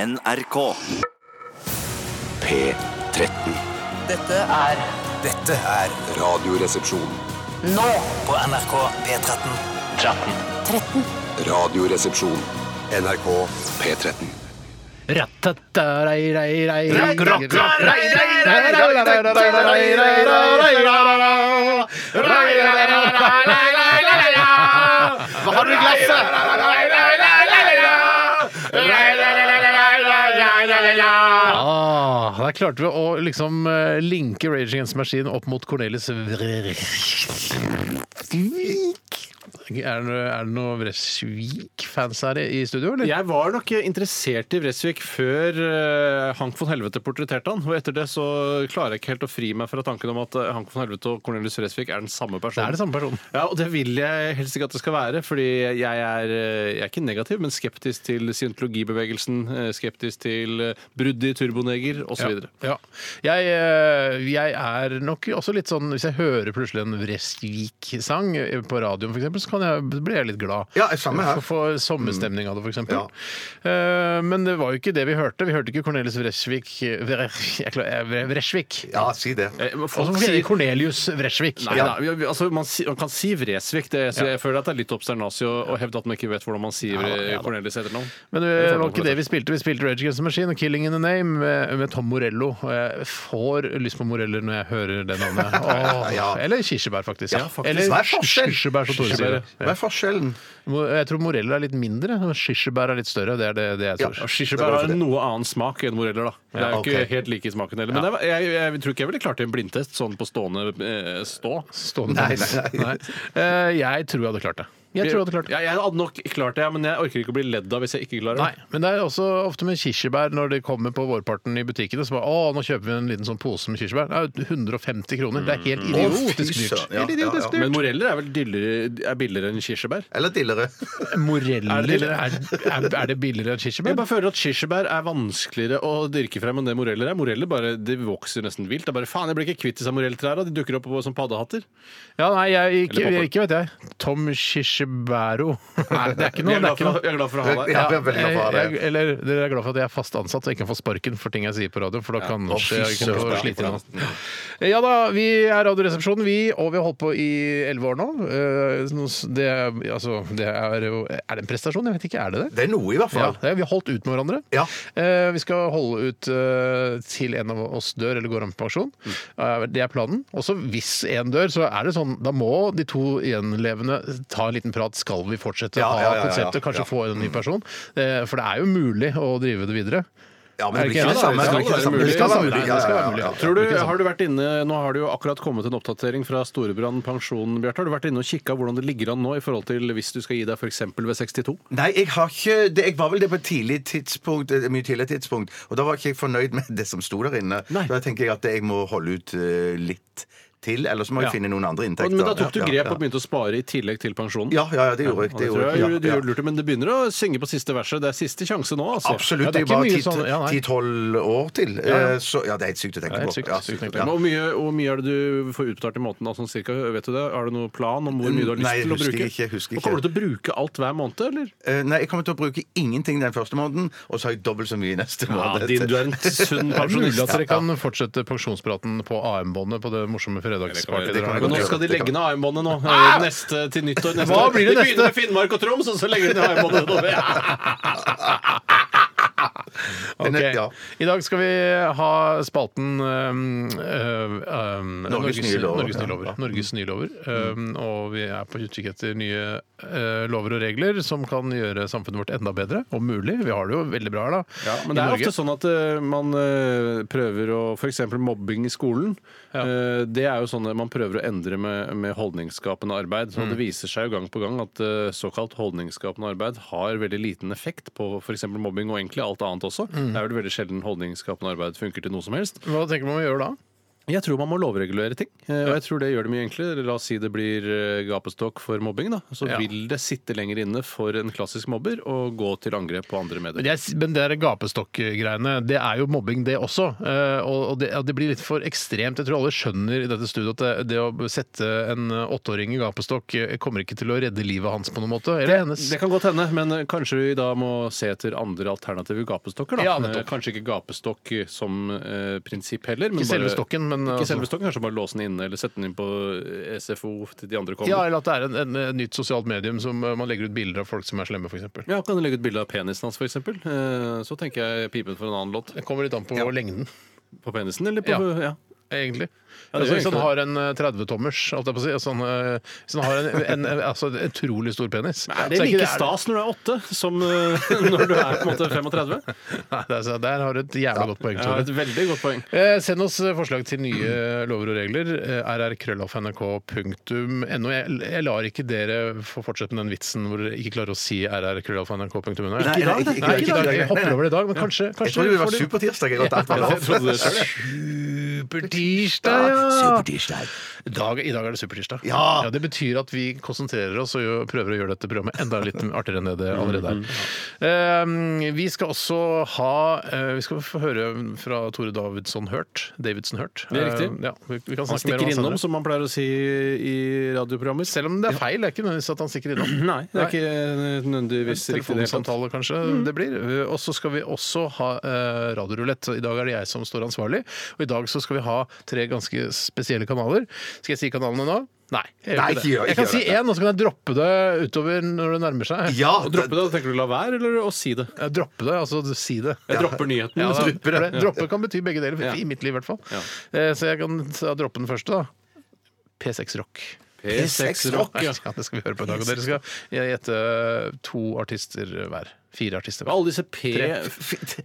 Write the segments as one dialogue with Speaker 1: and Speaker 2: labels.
Speaker 1: NRK.
Speaker 2: P13.
Speaker 3: Dette er
Speaker 4: Dette er
Speaker 2: Radioresepsjon.
Speaker 3: nå
Speaker 4: på NRK P13.
Speaker 2: Radioresepsjon. NRK P13.
Speaker 5: Ah,
Speaker 6: Hva har du i glasset?
Speaker 5: Ah, der klarte vi å liksom eh, linke Rage Against the Machine opp mot Cornelis Vreeswijk. Er det, er det noen Vreeswijk-fans her i i studio, eller?
Speaker 6: Jeg var nok interessert i Vresvik før eh, Hank von Helvete portretterte han. Og etter det så klarer jeg ikke helt å fri meg fra tanken om at eh, Hank von Helvete og Cornelius Vresvik er den samme
Speaker 5: Det
Speaker 6: personen.
Speaker 5: er det samme personen.
Speaker 6: Ja, og det vil jeg helst ikke at det skal være, fordi jeg er, eh, jeg er ikke negativ, men skeptisk til scientologibevegelsen, eh, skeptisk til eh, brudd i turboneger osv.
Speaker 5: Ja. Jeg, eh, jeg er nok også litt sånn Hvis jeg hører plutselig en Vrestvik-sang på radioen, for eksempel, så kan jeg, blir jeg litt glad.
Speaker 7: Ja, samme her.
Speaker 5: For sommerstemning av det, for eksempel. Eh, Men det var jo ikke det vi hørte. Vi hørte ikke Cornelis Vresvik eh, Vresvik.
Speaker 7: Ja, si det.
Speaker 6: Eh,
Speaker 5: Og så sier Cornelius Vresvik.
Speaker 6: Nei, da, vi- vi- altså, man, si- man kan si Vresvik. Det, så Jeg føler at det er litt obsternasig å, å hevde at man ikke vet hvordan man sier eh,
Speaker 5: Ja, ja,
Speaker 6: ja,
Speaker 5: da.
Speaker 6: Cornelis etternavn.
Speaker 5: Men eh, det var ikke det vi spilte. Vi spilte Rage Against the Machine og Killing in the Name med, med Tom Morello. Og jeg får lyst på moreller når jeg hører det navnet. Åh,
Speaker 7: Ja.
Speaker 5: Eller kirsebær, faktisk.
Speaker 6: faktisk.
Speaker 5: Eller
Speaker 7: Hva er forskjell?
Speaker 5: kirsebær, som Tore sier.
Speaker 7: Hva er forskjellen?
Speaker 5: Mo- Jeg tror moreller er litt mindre, og kirsebær er litt større. Det er det, det jeg
Speaker 7: Ja.
Speaker 5: tror.
Speaker 6: Og Kirsebær har en noe annen smak enn moreller, da. Det er jo ikke
Speaker 7: ok.
Speaker 6: helt like i smaken heller. Men det var- jeg, jeg tror ikke jeg ville klart en blindtest sånn på stående eh, stå.
Speaker 5: Stående
Speaker 7: Nei,
Speaker 5: pels.
Speaker 7: nei, nei.
Speaker 5: Eh, Jeg tror jeg hadde klart det. Jeg tror jeg hadde klart det.
Speaker 6: Ja, jeg hadde nok klart det, ja, men jeg orker ikke å bli ledd av hvis jeg ikke klarer det.
Speaker 5: Nei, men det er også ofte med kirsebær når de kommer på vårparten i butikkene. Så bare, å, nå kjøper vi en liten sånn pose med kirsebær. Det er jo 150 kroner. Det er helt idiotisk dyrt.
Speaker 7: søren, ja,
Speaker 5: Helt idiotisk
Speaker 7: ja, ja.
Speaker 5: dyrt.
Speaker 6: Men moreller er vel dyrere- er billigere enn kirsebær?
Speaker 7: Eller dillere?
Speaker 5: Moreller
Speaker 6: Er det-
Speaker 5: er, er, er det billigere enn
Speaker 6: Jeg
Speaker 5: kirsebær?
Speaker 6: bare føler at kirsebær er vanskeligere å dyrke frem enn det moreller er. Moreller bare, de vokser nesten vilt. Det er bare, faen, jeg blir ikke kvitt disse morelltrærne. De dukker opp på- som paddehatter.
Speaker 5: Ja, nei, jeg, ikke,
Speaker 6: Eller popper.
Speaker 5: ikke vet jeg. Tom Kirsebæro. Nei, det er ikke noe.
Speaker 6: jeg, er
Speaker 5: Det
Speaker 6: glad
Speaker 5: er ikke
Speaker 6: for,
Speaker 5: noe.
Speaker 6: jeg er glad for å ha deg.
Speaker 7: Ja, vi er veldig glad for å
Speaker 5: jeg,
Speaker 7: ha det.
Speaker 5: jeg, eller dere er glad for at jeg er fast ansatt så jeg ikke får sparken for ting jeg sier på radio. For da kan
Speaker 7: Å, fy
Speaker 5: jeg ikke
Speaker 7: søren,
Speaker 5: få
Speaker 7: ja,
Speaker 5: slite
Speaker 7: for
Speaker 5: inn. Ja da, vi er Radioresepsjonen, vi, og vi har holdt på i elleve år nå. Eh, nå s- Det, er- altså, det er jo Er det en prestasjon? Jeg vet ikke. Er det det?
Speaker 7: Det er noe, i hvert
Speaker 5: Ja,
Speaker 7: fall.
Speaker 5: det er- Eh, vi har holdt ut med hverandre.
Speaker 7: Ja.
Speaker 5: Eh, vi skal holde ut eh, til en av oss dør eller går av med pensjon.
Speaker 7: Mm.
Speaker 5: Eh, det er planen. Også hvis en dør, så er det sånn da må de to gjenlevende ta en liten prat. Skal vi fortsette
Speaker 7: Ja,
Speaker 5: å ha
Speaker 7: ja, ja, ja,
Speaker 5: konseptet? Kanskje
Speaker 7: ja.
Speaker 5: få en ny person? Eh, for det er jo mulig å drive det videre.
Speaker 7: Ja, men det blir
Speaker 5: Er det
Speaker 7: ikke det samme.
Speaker 5: ikke-
Speaker 6: Ja, det skal være
Speaker 5: mulig.
Speaker 7: Det skal være mulig.
Speaker 5: Det skal være
Speaker 7: Ja,
Speaker 5: mulig.
Speaker 7: ja, ja.
Speaker 6: Tror du, har du vært inne, Nå har det jo akkurat kommet en oppdatering fra Storebrand pensjon, Bjarte. Har du vært inne og kikka hvordan det ligger an nå i forhold til hvis du skal gi deg f.eks. ved 62?
Speaker 7: Nei, jeg har ikke det, Jeg var vel det på et tidlig tidspunkt, et mye tidligere tidspunkt, og da var ikke jeg fornøyd med det som sto der inne.
Speaker 6: Nei.
Speaker 7: Da tenker jeg at jeg må holde ut eh, litt til, ellers må jeg
Speaker 6: Ja.
Speaker 7: finne noen andre inntekter.
Speaker 6: Men da tok du
Speaker 7: Ja,
Speaker 6: grep
Speaker 7: ja.
Speaker 6: og begynte å spare i tillegg til pensjonen?
Speaker 7: Ja, ja, ja, det gjorde jeg.
Speaker 6: Ja,
Speaker 7: Det
Speaker 6: det tror
Speaker 7: gjorde
Speaker 6: jeg,
Speaker 7: jeg.
Speaker 6: du, du
Speaker 7: Ja, ja.
Speaker 6: gjorde lurt, men det begynner å synge på siste verset. Det er siste sjanse nå. Altså.
Speaker 7: Absolutt.
Speaker 5: Ja,
Speaker 7: det
Speaker 5: det er
Speaker 7: er bare
Speaker 5: ikke mye sånn- ja, nei.
Speaker 7: 10-12 år til.
Speaker 5: ja.
Speaker 7: Eh, Så, ja, det er helt sykt å tenke
Speaker 5: Ja,
Speaker 7: på.
Speaker 5: helt sykt,
Speaker 7: Ja,
Speaker 5: sykt å tenke på.
Speaker 7: ja.
Speaker 6: Men Hvor mye, hvor mye er det du får utbetalt i måneden? da, sånn cirka, vet du det? Har du noen plan om hvor mye du har lyst
Speaker 7: Nei,
Speaker 6: til å
Speaker 7: husker
Speaker 6: bruke?
Speaker 7: ikke, husker
Speaker 6: Og kommer du
Speaker 7: ikke.
Speaker 6: til å bruke alt hver måned, eller?
Speaker 7: Eh, Nei, jeg kommer til å bruke ingenting den første måneden, og så har jeg dobbelt så mye neste måned.
Speaker 6: din, du er en sunn
Speaker 7: Mm.
Speaker 5: Er det mulig at dere
Speaker 6: pensjonist.
Speaker 5: kan fortsette pensjonspraten på AM-båndet på det morsomme fredagspartiet?
Speaker 7: Det
Speaker 5: dere
Speaker 7: kan jeg
Speaker 5: har?
Speaker 6: Men nå
Speaker 7: godt
Speaker 6: skal de
Speaker 7: gjøre. Det
Speaker 6: legge
Speaker 7: kan- Ah!
Speaker 6: ned AM-båndet nå. Eh, Neste til nyttår. Neste.
Speaker 5: Hva blir det
Speaker 6: De begynner
Speaker 5: neste?
Speaker 6: med Finnmark og Troms, og så legger de ned AM-båndet.
Speaker 5: Ok.
Speaker 7: Den er- ja.
Speaker 5: I dag skal vi ha spalten um, um,
Speaker 7: Norges nye lover.
Speaker 5: Norges nye lover. Norges nye lover.
Speaker 6: Mm.
Speaker 5: Um, og vi er på utkikk etter nye eh, lover og regler som kan gjøre samfunnet vårt enda bedre, om mulig. Vi har det jo veldig bra her, da.
Speaker 6: Ja,
Speaker 5: i
Speaker 6: men det er
Speaker 5: Norge.
Speaker 6: ofte sånn at eh, man eh, prøver å F.eks. mobbing i skolen. eh, det er jo sånn at man prøver å endre med, med holdningsskapende arbeid.
Speaker 7: Mm.
Speaker 6: Så Det viser seg jo gang på gang at eh, såkalt holdningsskapende arbeid har veldig liten effekt på f.eks. mobbing
Speaker 7: Mm.
Speaker 6: og egentlig alt annet også. Det er vel veldig sjelden holdningsskapende arbeid funker til noe som helst.
Speaker 5: Hva tenker man å gjøre da?
Speaker 6: Jeg tror man må lovregulere ting, eh, og jeg tror det gjør det mye enklere. La oss si det blir eh, gapestokk for mobbing, da. Så
Speaker 5: Ja.
Speaker 6: vil det sitte lenger inne for en klassisk mobber å gå til angrep på andre medier.
Speaker 5: Men, jeg, men det der gapestokk-greiene, det er jo mobbing, det også. Eh, og, og, det, og det blir litt for ekstremt. Jeg tror alle skjønner i dette studioet at det, det å sette en eh, åtteåring i gapestokk eh, kommer ikke til å redde livet hans på noen måte. Eller hennes.
Speaker 6: Det kan godt hende, men eh, kanskje vi da må se etter andre alternative gapestokker. da.
Speaker 5: Ja, nettopp.
Speaker 6: Eh, kanskje ikke gapestokk som eh, prinsipp heller. Men
Speaker 5: Ikke selve stokken, men,
Speaker 6: Ikke
Speaker 5: altså-
Speaker 6: selve stokken, kanskje bare låse den inne eller sette den inn på eh, SFO til de andre kommer.
Speaker 5: ja,
Speaker 6: Ja,
Speaker 5: eller at det er en, en, eh, nytt sosialt medium som eh, man legger ut bilder av folk som er slemme, f.eks.
Speaker 6: Kan du legge ut bilde av penisen hans, f.eks.? Eh, så tenker jeg pipen for en annen låt.
Speaker 5: Det kommer litt an på lengden,
Speaker 6: På penisen, eller på
Speaker 5: Ja.
Speaker 6: ja.
Speaker 5: egentlig.
Speaker 6: Ja,
Speaker 5: altså,
Speaker 6: det gjør
Speaker 5: hvis han
Speaker 6: egentlig
Speaker 5: har en eh, 30-tommers, holdt jeg på å si, altså, han, eh, hvis han har en, en, en altså, en utrolig stor penis
Speaker 6: altså, Er
Speaker 5: så
Speaker 6: det
Speaker 5: ikke-
Speaker 6: like stas når du er åtte, som eh, når du er på en måte 35?
Speaker 5: Nei, det er, så- der har du et jævla godt poeng,
Speaker 6: Jeg
Speaker 5: Tore.
Speaker 6: har et veldig godt poeng.
Speaker 5: Eh, Send oss eh, forslag til nye lover og regler. eh, rrkrøllalfa.nrk.no. Jeg, jeg lar ikke dere få fortsette med den vitsen hvor dere ikke klarer å si rrkrøllalfa.nrk.no. Nei,
Speaker 7: Nei, nei,
Speaker 5: ikke i dag. Vi
Speaker 7: Nei,
Speaker 5: hopper
Speaker 7: nei.
Speaker 5: over det i dag, men kanskje,
Speaker 7: Jeg
Speaker 5: kanskje
Speaker 7: trodde det
Speaker 5: får
Speaker 7: var
Speaker 5: dere-
Speaker 7: supertirsdag. Jeg, at alt var
Speaker 6: Jeg trodde det selv, jeg.
Speaker 5: Supertirsdag, ja! Dag, I dag er det supertirsdag.
Speaker 7: Ja.
Speaker 5: Det betyr at vi konsentrerer oss og gjør, prøver å gjøre dette programmet enda litt artigere enn det det allerede er. Eh, vi skal også ha eh, Vi skal få høre fra Tore Davidsson Hurt. Davidson Hurt.
Speaker 6: Det er riktig.
Speaker 5: Eh, ja, vi, vi kan snakke
Speaker 6: Han
Speaker 5: mer
Speaker 6: stikker
Speaker 5: om han
Speaker 6: innom,
Speaker 5: senere.
Speaker 6: som man pleier å si i radioprogrammer.
Speaker 5: Selv om det er feil, det er ikke nødvendigvis at han stikker innom.
Speaker 6: Nei, det er ikke nødvendigvis riktig. det.
Speaker 5: Telefonsamtale, kanskje det blir. Eh, Og så skal vi også ha eh, radiorulett. I dag er det jeg som står ansvarlig. Og i dag så skal vi ha tre ganske spesielle kanaler. Skal jeg si kanalene nå? Nei. Jeg, gjør
Speaker 7: Nei,
Speaker 5: ikke
Speaker 7: ikke gjør-
Speaker 5: det.
Speaker 7: ikke
Speaker 5: jeg kan
Speaker 7: gjør
Speaker 5: si
Speaker 7: det.
Speaker 5: én, og så kan jeg droppe det utover når det nærmer seg.
Speaker 7: Ja,
Speaker 6: Å droppe det, tenker du la være, eller å si det?
Speaker 5: Eh, Droppe det, altså si det.
Speaker 6: Jeg dropper nyheten.
Speaker 5: Ja, da,
Speaker 6: liksom.
Speaker 5: for det. Droppe kan bety begge deler,
Speaker 6: Ja.
Speaker 5: i mitt liv i hvert fall.
Speaker 6: Ja.
Speaker 5: Eh, Så jeg kan ta- droppe den første, da. P6 Rock.
Speaker 6: P6 Rock, ja.
Speaker 5: Ja, det skal vi høre på i dag. Og dere skal gjette to artister hver. Fire artister hver.
Speaker 6: Alle disse P...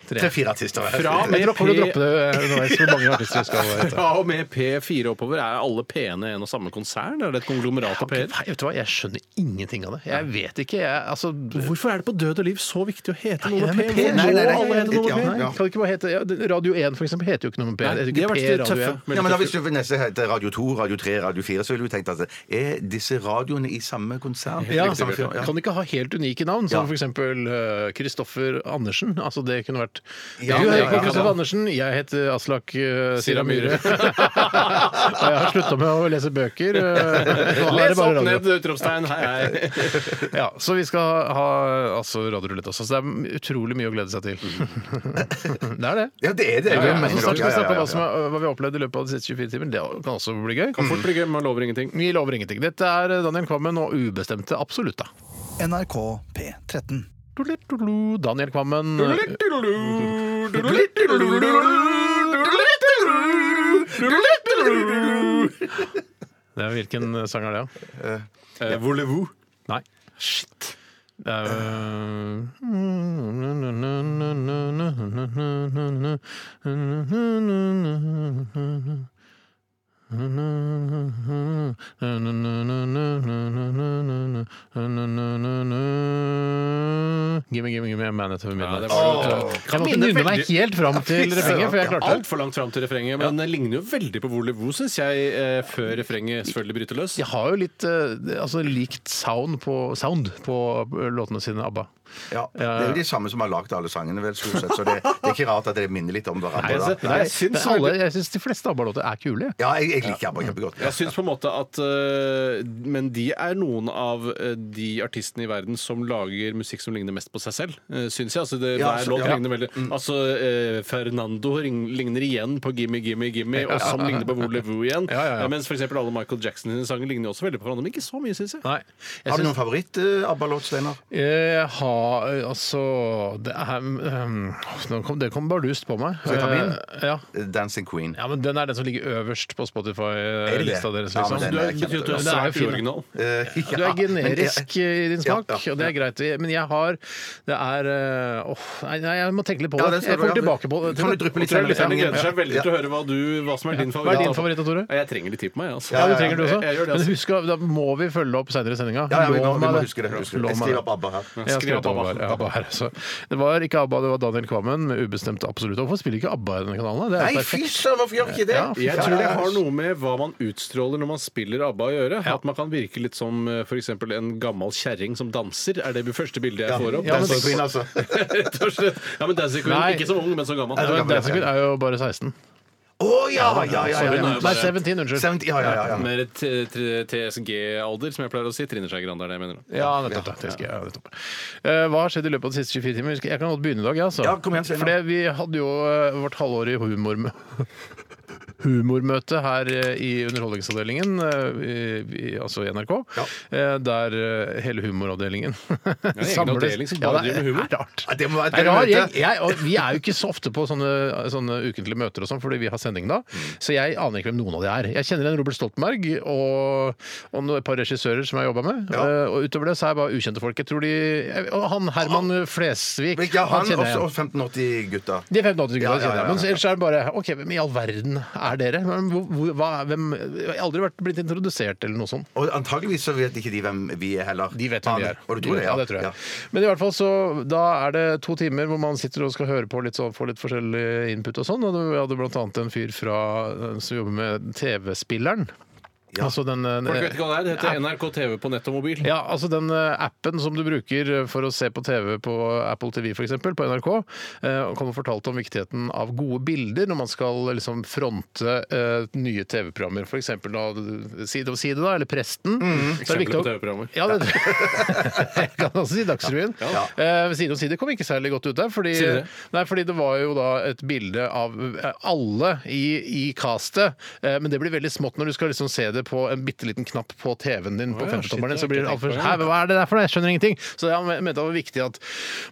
Speaker 7: Tre-fire artister.
Speaker 6: Fra
Speaker 5: Jeg
Speaker 6: og med
Speaker 5: tror kommer til å
Speaker 6: P...
Speaker 5: droppe det underveis hvor mange artister vi skal hete.
Speaker 6: Fra og med P4 oppover er alle P-ene en og samme konsern? Er det et konglomerat av P-er?
Speaker 5: Nei, vet du hva, jeg skjønner ingenting av det. Jeg vet ikke, jeg altså
Speaker 6: Hvorfor er det på død og liv så viktig å
Speaker 5: Ja,
Speaker 6: hete noe
Speaker 5: men
Speaker 6: med
Speaker 5: P-
Speaker 6: P?
Speaker 5: nei,
Speaker 6: Må
Speaker 5: nei, nei,
Speaker 6: alle hete noe
Speaker 7: ja,
Speaker 6: med P?
Speaker 7: nei.
Speaker 5: Kan det ikke bare hete ja, Radio 1 for eksempel heter jo ikke noe med P.
Speaker 6: Nei,
Speaker 5: Heter
Speaker 6: de
Speaker 5: ikke
Speaker 6: har
Speaker 5: P
Speaker 6: vært
Speaker 5: Radio 1.
Speaker 6: tøffe.
Speaker 7: Ja, men da Hvis du neste heter Radio 2, Radio 3, Radio 4, så ville du tenkt at eh, er disse radioene i samme konsern?
Speaker 5: Ja,
Speaker 7: Eller samme firma? Ja.
Speaker 5: Kan ikke ha helt unike navn, som
Speaker 7: Ja.
Speaker 5: for eksempel eh, Kristoffer Andersen. Altså Det kunne vært
Speaker 7: Ja,
Speaker 5: Du
Speaker 7: ja,
Speaker 5: heter
Speaker 7: ja, ja.
Speaker 5: Kristoffer Andersen, jeg heter Aslak uh, Sira
Speaker 6: Sira
Speaker 5: Myhre.
Speaker 6: Myhre.
Speaker 5: og jeg har slutta med å lese bøker. eh, og nå er det
Speaker 6: Les
Speaker 5: bare
Speaker 6: opp
Speaker 5: radio.
Speaker 6: ned, utropstegn. Hei, hei.
Speaker 5: Ja, så vi skal ha altså, radiorulett også. Så det er utrolig mye å glede seg til. det er det.
Speaker 7: Ja, det er det.
Speaker 5: Ja,
Speaker 7: Ja, ja,
Speaker 5: men så
Speaker 7: ja,
Speaker 5: snart skal vi
Speaker 7: ja, ja,
Speaker 5: snakke om
Speaker 7: ja.
Speaker 5: hva, som er, hva vi har opplevd i løpet av de siste 24 timene. Det kan også bli gøy.
Speaker 6: Kan fort bli gøy, man lover ingenting.
Speaker 5: Vi lover ingenting. Dette er Daniel Kvammen og ubestemte absolutta.
Speaker 4: NRK P13.
Speaker 5: Tudelu-tudelu, Daniel Kvammen. Det er, hvilken sang er det, da?
Speaker 6: Eh, Voulez-vous?
Speaker 5: Nei. Shit. Det er jo Gimme, gimme, gimme, jeg manet over
Speaker 6: Ja, det
Speaker 5: midnatt.
Speaker 6: var det.
Speaker 5: Jeg må ikke nynne meg helt fram til refrenget, for jeg klarte det.
Speaker 6: Altfor langt fram til refrenget, men det ligner jo veldig på Volevo, syns jeg, eh, før refrenget selvfølgelig bryter løs.
Speaker 5: De har jo litt eh, altså, likt sound på, sound på låtene sine, ABBA.
Speaker 7: Ja, det er jo de samme som har lagd alle sangene, vel, stort sett, så det, det er ikke rart at det minner litt om hverandre.
Speaker 6: Nei, altså,
Speaker 7: da.
Speaker 6: nei.
Speaker 5: Jeg
Speaker 6: Jeg syns
Speaker 5: syns, alle, jeg syns de fleste ABBA-låter er kule. jeg.
Speaker 7: Ja, jeg, jeg liker ABBA kjempegodt.
Speaker 6: Jeg syns på en måte at eh, Men de er noen av eh, de artistene i verden som lager musikk som ligner mest på seg selv, uh, syns jeg. Altså, det,
Speaker 7: Ja,
Speaker 6: hver
Speaker 7: så-
Speaker 6: låt
Speaker 7: ja.
Speaker 6: ligner veldig
Speaker 5: Mm.
Speaker 6: Altså, eh, Fernando ring, ligner igjen på Gimme, Gimme, Gimme, og som ligner på Volevo igjen.
Speaker 5: Ja, ja, ja.
Speaker 6: Eh, Mens f.eks. alle Michael Jackson sine sanger ligner jo også veldig på hverandre, men ikke så mye, syns jeg.
Speaker 5: Nei. Jeg
Speaker 7: Har du
Speaker 5: syns
Speaker 7: noen favoritt-ABBA-låt, Steinar?
Speaker 5: Jeg har eh, altså det er, ehm, nå kom, Det kom bardust på meg.
Speaker 7: Skal jeg ta min?
Speaker 5: Eh, Ja.
Speaker 7: Dancing Queen.
Speaker 5: ja, men den er den som ligger øverst på
Speaker 7: Er det det?
Speaker 5: Spotify-lista deres.
Speaker 7: Ja,
Speaker 5: Liksom.
Speaker 7: men den
Speaker 6: Du
Speaker 7: er
Speaker 6: er, betyr at du
Speaker 5: kjempebra. Den
Speaker 6: er
Speaker 5: er
Speaker 6: svært
Speaker 5: fin, da.
Speaker 6: uoriginal.
Speaker 7: Eh, ja,
Speaker 5: Du er
Speaker 7: men
Speaker 5: generisk eh,
Speaker 7: jeg-
Speaker 5: i din smak,
Speaker 7: Ja, ja,
Speaker 5: og det er greit. Men jeg har Det er eh, Åh, nei, nei, jeg må tenke litt på
Speaker 7: Ja,
Speaker 5: det.
Speaker 7: den skal
Speaker 5: Jeg kommer
Speaker 7: du-
Speaker 5: tilbake på det.
Speaker 7: Kan du dryppe litt
Speaker 6: Tror jeg Lytterne
Speaker 7: Ja,
Speaker 6: gleder seg veldig
Speaker 7: ja.
Speaker 6: til å høre hva, du, hva som er din favoritt.
Speaker 5: Hva er din favoritt da, Tore?
Speaker 6: Ja, Jeg trenger litt tid på meg. Altså.
Speaker 5: Ja, du trenger det også.
Speaker 6: Jeg, jeg gjør det,
Speaker 5: Men
Speaker 6: altså.
Speaker 5: husk, da må vi følge opp seinere i sendinga.
Speaker 7: Ja, ja, vi må,
Speaker 5: Lov
Speaker 7: vi
Speaker 5: meg
Speaker 7: må
Speaker 5: det.
Speaker 7: huske det. Huske det.
Speaker 5: Lov
Speaker 7: Jeg
Speaker 5: meg
Speaker 7: skriver
Speaker 5: det.
Speaker 7: opp ABBA her.
Speaker 5: Jeg har
Speaker 6: Skriv opp
Speaker 5: skrevet ABBA var, ja, ABBA her, altså. Det var ikke ABBA, det var Daniel Kvammen med ubestemt absolutt. Hvorfor spiller ikke ABBA i denne kanalen? da? Det er jo
Speaker 7: Nei, fy
Speaker 5: perfekt.
Speaker 7: søren, hvorfor gjør vi ikke det?
Speaker 5: Ja, fy
Speaker 6: Jeg tror det har noe med hva man utstråler når man spiller ABBA å gjøre. At man kan virke litt som f.eks. en gammel kjerring som danser, er det første bildet jeg får opp.
Speaker 5: Ja, men-
Speaker 7: Dancing Queen, altså.
Speaker 6: Rett og slett. Ja, men Dancing Queen,
Speaker 5: Nei.
Speaker 6: ikke så ung, men så gammel.
Speaker 5: Men Dancing Queen er jo bare 16.
Speaker 7: Å ja, ja, ja. ja,
Speaker 6: Sorry, nå
Speaker 7: ja.
Speaker 6: er jeg
Speaker 5: Nei,
Speaker 6: bare-
Speaker 5: 17, unnskyld.
Speaker 7: Seventy- Ja, ja, ja. ja.
Speaker 6: Mer t- t- TSG-alder, som jeg pleier å si. Trine Skei Grande er det jeg mener.
Speaker 5: Ja, nettopp. da. Det skal jeg- ja, nettopp. Eh, Hva har skjedd i løpet av de siste 24 timer? Jeg kan godt begynne i dag, jeg, altså.
Speaker 7: Ja, kom igjen, si noe.
Speaker 5: For det- vi hadde jo eh, vårt halvårige humormøte. Humormøte her eh, i Underholdningsavdelingen, eh, i- i- altså i NRK, eh, der eh, hele humoravdelingen
Speaker 6: egen avdeling som
Speaker 5: Ja,
Speaker 6: bare
Speaker 5: det er-
Speaker 6: driver med humor.
Speaker 5: er rart.
Speaker 7: Ja, det må være et
Speaker 5: Det er rar
Speaker 7: møte.
Speaker 5: gjeng. jeg, og vi er jo ikke så ofte på sånne, sånne ukentlige møter og sånn, fordi vi har sending da,
Speaker 7: Mm.
Speaker 5: så jeg aner ikke hvem noen av de er. Jeg kjenner en Robert Stoltenberg og, og noen- et par regissører som jeg har jobba med, eh, og utover det så er jeg bare ukjente folk. Jeg tror de, jeg- og han Herman Flesvig
Speaker 7: Men Ja, han
Speaker 5: kjenner jeg igjen.
Speaker 7: også, og 1580-gutta.
Speaker 5: De 1580
Speaker 7: Ja, ja,
Speaker 5: kjenner
Speaker 7: ja,
Speaker 5: jeg,
Speaker 7: ja.
Speaker 5: men så- ellers er det bare OK, hvem i all verden er dere? Men hvor- hvor- Hva, hvem, jeg har aldri vært blitt introdusert eller noe sånt.
Speaker 7: Og antageligvis så vet ikke de hvem vi er heller.
Speaker 5: De vet hvem de er.
Speaker 7: Og du tror det,
Speaker 5: ja, det tror jeg.
Speaker 7: Ja.
Speaker 5: Men i hvert fall så da er det to timer hvor man sitter og skal høre på litt sånn, få litt forskjellig input og sånn. Og vi hadde blant annet en fyr fra eh, som jobber med TV-spilleren.
Speaker 7: Ja.
Speaker 5: Altså den eh,
Speaker 6: Folk vet ikke hva det er. Det heter NRK TV på nett og mobil.
Speaker 5: ja, altså den eh, appen som du bruker for å se på TV på Apple TV f.eks., på NRK, eh, og kan du fortalte om viktigheten av gode bilder når man skal liksom fronte eh, nye TV-programmer, f.eks. Side om side, da, eller Presten.
Speaker 7: Mm.
Speaker 5: Så er det
Speaker 6: Eksempler
Speaker 5: viktig
Speaker 6: på
Speaker 5: å-
Speaker 6: TV-programmer.
Speaker 5: Ja, det jeg kan også si Dagsrevyen. Eh, side om side kom ikke særlig godt ut der, fordi,
Speaker 6: Sier det?
Speaker 5: nei, fordi det var jo da et bilde av eh, alle i, i castet, eh, men det blir veldig smått når du skal liksom se det på en bitte liten knapp på TV-en din på
Speaker 6: Å ja, shit,
Speaker 5: femtetommeren.
Speaker 6: det
Speaker 5: Så
Speaker 6: har
Speaker 5: blir
Speaker 6: jeg
Speaker 5: det
Speaker 6: ikke
Speaker 5: altfor
Speaker 6: tenkt på
Speaker 5: Hæ,
Speaker 6: engang.
Speaker 5: hva er det der for noe? Jeg skjønner ingenting. Så jeg mente det var viktig at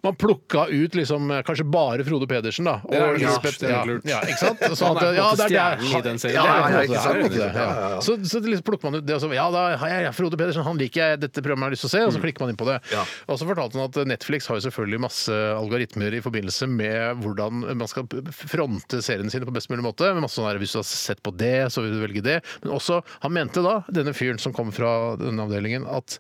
Speaker 5: man plukka ut liksom eh, kanskje bare Frode Pedersen, da. Og
Speaker 6: Det er jo lurt,
Speaker 5: Lisbeth.
Speaker 6: det er
Speaker 5: Ja,
Speaker 6: nok lurt.
Speaker 5: ja, ikke sant? Og
Speaker 6: Han
Speaker 5: Sånn at,
Speaker 6: er på en
Speaker 5: ja,
Speaker 6: måte
Speaker 5: det er der.
Speaker 6: stjernen i den serien.
Speaker 5: Ja,
Speaker 6: Det er
Speaker 5: ja,
Speaker 6: jo
Speaker 5: ja,
Speaker 7: ikke
Speaker 5: ikke
Speaker 7: sant?
Speaker 5: sant?
Speaker 7: Ja, ja, ja.
Speaker 5: Så, så liksom plukker man ut det, og så Ja, da har jeg Frode Pedersen, han liker jeg, dette programmet har jeg lyst til å se, og så klikker man inn på det.
Speaker 7: Mm. Ja.
Speaker 5: Og så fortalte han at Netflix har jo selvfølgelig masse algoritmer i forbindelse med hvordan man skal fronte seriene sine på best mulig måte. Med masse sånn her, hvis du har sett på det, så vil du velge det. Men også, han mente da, denne fyren som kom fra denne avdelingen, at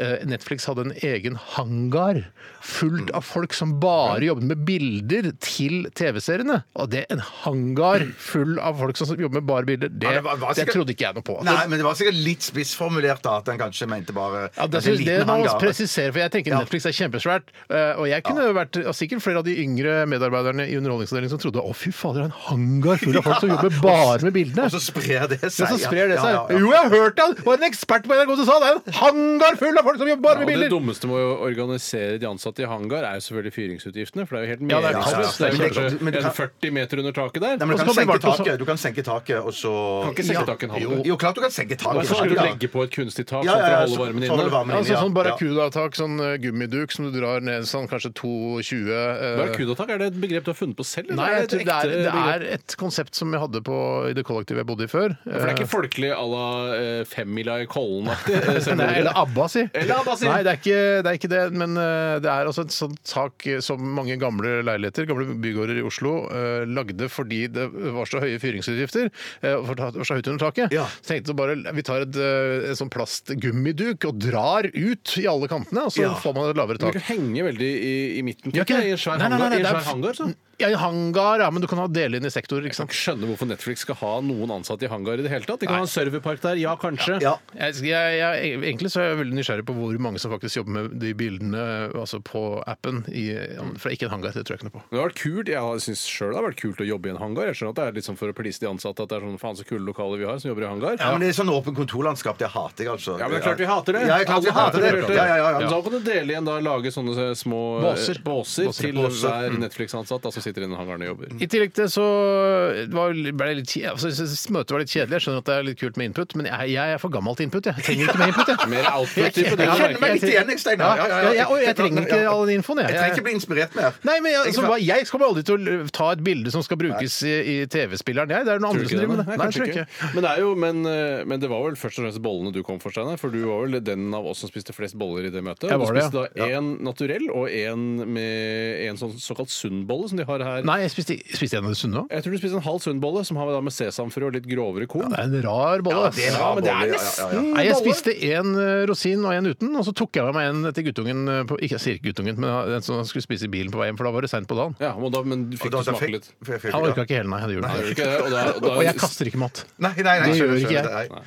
Speaker 5: eh, Netflix hadde en egen hangar fullt av folk som bare jobbet med bilder til TV-seriene. Og det en hangar full av folk som jobber med bare bilder, det,
Speaker 7: Ja, det var- var
Speaker 5: det
Speaker 7: sikkert-
Speaker 5: trodde ikke jeg noe på.
Speaker 7: Nei, men det var sikkert litt spissformulert da, at han kanskje mente bare
Speaker 5: Altså- Ja, det,
Speaker 7: at en
Speaker 5: synes, det må
Speaker 7: liten
Speaker 5: man
Speaker 7: hangar-
Speaker 5: presisere, for jeg tenker Netflix er kjempesvært. eh, Og jeg kunne jo vært og sikkert flere av de yngre medarbeiderne i Underholdningsavdelingen som trodde å fy fader, det er en hangar full av folk som jobber bare med bildene.
Speaker 7: Og så sprer det seg.
Speaker 5: Men så sprer det
Speaker 7: ja.
Speaker 5: seg.
Speaker 7: Ja, ja, ja.
Speaker 5: Jo, jeg har hørt det! Det var en ekspert på NRK som sa det! er En hangar full av folk som jobber bare
Speaker 6: Ja,
Speaker 5: med
Speaker 6: og det
Speaker 5: bilder!
Speaker 6: dummeste med å organisere de ansatte i hangar, er jo selvfølgelig fyringsutgiftene. For det er jo helt
Speaker 5: Ja, det er
Speaker 6: meningsløst.
Speaker 5: kaos.
Speaker 6: det er jo
Speaker 7: Men det- men
Speaker 6: kanskje
Speaker 7: det
Speaker 6: en
Speaker 7: kan-
Speaker 6: 40 meter under taket der.
Speaker 7: Nei, men du
Speaker 5: Og så
Speaker 7: kan,
Speaker 5: kan vi
Speaker 7: senke
Speaker 5: bare ta så-
Speaker 7: taket, du kan senke taket, og så
Speaker 6: Kan ikke
Speaker 5: Ja.
Speaker 6: senke taket en halv
Speaker 7: jo.
Speaker 6: meter.
Speaker 7: jo, klart du kan senke taket.
Speaker 6: Hvorfor skal du
Speaker 7: Ja.
Speaker 6: legge på et kunstig tak
Speaker 7: Ja,
Speaker 6: sånn
Speaker 7: ja,
Speaker 6: for å
Speaker 7: ja,
Speaker 6: holde
Speaker 7: så-
Speaker 6: varmen
Speaker 7: for å holde
Speaker 6: inne?
Speaker 7: varmen
Speaker 5: Ja,
Speaker 7: inne,
Speaker 5: altså,
Speaker 7: ja.
Speaker 5: sånn barracuda-tak, sånn eh, gummiduk som du drar ned sånn kanskje 22 eh,
Speaker 6: Barracudatak, er det et begrep du har funnet på selv? eller
Speaker 5: Nei,
Speaker 6: er
Speaker 5: jeg tror
Speaker 6: et
Speaker 5: det er,
Speaker 6: ekte
Speaker 5: det
Speaker 6: begrep?
Speaker 5: er et konsept som jeg hadde på, i det kollektivet jeg bodde i før.
Speaker 6: For det er ikke folkelig à la eh, femmila i Kollen-aktig? eh, selv om
Speaker 5: Nei,
Speaker 6: det-
Speaker 5: eller ABBA, si.
Speaker 6: Eller ABBA, si.
Speaker 5: Nei, det er ikke det, er ikke det men eh, det er altså et sånt tak eh, som mange gamle leiligheter, gamle bygårder i Oslo, eh, lagde fordi det var så høye fyringsutgifter. eh, for det var så høyt under taket.
Speaker 7: Ja.
Speaker 5: Så tenkte jeg bare vi tar et, eh, en sånn plastgummiduk og drar ut i alle kantene, og så
Speaker 7: Ja.
Speaker 5: får man et lavere
Speaker 6: Du kan
Speaker 5: tak.
Speaker 6: ikke henge veldig i, i midten.
Speaker 5: Gjør
Speaker 6: tenker
Speaker 5: ikke
Speaker 6: jeg, I en svær
Speaker 5: Nei, nei, nei,
Speaker 6: hangar, i en
Speaker 5: det er-
Speaker 6: svær hangar så.
Speaker 5: Ja, i en hangar, ja, men du kan ha dele inn i sektorer, ikke sant.
Speaker 6: Jeg kan ikke skjønne hvorfor Netflix skal ha noen ansatte i hangar i det hele tatt. De
Speaker 5: Nei.
Speaker 6: kan ha en serverpark der, ja kanskje.
Speaker 7: Ja.
Speaker 5: Jeg, jeg, jeg, egentlig så er jeg veldig nysgjerrig på hvor mange som faktisk jobber med de bildene altså på appen. I, fra ikke en hangar, det tror jeg ikke noe på.
Speaker 6: Det har vært kult, Jeg syns sjøl det har vært kult å jobbe i en hangar. Jeg skjønner at det er litt sånn for å please de ansatte at det er sånn faen så kule lokaler vi har som jobber i hangar.
Speaker 7: Ja, men det er sånn åpen kontorlandskap, det hater jeg altså.
Speaker 6: Ja, men det er klart vi hater det.
Speaker 7: Ja, det er klart vi
Speaker 6: Alle
Speaker 7: hater det.
Speaker 6: hater
Speaker 7: Ja, ja, ja,
Speaker 6: Men
Speaker 7: ja.
Speaker 6: Da kan du dele igjen da, lage sånne små eh,
Speaker 5: Båser.
Speaker 6: båser Mm.
Speaker 5: Båser.
Speaker 6: til
Speaker 5: Båser.
Speaker 6: hver Netflix-ansatt da, som sitter i den hangaren og jobber.
Speaker 5: I tillegg til så var, ble det litt, kje- altså, jeg synes Møtet var litt kjedelig. Jeg skjønner at det er litt kult med input, men jeg, jeg er for gammel til input. Jeg trenger ikke mer input. Jeg,
Speaker 6: Mer output-type,
Speaker 5: Jeg-
Speaker 6: du,
Speaker 7: Jeg
Speaker 5: jeg-
Speaker 7: kjenner meg litt
Speaker 5: jeg-
Speaker 7: igjen, jeg, Steinar. Ja, ja, ja.
Speaker 5: jeg, jeg, og jeg trenger ikke all den infoen, jeg.
Speaker 7: Jeg trenger ikke bli inspirert mer.
Speaker 5: Nei, men jeg,
Speaker 7: Ikke
Speaker 5: altså,
Speaker 7: sant?
Speaker 5: hva- jeg kommer aldri til å ta et bilde som skal brukes i, i TV-spilleren. Jeg, det er noen andre som
Speaker 6: Tror du ikke det,
Speaker 5: driver med det.
Speaker 6: nei? Nei,
Speaker 5: Nei, jeg
Speaker 6: kanskje
Speaker 5: tror ikke.
Speaker 6: ikke. Men det, er jo, men, eh, men det var vel først og fremst bollene du kom for, Steinar. For du var vel den av oss som spiste flest boller i det møtet.
Speaker 5: Jeg
Speaker 6: Og
Speaker 5: var
Speaker 6: du
Speaker 5: det,
Speaker 6: spiste da én naturell og én med en sånn såkalt sunnbolle som de har har her
Speaker 5: Nei, jeg spiste, spiste en av de sunne òg.
Speaker 6: Jeg tror du spiste en halv sunnbolle som har da med sesamfrø og litt grovere korn.
Speaker 5: Det er en rar bolle. ass.
Speaker 7: det er en rar
Speaker 6: Ja, men det er
Speaker 7: bolle, ja,
Speaker 6: nesten
Speaker 7: ja, ja.
Speaker 5: Nei, jeg
Speaker 6: bolle.
Speaker 5: spiste én rosin og én uten, og så tok jeg med meg en til guttungen eh, på, Ikke jeg sier ikke guttungen, men den som skulle spise i bilen på vei hjem, for da var det seint på dagen.
Speaker 6: Ja, men da, men du
Speaker 7: Og
Speaker 6: fikk
Speaker 7: da-
Speaker 6: du
Speaker 7: da
Speaker 6: smake
Speaker 7: fikk-
Speaker 6: litt.
Speaker 7: fikk- fikk-
Speaker 5: Han orka ikke hele, nei. Han gjorde
Speaker 6: Gjør du
Speaker 5: det.
Speaker 6: ikke det? Og, da, og, da,
Speaker 5: Og jeg kaster ikke mat.
Speaker 7: Nei, nei, nei,
Speaker 5: Det
Speaker 7: skjønner,
Speaker 5: gjør ikke
Speaker 7: skjønner,
Speaker 5: jeg.
Speaker 7: nei.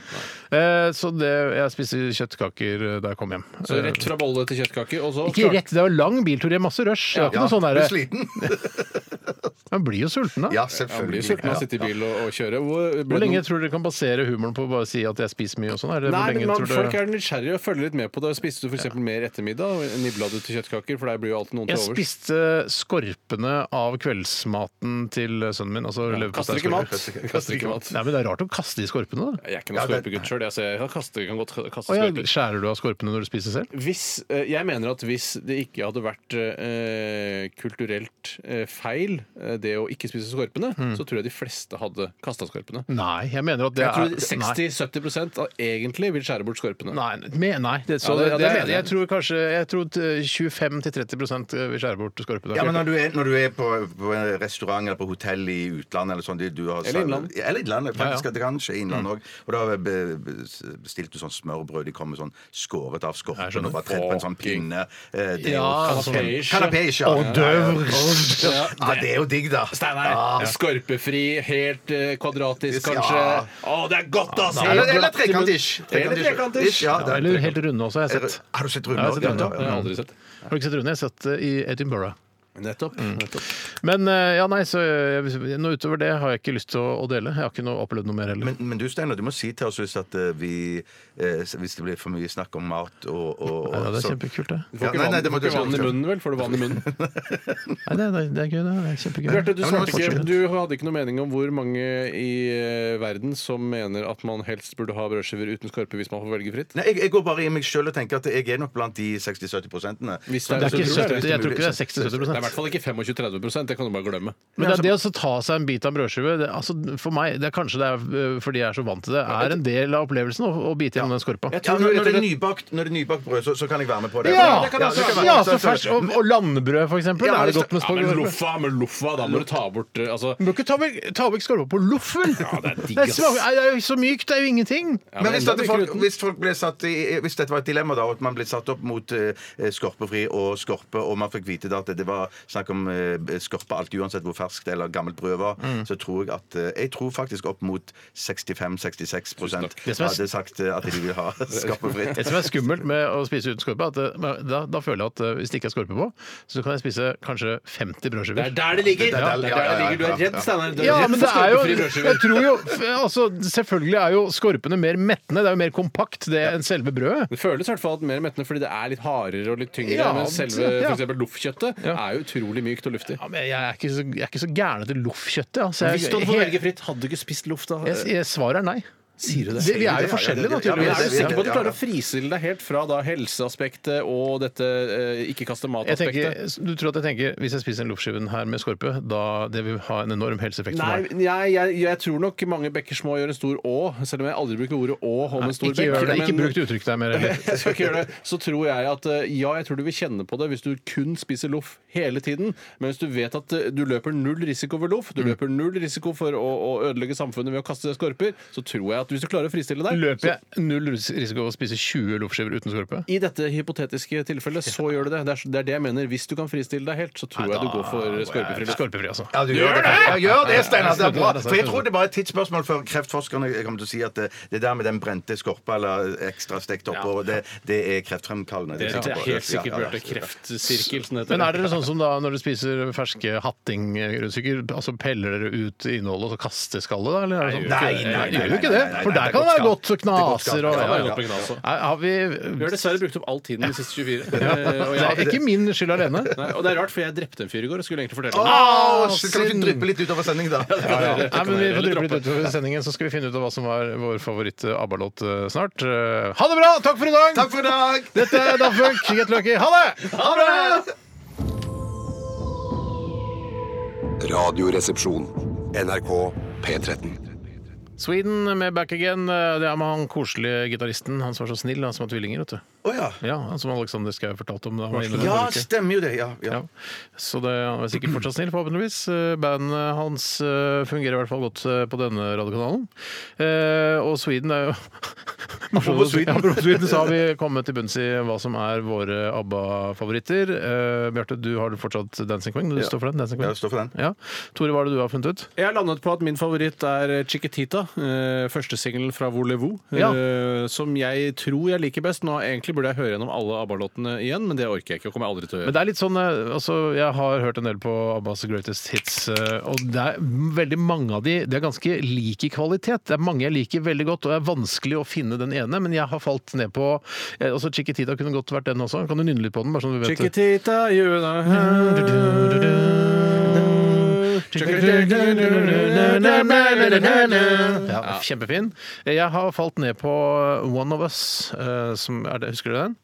Speaker 5: Eh, Så det, jeg spiser kjøttkaker eh, da jeg kom hjem.
Speaker 6: Så rett fra bolle til kjøttkaker, og så
Speaker 5: Ikke rett, det er jo lang biltur, det er masse rush. Det er ikke
Speaker 7: Ja,
Speaker 5: noe sånn
Speaker 7: du er
Speaker 5: der,
Speaker 7: sliten?
Speaker 5: Man blir jo sulten da.
Speaker 7: Ja,
Speaker 6: Han blir
Speaker 7: selvfølgelig.
Speaker 6: sulten av å sitte i bil og, og kjøre. Hvor,
Speaker 5: Hvor lenge tror du dere kan basere humoren på å bare si at jeg spiser mye og sånn? Er det
Speaker 6: Nei,
Speaker 5: hvor
Speaker 6: men
Speaker 5: lenge
Speaker 6: man,
Speaker 5: tror
Speaker 6: Folk
Speaker 5: du...
Speaker 6: er nysgjerrige og følger litt med på det. Spiste du f.eks. eksempel mer ettermiddag? og Nibla du til kjøttkaker? For der blir jo alltid noen
Speaker 5: Jeg
Speaker 6: til overs.
Speaker 5: spiste skorpene av kveldsmaten til sønnen min. Altså
Speaker 6: Kaster
Speaker 5: leverpostei
Speaker 6: ikke
Speaker 5: og
Speaker 6: mat.
Speaker 5: skorper.
Speaker 6: Kaster ikke mat.
Speaker 5: Nei, men det er rart å kaste de skorpene, da.
Speaker 6: Jeg er ikke noen
Speaker 7: Ja, det-
Speaker 6: skorpegutt sjøl. Jeg, ser- jeg kaster, kan godt kaste
Speaker 5: Å ja,
Speaker 6: skorper.
Speaker 5: skjærer du av skorpene når du spiser selv?
Speaker 6: Hvis, eh, jeg mener at hvis det ikke hadde vært eh, kulturelt eh, feil, eh, det å ikke spise skorpene, så tror jeg de fleste hadde kasta skorpene.
Speaker 5: Nei, jeg mener at Hmm. det
Speaker 6: Jeg tror
Speaker 5: er
Speaker 6: 60-70 av egentlig vil skjære bort skorpene.
Speaker 5: Nei, nei, nei det, så
Speaker 6: Ja, det-
Speaker 5: det,
Speaker 6: ja, det
Speaker 5: det,
Speaker 6: mener jeg.
Speaker 5: jeg tror kanskje Jeg tror eh, t- 25-30 vil skjære eh, bort skorpene.
Speaker 7: Ja, men når du er, når du er på, på en restaurant eller på hotell i utlandet eller sånn det du har,
Speaker 6: Eller innland.
Speaker 7: Ja, Eller innlandet, faktisk.
Speaker 5: Ja, ja.
Speaker 7: Det kan skje innland òg. Og da be- be- bestilte du sånn smørbrød. De kom med sånn skåret av
Speaker 5: Jeg
Speaker 7: skorpen
Speaker 5: skjønner.
Speaker 7: og bare trent på en sånn pinne. Eh, det er jo-
Speaker 5: Ja,
Speaker 6: Kanskje.
Speaker 5: sånn-
Speaker 7: Kanapé, ja.
Speaker 5: Og døvr.
Speaker 7: Ja, det er jo digg, da.
Speaker 6: Steinar.
Speaker 7: Ja.
Speaker 6: Skorpefri, helt eh, kvadratisk,
Speaker 7: Ja.
Speaker 6: kanskje. Å, det er godt, ass!
Speaker 7: Eller,
Speaker 6: Helt
Speaker 7: eller
Speaker 6: glatt i munnen.
Speaker 7: trekantisk.
Speaker 6: Eller trekantisk.
Speaker 7: Ja, det er
Speaker 5: Eller
Speaker 7: trekant.
Speaker 5: helt runde også, har jeg sett.
Speaker 7: Har du sett
Speaker 5: Ja, jeg har sett
Speaker 7: Rune?
Speaker 5: runde,
Speaker 6: Det har jeg aldri sett.
Speaker 5: Har du ikke sett runde? Jeg har sett det i Edinburgh.
Speaker 6: Nettopp. Nettopp.
Speaker 5: Men eh, ja, nei, så eh, noe utover det har jeg ikke lyst til å, å dele. Jeg har ikke noe opplevd noe mer heller.
Speaker 7: Men, men du Steiner, du må si til oss hvis, at eh, vi, eh, hvis det blir for mye snakk om mat og, og, og
Speaker 5: ja, det er
Speaker 7: så-
Speaker 5: kjempekult, det.
Speaker 6: Får
Speaker 7: Ja,
Speaker 6: ikke
Speaker 7: nei, nei,
Speaker 6: vann-
Speaker 7: det må
Speaker 6: får
Speaker 7: du
Speaker 6: ikke vann i
Speaker 7: si.
Speaker 6: munnen, vel? Får du vann i munnen?
Speaker 5: Nei, det, det, det er gøy, det. det er kjempegøy.
Speaker 6: Bjarte, du,
Speaker 7: Ja, men
Speaker 6: svarte
Speaker 7: fortsett.
Speaker 6: ikke, du hadde ikke noe mening om hvor mange i eh, verden som mener at man helst burde ha brødskiver uten skorpe hvis man får velge fritt.
Speaker 7: Nei, jeg, jeg går bare i meg sjøl og tenker at jeg er nok blant de 60-70 prosentene.
Speaker 6: Hvis
Speaker 7: Som-
Speaker 6: det
Speaker 5: det er ikke
Speaker 6: så tror
Speaker 5: 70,
Speaker 6: jeg
Speaker 5: jeg tror ikke det er
Speaker 6: Det er i
Speaker 5: 60-70
Speaker 6: hvert fall ikke 25-30 det kan du bare glemme.
Speaker 5: Men det er det å så ta seg en bit av en brødskive det, altså, For meg, det er kanskje det er øh, fordi jeg er så vant til det, er en del av opplevelsen å, å bite gjennom den skorpa.
Speaker 6: Jeg
Speaker 7: Ja,
Speaker 6: tror
Speaker 7: når,
Speaker 6: rett
Speaker 7: når,
Speaker 6: og
Speaker 7: det er
Speaker 6: slett-
Speaker 7: nybakt, når det er nybakt brød, så, så kan jeg være med på det.
Speaker 5: Ja!
Speaker 7: det kan jeg også være med på.
Speaker 5: Ja, så fersk, og, og landbrød, for eksempel.
Speaker 7: Ja,
Speaker 5: er det
Speaker 7: hvis
Speaker 5: godt med
Speaker 6: Ja, men
Speaker 5: skorpe?
Speaker 6: loffa, men loffa, da må du ta bort eh, altså,
Speaker 5: Du må ikke ta vekk, ta vekk skorpa på loffen!
Speaker 6: Ja, det er digg,
Speaker 5: Det er
Speaker 6: ass.
Speaker 5: smak- nei, det er jo så mykt, det er jo ingenting!
Speaker 6: ja,
Speaker 7: Men hvis,
Speaker 6: enda
Speaker 7: dette
Speaker 6: mye
Speaker 7: folk,
Speaker 6: kruten.
Speaker 7: hvis, folk ble satt i, hvis dette var et dilemma, da, og at man ble satt opp mot eh, skorpefri og skorpe, og man fikk vite da at det var snakk om eh, skorpe alt uansett hvor ferskt eller gammelt brød var, så tror jeg at eh, Jeg tror faktisk opp mot 65-66
Speaker 5: Det som er-
Speaker 7: hadde sagt eh, at de vil ha
Speaker 5: Det
Speaker 7: skorpefritt.
Speaker 5: som er skummelt med å spise uten skorpe, er at det- da, da føler jeg at øh, hvis det ikke er skorpe på, så kan jeg spise kanskje 50
Speaker 6: Det
Speaker 5: brødskiver.
Speaker 6: er der det ligger!
Speaker 7: er der-
Speaker 6: Det er
Speaker 7: ja,
Speaker 6: der det
Speaker 7: ja,
Speaker 6: ligger. Du er
Speaker 7: ja,
Speaker 6: redd,
Speaker 7: ja.
Speaker 6: Steinar. Du er
Speaker 5: Ja,
Speaker 6: redd
Speaker 5: men
Speaker 6: for
Speaker 5: det er jo
Speaker 6: skorpefri
Speaker 5: jeg
Speaker 6: brødskiver.
Speaker 5: tror jo, altså, Selvfølgelig er jo skorpene mer mettende. Det er jo mer kompakt det enn selve brødet.
Speaker 6: Det føles i hvert fall mer mettende fordi det er litt hardere og litt tyngre.
Speaker 5: Ja,
Speaker 6: men selve
Speaker 5: ja.
Speaker 6: for eksempel loffkjøttet er jo utrolig mykt og luftig.
Speaker 5: Ja, men jeg er ikke så, jeg er ikke så gæren etter loffkjøttet. Altså,
Speaker 6: Hvis du hadde fått velge
Speaker 5: jeg,
Speaker 6: fritt, hadde du ikke spist loff da?
Speaker 5: jeg, jeg, svaret er nei.
Speaker 6: Sier du
Speaker 5: Det, vi er jo
Speaker 7: det, ja,
Speaker 5: forskjellige,
Speaker 7: det,
Speaker 5: da,
Speaker 7: det, ja,
Speaker 6: Men
Speaker 7: men
Speaker 6: er
Speaker 5: tydeligvis.
Speaker 6: du sikker på at du
Speaker 7: ja, ja.
Speaker 6: klarer å fristille deg helt fra da helseaspektet og dette eh, ikke kaste
Speaker 5: Jeg tenker,
Speaker 6: mat-aspektet?
Speaker 5: du tror at jeg tenker hvis jeg spiser en loffskive her med skorpe, da det vil ha en enorm helseeffekt
Speaker 6: Nei,
Speaker 5: for meg?
Speaker 6: jeg, jeg, jeg tror nok mange bekker små gjør en stor å, selv om jeg aldri bruker ordet å om en stor
Speaker 5: Ikke,
Speaker 6: bekk.
Speaker 5: gjør det, ikke
Speaker 6: men-
Speaker 5: bruk det uttrykket der mer heller.
Speaker 6: jeg skal ikke gjøre det. Så tror jeg at eh, ja, jeg tror du vil kjenne på det hvis du kun spiser loff hele tiden. Men hvis du vet at eh, du løper null risiko ved loff, du løper null risiko for å, å ødelegge samfunnet ved å kaste skorper, så tror jeg at hvis du klarer å fristille deg
Speaker 5: Løper jeg null risiko å spise 20 loffskiver uten skorpe?
Speaker 6: i dette hypotetiske tilfellet, så gjør du det. Det er, det er det jeg mener. Hvis du kan fristille deg helt, så tror jeg du går for skorpefri loff.
Speaker 5: Skorpefri, altså.
Speaker 7: Ja, du gjør det! Ja, gjør det, Steinar! Det er bra.
Speaker 5: Ja, ja, ja.
Speaker 7: For jeg tror det er bare et tidsspørsmål før kreftforskerne kommer til å si at det, det der med den brente skorpa eller ekstra stekt oppover, det, det er kreftfremkallende.
Speaker 6: Det det
Speaker 7: er jeg
Speaker 6: er
Speaker 7: sikker på.
Speaker 6: helt sikkert
Speaker 7: Ja, ja,
Speaker 6: Bjarte. Kreftsirkel, som det heter.
Speaker 5: Men er dere sånn som da når dere spiser ferske hattingrundstykker, altså peller dere ut innholdet og så kaster skallet, da? Eller er det sånn?
Speaker 7: Nei, nei, nei,
Speaker 5: Gjør jo ikke
Speaker 7: nei,
Speaker 5: det?
Speaker 7: nei, nei,
Speaker 5: For
Speaker 7: nei,
Speaker 5: der kan det
Speaker 7: det er
Speaker 5: være
Speaker 7: godt
Speaker 5: godt og
Speaker 7: skall.
Speaker 5: knaser og
Speaker 7: Det er
Speaker 6: Ja,
Speaker 5: ja, ja.
Speaker 6: det er
Speaker 7: godt skall.
Speaker 6: opplegget, altså.
Speaker 5: Nei, Har vi
Speaker 6: Vi har dessverre brukt opp all tiden de siste 24. Eh, og,
Speaker 5: Det er
Speaker 6: jeg,
Speaker 5: ikke min skyld alene.
Speaker 6: nei, og det er rart, for jeg drepte en fyr i går og skulle egentlig fortelle det.
Speaker 7: Åh,
Speaker 5: Ah,
Speaker 7: shit, kan du ikke dryppe litt utover sending, da?
Speaker 5: Nei, men Vi
Speaker 6: Eller
Speaker 5: får drible litt
Speaker 6: droppe.
Speaker 5: utover sendingen, så skal vi finne ut av hva som var vår favoritt-ABBA-låt eh, snart. Eh, Ha det bra! Takk for i dag!
Speaker 7: Takk for i dag!
Speaker 5: Dette er Daft Punk, Get Lucky. Ha det!
Speaker 7: Ha det!
Speaker 2: Radioresepsjon. NRK P13.
Speaker 5: Sweden med Back Again. eh, Det er med han koselige gitaristen, han som var så snill, han som har tvillinger, vet du.
Speaker 7: Å Å ja.
Speaker 5: Ja, som Alexander Schou fortalte om. Da, han var inne i
Speaker 7: Ja,
Speaker 5: forrige uke.
Speaker 7: stemmer jo det. Ja, ja.
Speaker 5: Ja. Så det, han er sikkert fortsatt snill, forhåpentligvis. Eh, Bandet hans eh, fungerer i hvert fall godt eh, på denne radiokanalen. Eh, Og Sweden er jo
Speaker 7: Apropos Sweden.
Speaker 5: Ja, apropos Sweden så har vi kommet til bunns i hva som er våre ABBA-favoritter. Eh, Bjarte, du har fortsatt Dancing Queen. Du står for den? Dancing Queen?
Speaker 7: Jeg står for den.
Speaker 5: Ja. Tore, hva er det du har funnet ut?
Speaker 6: Jeg har landet på at min favoritt er Chiquitita. eh, Førstesingelen fra Volevo.
Speaker 5: Ja.
Speaker 6: eh, Som jeg tror jeg liker best. Nå Egentlig burde jeg høre gjennom alle ABBA-låtene igjen, men det orker jeg ikke. og kommer jeg aldri til å
Speaker 5: Men
Speaker 6: gjøre.
Speaker 5: det er litt sånn, eh, altså, Jeg har hørt en del på Abbas Greatest Hits, eh, og det er veldig mange av de Det er ganske lik i kvalitet. Det er mange jeg liker veldig godt, og det er vanskelig å finne den ene, men jeg har falt ned på eh, altså Chiquitita kunne godt vært den også. Kan du nynne litt på den? bare sånn vi vet det?
Speaker 6: Chiquitita, you know
Speaker 5: Ja, kjempefin. Jeg har falt ned på One of Us. eh, Som er det, husker du den?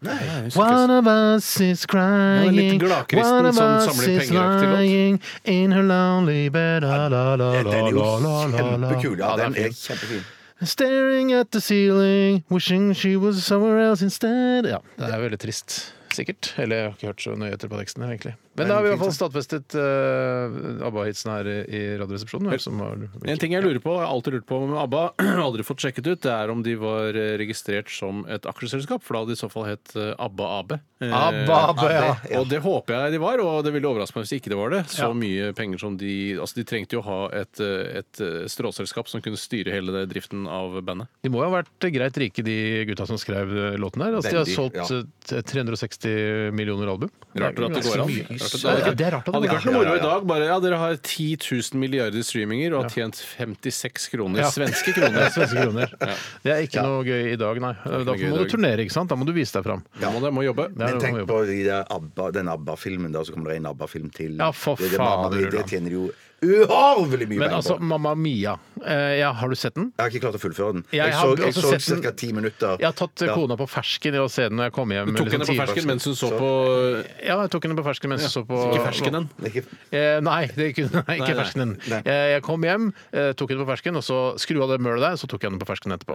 Speaker 5: One of us is
Speaker 6: Det var
Speaker 5: crying.
Speaker 6: litt gladkristen
Speaker 5: One of
Speaker 6: som
Speaker 5: us
Speaker 6: samler
Speaker 5: is
Speaker 6: pengeraktig låt.
Speaker 5: lying In her lonely bed la, la, la, la,
Speaker 7: Den er jo
Speaker 5: la, la, la, la.
Speaker 7: kjempekul. Ja,
Speaker 5: Ja,
Speaker 7: den
Speaker 5: det er
Speaker 7: er kjempefin.
Speaker 5: fint. Staring at the ceiling Wishing she was somewhere else instead Ja, det er veldig trist Sikkert, eller jeg har ikke hørt så nøye etter på teksten her egentlig Men da har vi i hvert fall stadfestet eh, ABBA-hitsen her i i radioresepsjonen hvem som har-
Speaker 6: En ting jeg lurer på, jeg har alltid lurt på om ABBA, aldri fått sjekket ut, det er om de var eh, registrert som et aksjeselskap, for da hadde de i så fall hett eh, ABBA AB. Eh,
Speaker 5: ABBA, ABBA, ja.
Speaker 6: Og det håper jeg de var, og det ville overraske meg hvis ikke det var det. Så mye penger som de Altså, de trengte jo å ha et, eh, et eh, stråselskap som kunne styre hele det driften av bandet.
Speaker 5: De må jo ha vært greit rike de gutta som skrev eh, låten her altså, De har
Speaker 7: Veldig,
Speaker 5: solgt
Speaker 7: ja.
Speaker 5: eh, 360 millioner album
Speaker 6: Rart at det
Speaker 5: ganske
Speaker 6: går an.
Speaker 5: mye.
Speaker 6: Rart at
Speaker 5: Ja, ja, Det er rart at
Speaker 6: Hadde
Speaker 5: det går
Speaker 6: ikke vært
Speaker 5: an
Speaker 6: noe moro i dag. Bare ja, dere har 10 000 milliarder streaminger og har tjent 56 kroner.
Speaker 5: Ja. Ja,
Speaker 6: Svenske kroner.
Speaker 5: svenske kroner. Det er ikke noe gøy i dag, nei. Da
Speaker 6: noe gøy i
Speaker 5: må du
Speaker 6: dag.
Speaker 5: turnere, ikke sant? Da må du vise deg fram.
Speaker 6: Da må dere må jobbe.
Speaker 5: Det er
Speaker 7: Men
Speaker 5: noe
Speaker 7: tenk
Speaker 5: å jobbe
Speaker 7: på de der ABBA, den ABBA-filmen, da, så kommer det en ABBA-film til.
Speaker 5: Ja, for
Speaker 7: det, er det, mamma,
Speaker 5: fader,
Speaker 7: det,
Speaker 5: Ulla.
Speaker 7: tjener jo uhorvelig mye
Speaker 5: Men
Speaker 7: penger
Speaker 5: altså,
Speaker 7: på.
Speaker 5: Mamma Mia. Eh, ja, har du sett den?
Speaker 7: Jeg har ikke klart å fullføre den.
Speaker 5: Jeg
Speaker 7: Jeg,
Speaker 5: har
Speaker 7: så, jeg
Speaker 5: også
Speaker 7: så
Speaker 5: sett den-
Speaker 7: ca. ti minutter.
Speaker 5: Jeg har tatt eh,
Speaker 7: Ja.
Speaker 5: kona på fersken i å se den når jeg kom hjem. liksom
Speaker 6: Du tok henne på fersken mens hun så på
Speaker 5: Ja, jeg tok henne på fersken mens jeg så på
Speaker 6: Ikke ferskenen.
Speaker 7: Det er ikke-
Speaker 5: Eh, nei, det kunne, nei, ikke
Speaker 6: Nei, nei.
Speaker 5: ferskenen.
Speaker 7: Nei.
Speaker 5: Eh, jeg kom hjem, eh, tok henne på fersken, og så skru av det mølet der, så tok jeg henne på fersken etterpå.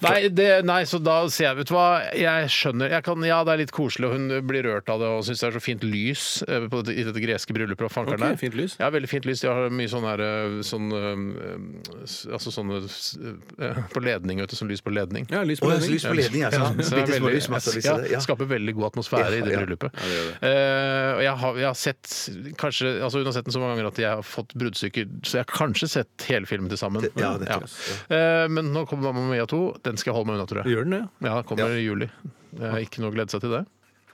Speaker 5: Nei, det, nei, så da sier jeg, vet du hva, jeg skjønner jeg kan, Ja, det er litt koselig, og hun blir rørt av det og syns det er så fint lys eh, på dette, i dette greske bryllupet og fankeren
Speaker 6: Ok,
Speaker 5: der.
Speaker 6: fint lys.
Speaker 5: Ja, veldig fint lys. De har mye sånn her eh, sånn, eh, s- Altså sånne s- eh, på ledning, vet du. Sånn lys på ledning.
Speaker 6: Ja, lys
Speaker 7: Å,
Speaker 6: på
Speaker 7: jeg har så
Speaker 6: ledning.
Speaker 7: lyst på ledning, altså.
Speaker 5: Ja, så det er
Speaker 7: Bitte små
Speaker 5: veldig-
Speaker 7: lys, masse lys
Speaker 5: ja,
Speaker 7: i det. Ja.
Speaker 5: Skaper veldig god atmosfære i det
Speaker 7: Ja, ja.
Speaker 5: bryllupet. Eh, og jeg har, jeg har sett kanskje, altså Hun har sett den så mange ganger at jeg har fått bruddstykker, så jeg har kanskje sett hele filmen til sammen.
Speaker 7: Det- ja, det tror
Speaker 5: Eh, men nå kommer Mamma Mia 2. Den skal jeg holde meg unna, tror jeg.
Speaker 6: Gjør den det?
Speaker 5: Ja, den kommer i juli. Det er ikke noe å glede seg til det.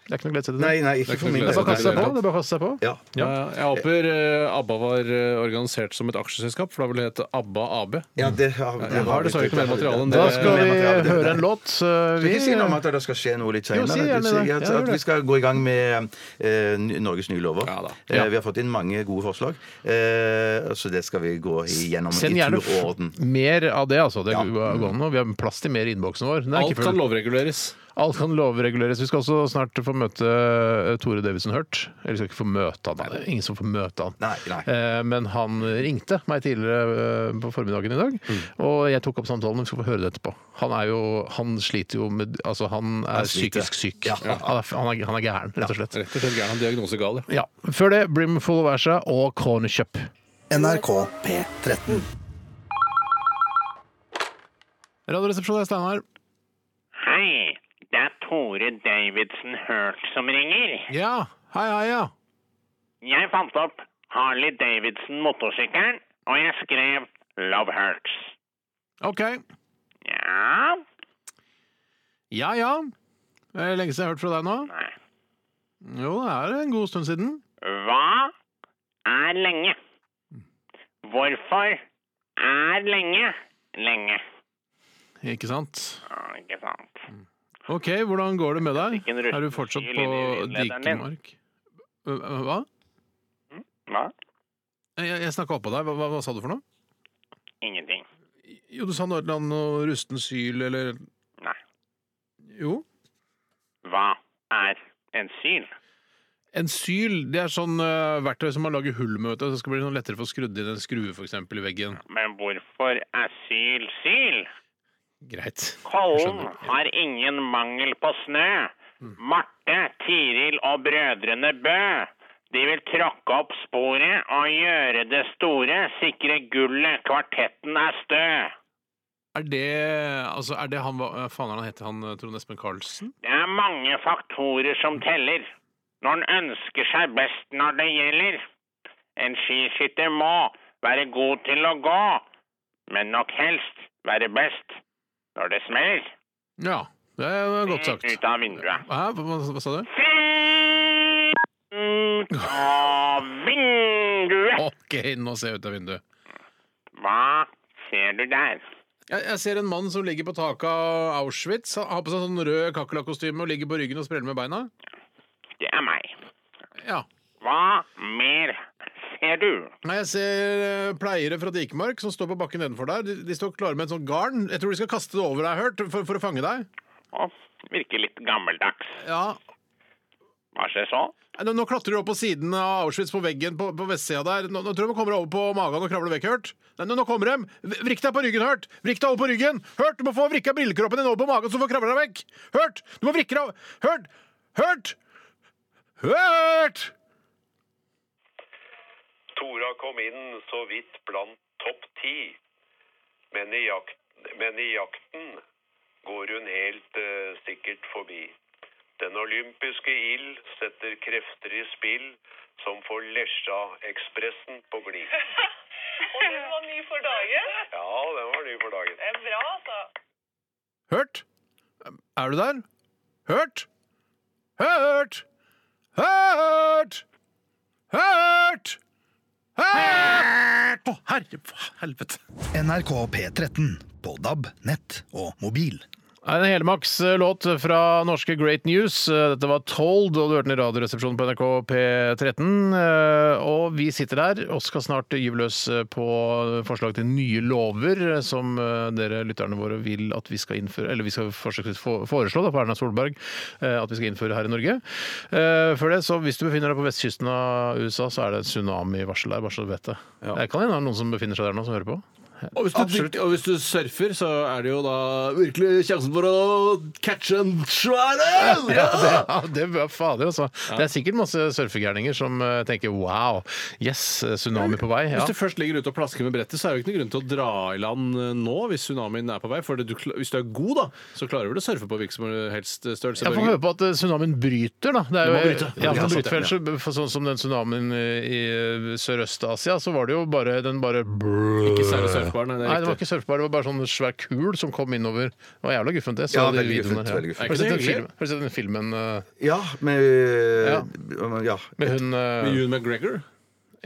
Speaker 5: Det er ikke noe å glede seg til det.
Speaker 7: Nei, nei, ikke
Speaker 6: Det er
Speaker 7: for min
Speaker 6: ikke
Speaker 5: det er bare å kaste seg på. Det er bare å kaste seg på.
Speaker 7: Ja.
Speaker 6: Ja. Jeg håper eh, ABBA var eh, organisert som et aksjeselskap, for da ville det hete ABBA AB.
Speaker 7: ja, det har
Speaker 6: Jeg har dessverre ikke mer materiale enn det.
Speaker 5: Da
Speaker 7: Eh,
Speaker 5: skal vi
Speaker 7: Materiale, det-
Speaker 5: høre en låt. eh,
Speaker 7: Skal ikke si noe om at det skal skje noe litt
Speaker 5: Jo,
Speaker 7: senere?
Speaker 5: si gjerne
Speaker 7: Du sier
Speaker 5: det.
Speaker 7: at,
Speaker 5: Ja, gjør
Speaker 7: at
Speaker 5: det.
Speaker 7: vi skal gå i gang med eh, ny- Norges nye lover.
Speaker 6: Ja da.
Speaker 7: Eh, vi har fått inn mange gode forslag, eh, så det skal vi gå igjennom
Speaker 5: Send
Speaker 7: i
Speaker 5: gjerne
Speaker 7: tur og orden.
Speaker 5: f- mer av det, altså. Det
Speaker 7: Ja. Mm.
Speaker 5: går an. og Vi har plass til mer i innboksen vår. Den er
Speaker 6: Alt
Speaker 5: ikke full.
Speaker 6: kan lovreguleres.
Speaker 5: Alt kan lovreguleres. Vi skal også snart få møte eh, Tore Davidsen Hurt. Eller vi skal ikke få møte han, det er ingen som får møte han.
Speaker 7: Nei, nei.
Speaker 5: Eh, Men han ringte meg tidligere eh, på formiddagen i dag,
Speaker 7: Mm.
Speaker 5: og jeg tok opp samtalen. Vi skal få høre det etterpå. Han er jo Han sliter jo med Altså, han er
Speaker 7: sliter.
Speaker 5: psykisk syk.
Speaker 7: Ja.
Speaker 5: Han, er, han, er, han er gæren, rett og slett.
Speaker 6: Rett og slett gæren. Diagnose gal, ja.
Speaker 5: Ja. Før det, Brimful of Asha og Cornerkjøp.
Speaker 4: NRK P13.
Speaker 5: Radioresepsjonen er Steinar.
Speaker 1: Hei, det er Tore Davidsen Hurt som ringer.
Speaker 5: Ja. Hei, hei, ja.
Speaker 1: Jeg fant opp Harley Davidson motorsykkelen, og jeg skrev Love Hurts.
Speaker 5: OK.
Speaker 1: Ja,
Speaker 5: Ja, ja. Det er lenge siden jeg har hørt fra deg nå.
Speaker 1: nei.
Speaker 5: Jo, det er en god stund siden.
Speaker 1: Hva er lenge? Hvorfor er lenge lenge?
Speaker 5: Ikke sant?
Speaker 1: Ja, ikke sant.
Speaker 5: Ok, hvordan går det med deg?
Speaker 1: Hvilken
Speaker 5: Er du
Speaker 1: russesky
Speaker 5: fortsatt på
Speaker 1: linjer leder den din?
Speaker 5: Dikemark? Øh, øh, Hva?
Speaker 1: Hva?
Speaker 5: Jeg, jeg snakka oppå deg. Hva, hva, hva sa du for noe?
Speaker 1: Ingenting.
Speaker 5: Jo, du sa noe om noe rusten syl eller
Speaker 1: Nei.
Speaker 5: Jo.
Speaker 1: Hva er en syl?
Speaker 5: En syl det er sånn øh, verktøy som man lager hull med. vet du, Så skal det bli noe lettere å få skrudd inn en skrue for eksempel, i veggen.
Speaker 1: Men hvorfor er syl syl?
Speaker 5: Greit.
Speaker 1: Kollen har ingen mangel på snø.
Speaker 8: Mm.
Speaker 1: Marte, Tiril og brødrene Bø. De vil tråkke opp sporet og gjøre det store, sikre gullet, kvartetten er stø.
Speaker 8: Er det, altså, er det han hva faen er han heter han,
Speaker 5: eh,
Speaker 8: Trond Espen Karlsen?
Speaker 1: Det er mange faktorer som teller. Når en ønsker seg best når det gjelder. En skiskytter må være god til å gå, men nok helst være best når det smeller.
Speaker 8: Ja, det er godt sagt.
Speaker 1: Ut av vinduet.
Speaker 8: Hæ, hva, hva sa du?
Speaker 1: ut av vinduet.
Speaker 8: OK, nå ser jeg ut av vinduet.
Speaker 1: Hva ser du der?
Speaker 8: Jeg, jeg ser en mann som ligger på taket av Auschwitz. Han har på seg sånn rød kakerlakkostyme og ligger på ryggen og spreller med beina.
Speaker 1: Det er meg.
Speaker 8: Ja.
Speaker 1: Hva mer ser du?
Speaker 8: Nei, Jeg ser eh, pleiere fra Dikemark som står på bakken nedenfor der. De, de står klare med en sånn garn. Jeg tror de skal kaste det over deg, har jeg hørt, for, for å fange deg.
Speaker 1: Å, virker litt gammeldags.
Speaker 8: Ja.
Speaker 1: Hva skjer så?
Speaker 8: Nå, nå klatrer du opp på siden av Auschwitz, på veggen på, på vestsida der. Nå, nå tror jeg de kommer over på magen og kravler vekk, hørt. Nei, nå, nå kommer de! V- Vrikk deg på ryggen, hørt! Vrikk deg over på ryggen! Hørt! Du må få vrikka brillekroppen din over på magen, så du får kravla deg vekk! Hørt! Du må vrikke deg Hørt! Hørt! Hørt!
Speaker 9: Tora kom inn så vidt blant topp ti, men, i jak- men i jakten går hun helt eh, sikkert forbi. Den olympiske ild setter krefter i spill som får Lesja-ekspressen på glid.
Speaker 10: Og den var ny for dagen.
Speaker 9: Ja, den var ny for dagen.
Speaker 10: Det er bra, altså.
Speaker 8: Hørt? Er du der? Hørt? Hørt? Hørt? Hørt? Hørt! Å, herre for helvete.
Speaker 4: NRK P13. På DAB, nett og mobil.
Speaker 5: En helmaks eh, låt fra norske Great News. Eh, Dette var Told, og du hørte den i Radioresepsjonen på NRK P13. Eh, Og vi sitter der og skal snart gyve løs eh, på forslag til nye lover eh, som eh, dere lytterne våre vil at vi skal innføre, eller vi skal forsøksvis få- foreslå da, på Erna Solberg eh, at vi skal innføre her i Norge. Eh, Før det, så hvis du befinner deg på vestkysten av USA, så er det et tsunamivarsel der, bare så du vet det. Det kan hende det er noen som befinner seg der nå, som hører på.
Speaker 6: Og hvis, du, og hvis du surfer, så er det jo da virkelig sjansen for å catche en svær en!
Speaker 5: Ja, det, ja, det var fader, altså. Det er sikkert masse surfegærninger som eh, tenker wow, yes, eh, tsunami på vei. Ja.
Speaker 6: Hvis du først ligger ute og plasker med brettet, så er det jo ikke noen grunn til å dra i land eh, nå hvis tsunamien er på vei. For det du, kla- hvis du er god, da, så klarer du vel å surfe på hvilken som helst størrelse. i
Speaker 5: Jeg får
Speaker 6: Norge.
Speaker 5: høre på at eh, tsunamien bryter, da. Det er
Speaker 6: Den må
Speaker 5: jo,
Speaker 6: bryte.
Speaker 5: Ja,
Speaker 6: Ja,
Speaker 5: den
Speaker 6: sant,
Speaker 5: bryter vel, så, for sånn som den tsunamien eh, i eh, Sørøst-Asia, så var det jo bare Den bare
Speaker 6: Ikke særlig surfbar, nei, det er
Speaker 5: Nei, det var
Speaker 6: riktig.
Speaker 5: ikke surfbar, det var bare sånn svær kul som kom innover. Det var jævla guffent, det. Så
Speaker 7: Ja,
Speaker 5: de
Speaker 7: veldig
Speaker 5: videoene,
Speaker 7: guffent,
Speaker 5: ja.
Speaker 7: veldig guffent.
Speaker 5: Har du sett den
Speaker 6: Er det
Speaker 5: filmen- Har du sett den filmen eh,
Speaker 7: Ja, med
Speaker 5: Ja.
Speaker 7: ja. ja.
Speaker 5: med hun eh,
Speaker 6: Med Ewan McGregor.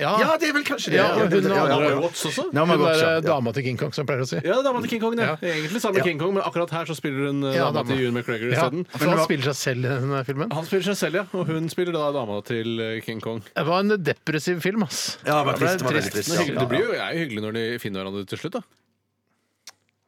Speaker 5: Ja,
Speaker 7: Ja, det er vel kanskje det.
Speaker 5: Ja, og hun
Speaker 7: det- ja, ja,
Speaker 5: andre-
Speaker 7: ja.
Speaker 6: Watts også.
Speaker 7: Ja,
Speaker 5: hun
Speaker 7: men godt,
Speaker 5: der
Speaker 7: ja.
Speaker 5: eh, dama til King Kong, som jeg pleier å si.
Speaker 6: Ja, dama til King Kong, det.
Speaker 5: Ja.
Speaker 6: Egentlig samme King Kong, men akkurat her så spiller hun eh,
Speaker 5: Ja,
Speaker 6: dama
Speaker 5: dama.
Speaker 6: til Ewan McGregor
Speaker 5: Ja,
Speaker 6: isteden.
Speaker 5: for han spiller seg selv i denne filmen.
Speaker 6: Han spiller seg selv, ja. Og hun spiller da dama til eh, King Kong.
Speaker 5: Det var en depressiv film, ass.
Speaker 7: Ja, det var trist, det var veldig trist.
Speaker 6: Det, er
Speaker 7: Ja,
Speaker 6: hyggelig-
Speaker 7: ja,
Speaker 6: det blir jo det er jo hyggelig når de finner hverandre til slutt, da.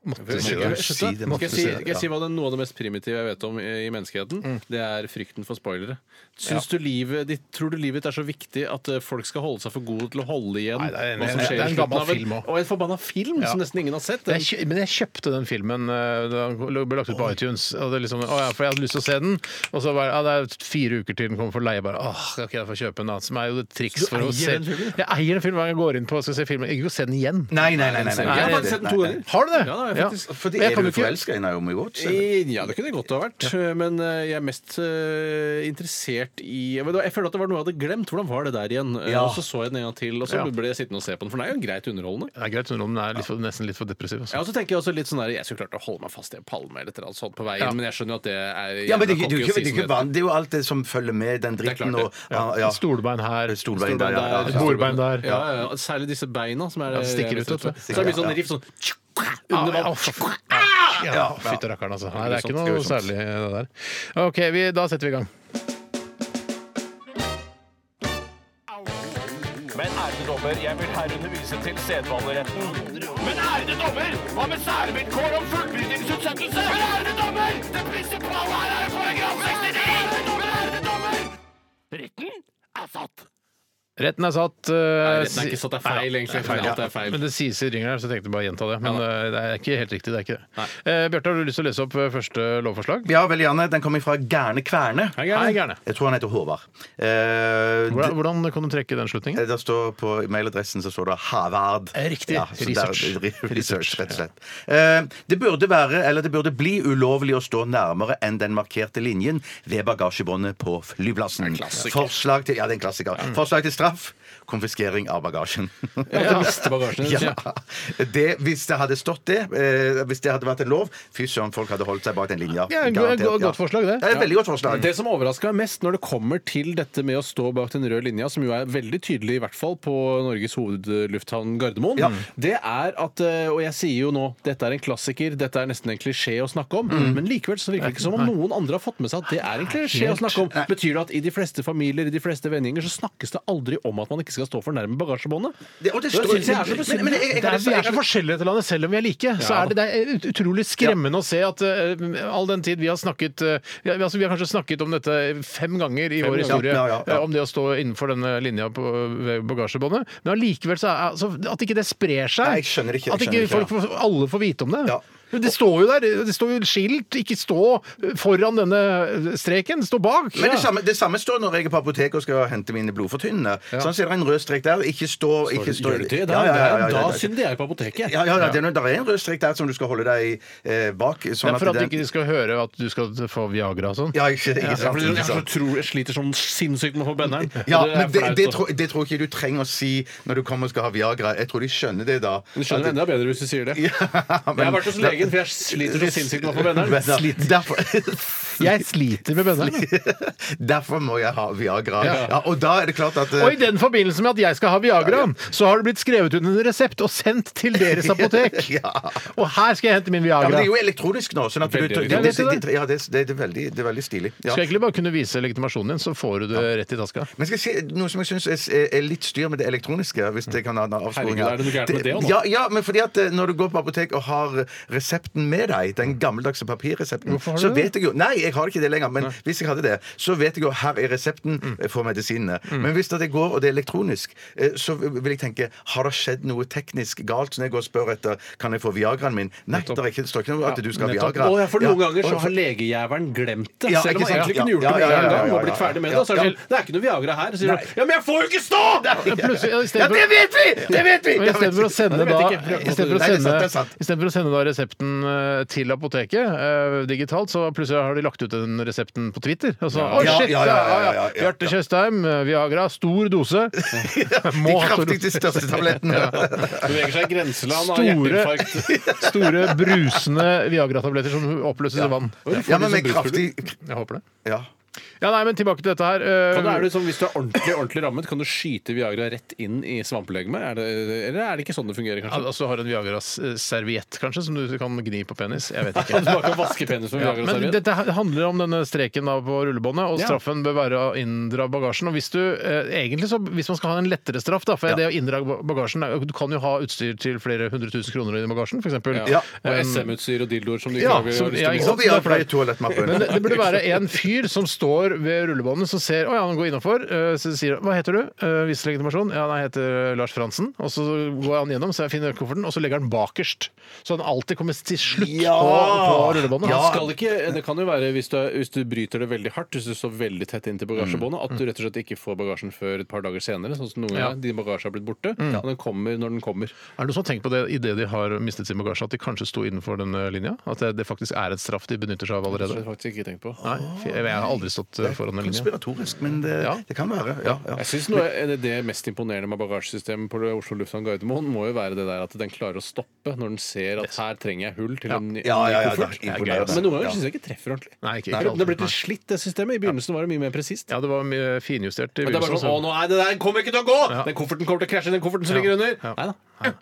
Speaker 5: Måtte
Speaker 6: Skal
Speaker 5: si
Speaker 6: jeg
Speaker 5: det. Mm.
Speaker 7: si
Speaker 6: skal
Speaker 7: det, måtte
Speaker 6: jeg si,
Speaker 7: si det,
Speaker 6: skal jeg si hva det er noe av det mest primitive jeg vet om i i menneskeheten? Det er frykten for spoilere. Syns du livet, ditt, tror du livet ditt er så viktig at eh, folk skal holde seg for gode til å holde igjen
Speaker 5: Nei, det er en-
Speaker 6: hva som
Speaker 5: det er en
Speaker 6: skjer i
Speaker 5: gammel
Speaker 6: slutten av en-
Speaker 5: film også.
Speaker 6: Og en forbanna film som nesten ingen har sett.
Speaker 5: Jeg kjø- men jeg kjøpte den filmen eh, da den ble lagt ut på iTunes. Og det er liksom, å, ja, for jeg hadde lyst til å se den. Og så bare, ja, det er fire uker til den kommer for leie. Bare, åh, kan ikke jeg få kjøpe en annen? Som er jo et triks for
Speaker 6: Så du
Speaker 5: å
Speaker 6: eier
Speaker 5: se
Speaker 6: den filmen?
Speaker 5: Jeg eier en film hver gang jeg går inn på og skal se filmen. Ikke gå se den igjen.
Speaker 7: Nei, nei, nei. nei, nei,
Speaker 6: jeg har faktisk sett den to
Speaker 7: nei, nei.
Speaker 6: ganger.
Speaker 5: Har du det?
Speaker 6: Ja, det har jeg
Speaker 5: Ja.
Speaker 6: faktisk.
Speaker 7: Fordi
Speaker 5: Men jeg
Speaker 7: er
Speaker 5: kan
Speaker 7: du
Speaker 5: jo ikke-
Speaker 7: forelska i Naomi Watts? eller?
Speaker 6: I- Ja, det kunne det godt ha vært. Men eh, jeg er mest eh, interessert i jeg, vet, hva, jeg føler at det var noe jeg hadde glemt. Hvordan var det der igjen? Eh,
Speaker 7: Ja.
Speaker 6: Og så så jeg den en gang til, og så
Speaker 5: Ja.
Speaker 6: ble jeg sittende og se på den. For den er jo greit underholdende.
Speaker 5: Det er greit, men den er litt for, nesten litt for depressiv.
Speaker 6: Ja,
Speaker 5: Altså.
Speaker 6: og så tenker Jeg også litt sånn der, jeg skulle klart å holde meg fast i en palme eller et eller annet sånt på veien,
Speaker 5: Ja.
Speaker 6: men jeg skjønner jo at det er
Speaker 7: Ja, men
Speaker 6: jævla
Speaker 7: det, det, er jo
Speaker 6: cocky å si
Speaker 7: ikke- det, er
Speaker 6: som
Speaker 7: ikke
Speaker 6: det
Speaker 7: vann, det er jo alt det som følger med den
Speaker 6: er klart
Speaker 7: dritten og ja, ja.
Speaker 5: Stolbein her.
Speaker 7: Stolbein der, ja.
Speaker 6: heter.
Speaker 7: ja, ja.
Speaker 5: Bordbein der.
Speaker 6: Ja, ja, ja. Særlig disse beina som er
Speaker 5: Ja, stikker
Speaker 6: jeg vet
Speaker 5: ut, vet
Speaker 6: ikke.
Speaker 5: du.
Speaker 6: Så er det mye sånn
Speaker 7: Ja.
Speaker 6: riff sånn under
Speaker 5: Ja,
Speaker 6: vann. Ah!
Speaker 5: å, for- Ja, fytti rakkeren, altså. Nei, det er ikke
Speaker 6: Grusomt,
Speaker 5: noe
Speaker 6: grusomt.
Speaker 5: særlig det der. OK, vi, da setter vi i gang.
Speaker 9: Men ærede dommer, jeg vil herunder vise til sedvaneretten. Men ærede dommer, hva med særvilkår om fullbyrdingsutsettelse? Men ærede dommer, det prinsipale her er paragraf 69! Men ærede dommer, retten er satt.
Speaker 5: Retten er satt. eh,
Speaker 6: retten er ikke satt, det er feil,
Speaker 5: Nei,
Speaker 6: egentlig. Feil, at det er feil.
Speaker 5: Men det sies i ringeren, så jeg tenkte bare å gjenta det. Men eh, det er ikke helt riktig. det er ikke det. Eh, Bjarte, har du lyst til å lese opp eh, første lovforslag?
Speaker 7: Ja, veldig gjerne. Den kommer fra Gærne Kverne.
Speaker 5: Hei, Gærne. Hei, Gærne.
Speaker 7: Jeg tror han heter Håvard. Eh,
Speaker 5: Hvordan, hvordan kan du trekke den slutningen?
Speaker 7: det- der står På mailadressen så står det Havard.
Speaker 5: Eh, riktig.
Speaker 7: så
Speaker 5: Research.
Speaker 7: Der, research, rett og slett. Eh, det burde være, eller det burde bli ulovlig å stå nærmere enn den markerte linjen ved bagasjebåndet på flyplassen. Forslag til, ja, det er en klassiker. Forslag til straff konfiskering av bagasjen.
Speaker 6: Ja, miste bagasjen.
Speaker 7: Ja. Det, hvis det hadde stått det, eh, hvis det hadde vært en lov Fy søren, folk hadde holdt seg bak den linja.
Speaker 5: Ja, en go-
Speaker 7: Garantert,
Speaker 5: go- godt forslag, det.
Speaker 7: Ja, et veldig godt forslag.
Speaker 6: Det som overrasker meg mest når det kommer til dette med å stå bak den røde linja, som jo er veldig tydelig i hvert fall på Norges hovedlufthavn Gardermoen,
Speaker 7: Ja.
Speaker 6: det er at eh, Og jeg sier jo nå dette er en klassiker, dette er nesten en klisjé å snakke om,
Speaker 7: Mm.
Speaker 6: men likevel så virker det ikke som om noen andre har fått med seg at det er en klisjé å snakke om. Betyr det at i de fleste familier, i de fleste vendinger, så snakkes det aldri om at man ikke skal stå for nærme bagasjebåndet?
Speaker 7: Det- og det står-
Speaker 6: synes jeg er så
Speaker 7: Men- men
Speaker 6: besynderlig.
Speaker 7: jeg- jeg-
Speaker 5: Det er, vi er så forskjellige til landet, selv om vi er like. Så er det, det er ut- utrolig skremmende å se at eh, all den tid vi har snakket eh, vi, har- altså, vi har kanskje snakket om dette fem ganger i vår
Speaker 6: ganger.
Speaker 5: historie,
Speaker 7: Ja, ja, ja.
Speaker 5: eh, om det å stå innenfor denne linja på ved bagasjebåndet, men allikevel så er altså, at ikke det sprer seg.
Speaker 7: Nei, jeg skjønner ikke, jeg
Speaker 5: at
Speaker 7: skjønner
Speaker 5: ikke
Speaker 7: ikke,
Speaker 5: folk, får- alle får vite om det.
Speaker 7: Ja.
Speaker 5: Men Det står jo der, det står jo skilt 'ikke stå foran denne streken', stå bak.
Speaker 7: Men det samme, det samme står når jeg er på apoteket og skal hente mine blodfortynnende. Sånn ser det en rød strek der. Ikke stå ikke stå,
Speaker 6: Gjør det det? Da,
Speaker 7: Ja, ja, ja, ja, ja,
Speaker 6: da
Speaker 7: ja.
Speaker 6: synder jeg på apoteket.
Speaker 7: Ja, ja, ja, det er, noe- der er en rød strek der som du skal holde deg eh, bak.
Speaker 5: Det
Speaker 7: Sånn
Speaker 5: er for at
Speaker 7: den-
Speaker 5: ikke de skal høre at du skal få Viagra og sånn.
Speaker 7: Ja, ikke, ikke
Speaker 6: Ja,
Speaker 7: sant.
Speaker 6: fordi
Speaker 7: ikke
Speaker 6: jeg, så
Speaker 7: sant.
Speaker 6: tror, jeg sliter sånn sinnssykt med å få benderen.
Speaker 7: Ja,
Speaker 6: Og er
Speaker 7: men det,
Speaker 6: flaut,
Speaker 7: det,
Speaker 6: og-
Speaker 7: tror, det tror ikke du trenger å si når du kommer og skal ha Viagra. Jeg tror de skjønner det da.
Speaker 6: Du skjønner det enda bedre hvis du sier det. jeg har vært hos legen, for jeg sliter så sinnssykt med å få
Speaker 7: Men da-
Speaker 6: benderen.
Speaker 7: Derfor,
Speaker 5: Jeg sliter med bønnene.
Speaker 7: derfor må jeg ha Viagra. Ja, og da er det klart at eh,
Speaker 5: Og i den forbindelse med at jeg skal ha Viagra, så har det blitt skrevet ut en resept og sendt til deres apotek.
Speaker 7: Ja.
Speaker 5: Og her skal jeg hente min Viagra.
Speaker 7: Ja, men det er jo elektronisk nå. Sånn at du,
Speaker 6: Veldig
Speaker 7: det, det,
Speaker 5: elektronisk.
Speaker 7: det, det, ja, det, det, det, er veldig, det er veldig stilig. Ja.
Speaker 5: Skal jeg egentlig bare kunne vise legitimasjonen din, så får du det rett i taska.
Speaker 7: Men skal jeg si noe som jeg syns er, er litt styr med det elektroniske? Hvis det kan ha en avsporing
Speaker 6: Herregud, er det noe gærent med det også nå?
Speaker 7: Ja, ja, men fordi at eh, når du går på apotek og har resepten med deg, den gammeldagse papirresepten,
Speaker 5: Hvorfor har du
Speaker 7: så
Speaker 5: det?
Speaker 7: vet jeg jo Nei, jeg har ikke det lenger, men hvis jeg hadde det, så vet jeg jo her er resepten eh, for medisinene. Men hvis det går, og det er elektronisk, eh, så vil jeg tenke Har det skjedd noe teknisk galt? Så når jeg går og spør etter Kan jeg få Viagraen min? Nei, det, er ikke, det står ikke noe om at du skal ha Viagra.
Speaker 6: Og jeg, for noen
Speaker 7: Ja,
Speaker 6: ganger så
Speaker 7: og-
Speaker 6: har legejævelen glemt det.
Speaker 7: Ja,
Speaker 6: selv om
Speaker 7: ikke
Speaker 6: han
Speaker 7: sant?
Speaker 6: egentlig kunne gjort
Speaker 7: Ja,
Speaker 6: det med
Speaker 7: ja, ja,
Speaker 6: en
Speaker 7: ja,
Speaker 6: gang.
Speaker 7: ja,
Speaker 6: Og blitt
Speaker 7: ja,
Speaker 6: ferdig med
Speaker 7: ja.
Speaker 6: det. Og så er det
Speaker 7: Ja.
Speaker 6: sånn Det er ikke noe Viagra her. Så sier
Speaker 7: Nei.
Speaker 6: han Ja, men jeg får jo ikke stå!
Speaker 7: Nei.
Speaker 5: Plutselig- ja, i stedet
Speaker 7: Ja,
Speaker 5: for-
Speaker 7: det vet vi! Det vet vi!
Speaker 5: Men i stedet for å sende,
Speaker 6: Nei, det
Speaker 5: da,
Speaker 6: vet jeg ikke.
Speaker 5: i stedet for å
Speaker 7: Nei, det er sant, det er
Speaker 5: sende,
Speaker 7: sant.
Speaker 5: i stedet for å sende da resepten eh, til apoteket eh, digitalt, så plutselig har de lagt ut den resepten på Twitter. Og så, «Å,
Speaker 7: Ja,
Speaker 5: shit,
Speaker 7: ja, ja, ja, ja, ja, ja.
Speaker 5: Bjarte Tjøstheim, eh, Viagra, stor dose.
Speaker 7: De
Speaker 5: Må ha stor
Speaker 7: kraftigste største tablettene.
Speaker 6: sånn Beveger seg i grenseland av
Speaker 5: store, eh,
Speaker 6: hjerteinfarkt.
Speaker 5: store brusende Viagra-tabletter som oppløses i vann.
Speaker 7: Ja, men med kraftig
Speaker 5: Jeg håper det.
Speaker 7: Ja.
Speaker 5: Ja, nei, men tilbake til dette her. eh,
Speaker 6: Kan du, er det sånn, hvis du er ordentlig ordentlig rammet, kan du skyte Viagra rett inn i svampelegemet? Er det- Eller er det ikke sånn det fungerer,
Speaker 5: Al-
Speaker 6: kanskje?
Speaker 5: Altså har en Viagra-serviett, kanskje, som du kan gni på penis? Jeg vet
Speaker 6: At du
Speaker 5: ikke.
Speaker 6: bare kan vaske penisen med
Speaker 5: Ja,
Speaker 6: Viagra?
Speaker 5: men dette her handler om denne streken da på rullebåndet, og
Speaker 6: Ja.
Speaker 5: straffen bør være å inndra bagasjen. Og hvis du, eh, egentlig så, hvis man skal ha en lettere straff, da, for det å inndra ba- bagasjen er- Du kan jo ha utstyr til flere hundre tusen kroner i bagasjen, f.eks.
Speaker 6: Ja. Og SM-utstyr og dildoer som du ikke
Speaker 5: eh, Ja,
Speaker 6: lager-
Speaker 5: som-
Speaker 6: har lyst til
Speaker 5: ja,
Speaker 6: å
Speaker 5: ikke
Speaker 6: bruke.
Speaker 5: sant?
Speaker 7: Og vi har flere toalettmapper.
Speaker 5: Men det, det burde være en fyr som står ved rullebåndet, som ser Å ja, han går innafor. Så sier han Hva heter du? Eh, Viser legitimasjon. Ja, nei, jeg heter eh, Lars Fransen. Og så går han gjennom, så jeg finner kofferten, og så legger han bakerst. Så han alltid kommer til slutt
Speaker 7: Ja!
Speaker 5: på, på rullebåndet.
Speaker 6: Man skal ikke, det kan jo være hvis du, hvis du bryter det veldig hardt, hvis du står veldig tett inntil
Speaker 5: Mm.
Speaker 6: bagasjebåndet, at du rett og slett ikke får bagasjen før et par dager senere. Sånn som noen
Speaker 5: Ja. Mm.
Speaker 6: ganger. Din bagasje har blitt borte, og den kommer når den kommer.
Speaker 5: Er det noen som har tenkt på det idet de har mistet sin bagasje, at de kanskje sto innenfor denne linja? At det, det faktisk er et straff de benytter seg av
Speaker 6: Det har
Speaker 5: allerede?
Speaker 6: jeg faktisk ikke tenkt på.
Speaker 5: Nei, fy- jeg har aldri stått eh, foran den linja.
Speaker 7: Konspiratorisk, men det,
Speaker 5: Ja.
Speaker 7: det kan være. Ja, ja.
Speaker 6: Jeg synes noe, det- Det mest imponerende med bagasjesystemet på Oslo lufthavn Gardermoen må jo være det der at den klarer å stoppe når den ser at her trenger jeg hull til en ny,
Speaker 7: Ja, ja,
Speaker 6: ny
Speaker 7: ja,
Speaker 6: koffert.
Speaker 7: det er imponerende.
Speaker 6: Men noen ganger
Speaker 7: Ja.
Speaker 6: synes syns jeg ikke treffer ordentlig.
Speaker 5: Nei, ikke,
Speaker 6: Det
Speaker 5: ikke
Speaker 6: har
Speaker 5: alltid.
Speaker 6: blitt litt slitt, det systemet. I begynnelsen var det mye mer presist.
Speaker 5: Ja, det var mye finjustert i
Speaker 6: Men det er bare sånn,
Speaker 5: så-
Speaker 6: å nei, det der kommer ikke til å gå! Den kofferten kommer til å krasje i den kofferten som
Speaker 5: altså. Ja.
Speaker 6: ligger under.
Speaker 5: Ja.
Speaker 6: Neida.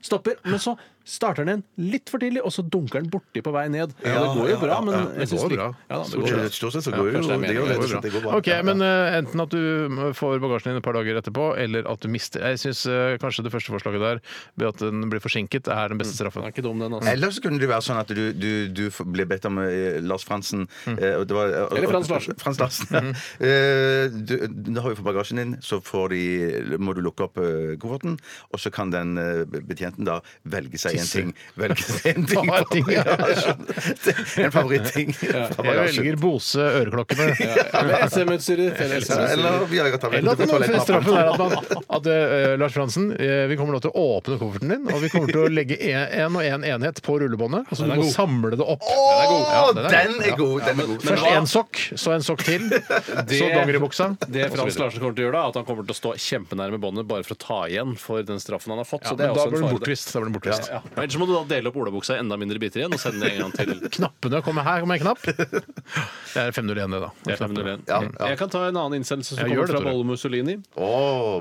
Speaker 6: Stopper. Men så starter den igjen litt for tidlig, og så dunker den borti på vei ned. Ja, det går jo bra, men
Speaker 5: det
Speaker 6: jeg synes
Speaker 5: går
Speaker 6: det-
Speaker 5: bra.
Speaker 6: Ja, da, det
Speaker 5: Stort
Speaker 6: går bra.
Speaker 7: Stort sett så går jo
Speaker 6: kanskje det er
Speaker 7: det gjør
Speaker 6: meningen.
Speaker 7: det. går
Speaker 5: går
Speaker 7: bra. Det går bra.
Speaker 5: Ok,
Speaker 7: Ja, ja.
Speaker 5: men eh, enten at du eh, får bagasjen din et par dager etterpå, eller at du mister Jeg syns kanskje det første forslaget der, ved at den blir forsinket, er den beste straffen.
Speaker 6: er ikke dum, den,
Speaker 5: eh,
Speaker 6: altså.
Speaker 7: Eller så kunne det være sånn at du, du, du f- ble bedt om eh, Lars Fransen
Speaker 5: Mm.
Speaker 7: eh, og det var, eh,
Speaker 6: Eller
Speaker 7: og-
Speaker 6: Frans Larsen.
Speaker 7: Frans Larsen, ja. Eh, du, nå har vi fått bagasjen din, så får de, må du lukke opp eh, kofferten. Og så kan den eh, betjenten da velge seg en ting. Velge seg en ting.
Speaker 5: Hva er ting?
Speaker 7: Ja, skjønner. en favoritting fra
Speaker 5: Jeg
Speaker 7: bagasjen.
Speaker 5: velger Bose øreklokkene.
Speaker 7: Eller
Speaker 5: Eller
Speaker 7: Viagra-tabletter
Speaker 5: at
Speaker 7: på
Speaker 5: den
Speaker 7: toalettet.
Speaker 5: straffen er at, man, at eh, Lars Fransen, eh, vi kommer nå til å åpne kofferten din, og vi kommer til å legge en, en og en enhet på rullebåndet, og så du må samle det opp.
Speaker 7: Å,
Speaker 5: Ja,
Speaker 7: den
Speaker 5: Ja.
Speaker 7: er god! Den er god.
Speaker 5: Først en sokk, så en sokk til, så dongeribuksa.
Speaker 6: Det
Speaker 5: og så
Speaker 6: Frans
Speaker 5: videre.
Speaker 6: Larsen kommer til å gjøre, da, at han kommer til å stå kjempenærme båndet bare for å ta igjen for den straffen han har fått.
Speaker 5: Ja,
Speaker 6: så det
Speaker 5: men
Speaker 6: er
Speaker 5: da
Speaker 6: også
Speaker 5: blir
Speaker 6: en
Speaker 5: den
Speaker 6: fare.
Speaker 5: bortvist. Da blir den bortvist.
Speaker 6: Ja. Men Ellers må du da dele opp olabuksa i enda mindre biter igjen og sende det en gang til.
Speaker 5: Knappene kommer her, kommer en knapp. Det er 501, det, da.
Speaker 6: Det er 501.
Speaker 7: Ja, ja.
Speaker 6: Jeg kan ta en annen innsendelse som
Speaker 5: Ja, gjør
Speaker 6: kommer fra
Speaker 5: det, Tore.
Speaker 6: Bolle Mussolini.
Speaker 7: Å,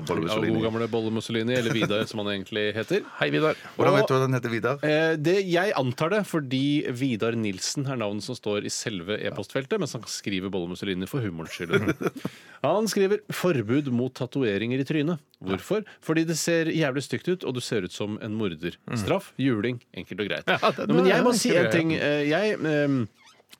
Speaker 6: Ja,
Speaker 7: Bolle
Speaker 6: god
Speaker 7: Mussolini.
Speaker 6: gamle Bolle Mussolini, eller Vidar, som han egentlig heter.
Speaker 5: Hei, Vidar.
Speaker 7: Hvordan vet du hva den heter, Vidar?
Speaker 6: Eh, det, jeg antar det fordi Vidar Nilsen er navnet som står i selve e-postfeltet, mens han skriver Bolle Mussolini for humorens skyld. Han skriver 'forbud mot tatoveringer i trynet'. Hvorfor? Fordi det ser jævlig stygt ut, og du ser ut som en morder. Straff, juling, enkelt og greit.
Speaker 5: Mm. det-
Speaker 6: Nå, men jeg må
Speaker 5: det-
Speaker 6: si en ting. Eh, Jeg eh,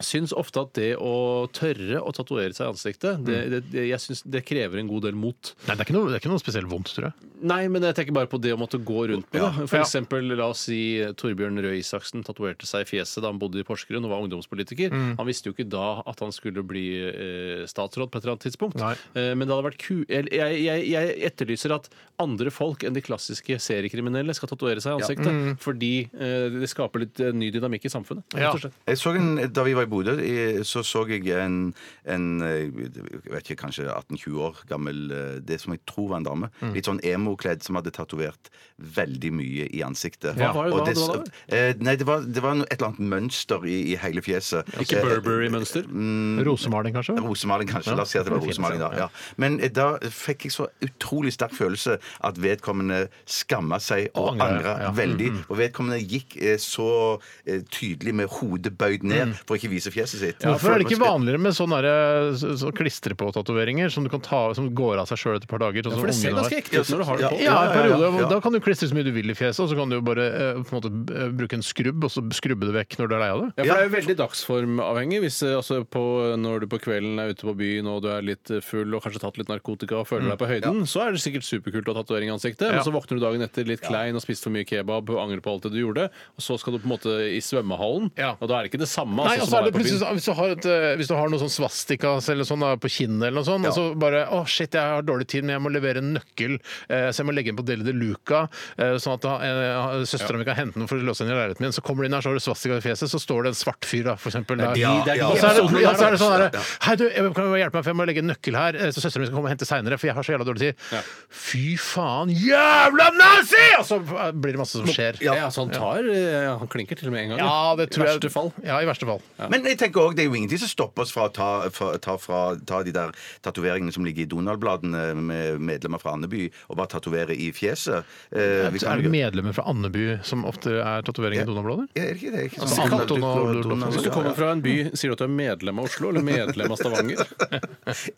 Speaker 6: syns ofte at det å tørre å tatovere seg i ansiktet, det,
Speaker 5: Mm.
Speaker 6: det, det, jeg synes det krever en god del mot.
Speaker 5: Nei, det er ikke noe, det er ikke noe spesielt vondt, tror jeg.
Speaker 6: Nei, men jeg tenker bare på det å måtte gå rundt med det. For
Speaker 5: Ja.
Speaker 6: eksempel, la oss si eh, Torbjørn Røe Isaksen tatoverte seg i fjeset da han bodde i Porsgrunn og var ungdomspolitiker.
Speaker 5: Mm.
Speaker 6: Han visste jo ikke da at han skulle bli eh, statsråd på et eller annet tidspunkt.
Speaker 5: Nei.
Speaker 6: Eh, men det hadde vært ku... eller, Jeg, jeg, jeg etterlyser at andre folk enn de klassiske seriekriminelle skal tatovere seg i ansiktet. Fordi eh, det skaper litt eh, ny dynamikk i samfunnet.
Speaker 5: Mm. Ja.
Speaker 6: rett og slett.
Speaker 7: Jeg så en, da vi var i Bodø, i- så så jeg en, en eh, jeg vet ikke, kanskje 18-20 år gammel eh, Det som jeg tror var en dame. Litt sånn emo-kledd som hadde tatovert veldig mye i ansiktet.
Speaker 6: Hva var det-
Speaker 7: Og
Speaker 6: hva var det
Speaker 7: eh, Nei, det var, det var noe- et eller annet mønster i, i hele fjeset.
Speaker 6: Ikke
Speaker 7: Eh,
Speaker 6: Burberry-mønster.
Speaker 5: Rosemaling, kanskje?
Speaker 7: Rosemaling, kanskje. La oss si at det var
Speaker 5: det finnes,
Speaker 7: rosemaling, da.
Speaker 5: ja.
Speaker 7: Ja. Men eh, da fikk jeg så utrolig sterk følelse at vedkommende skamma seg
Speaker 5: Og
Speaker 7: og
Speaker 5: angret,
Speaker 7: angra
Speaker 5: ja. Mm-hmm.
Speaker 7: veldig. Og vedkommende gikk eh, så eh, tydelig med hodet bøyd ned for å ikke vise fjeset sitt.
Speaker 5: Hvorfor Mm. er det ikke vanligere med sånn sånne der, så, så klistrepå-tatoveringer som, du kan ta- som går av seg sjøl etter et par dager? sånn som
Speaker 6: For det ser
Speaker 5: ungene har?
Speaker 6: ganske ekte ut når du har det på.
Speaker 5: Ja, en periode.
Speaker 7: ja, ja.
Speaker 5: Da kan du klistre så mye du vil i fjeset, og så kan du jo bare eh, på en måte b- eh, bruke en skrubb, og så skrubbe det vekk når du er lei av det.
Speaker 6: Ja, for Det er jo veldig dagsformavhengig. Hvis, eh, altså, på, når du på kvelden er ute på byen og du er litt eh, full og kanskje tatt litt narkotika og føler deg på høyden, så er det sikkert superkult å ha tatovering i ansiktet. Men
Speaker 5: Mm. Ja.
Speaker 6: så våkner du dagen etter litt klein og spist for mye kebab og angrer på alt det du gjorde. Og så skal du på en måte i svømmehallen,
Speaker 5: Ja.
Speaker 6: og da er det ikke det samme.
Speaker 5: Nei,
Speaker 6: altså,
Speaker 5: og
Speaker 6: som
Speaker 5: så
Speaker 6: å
Speaker 5: er det
Speaker 6: være på byen.
Speaker 5: plutselig sånn, hvis du har, et, eh, hvis du har noe sånn svastikas eller sånn da, på kinnet eller noe sånt, og så bare Å, shit, jeg har dårlig tid, men jeg må levere en nøkkel, eh, så jeg må legge den på Deli de Luca, eh, sånn at eh, søstera mi kan hente den for å låse den i leiligheten min. Så kommer du inn her, så har du svastika i fjeset, så står det en svart fyr, da, for eksempel. Der.
Speaker 7: Ja, ja,
Speaker 5: Og så er det,
Speaker 7: ja.
Speaker 5: ja, så er det sånn derre Hei, du, jeg kan du hjelpe meg, for jeg må legge en nøkkel her, eh, så søsteren min skal komme og hente seinere, for jeg har så jævla dårlig tid. Fy faen, jævla nazi! Og så eh, blir det masse som skjer.
Speaker 6: Ja. ja, så han tar eh, Han klinker til og med en gang.
Speaker 5: Ja, det tror
Speaker 6: I
Speaker 5: jeg
Speaker 6: verste fall.
Speaker 5: Ja, i verste fall.
Speaker 7: Men jeg tenker også, det er jo ingenting som stopper oss fra å ta, fra, ta, fra, ta de der tatoveringene som ligger i Donald-bladene med medlemmer fra Andeby, og bare tatovere i fjeset. Eh, vi kan
Speaker 5: er
Speaker 7: jo-
Speaker 5: det medlemmer fra Andeby som ofte er tatoveringer i Donald-blader?
Speaker 7: Ja, er det ikke det? Er det Ikke
Speaker 5: Altså, Anton og Donald.
Speaker 6: Hvis du kommer fra en by, sier du at du er medlem av Oslo eller medlem av Stavanger?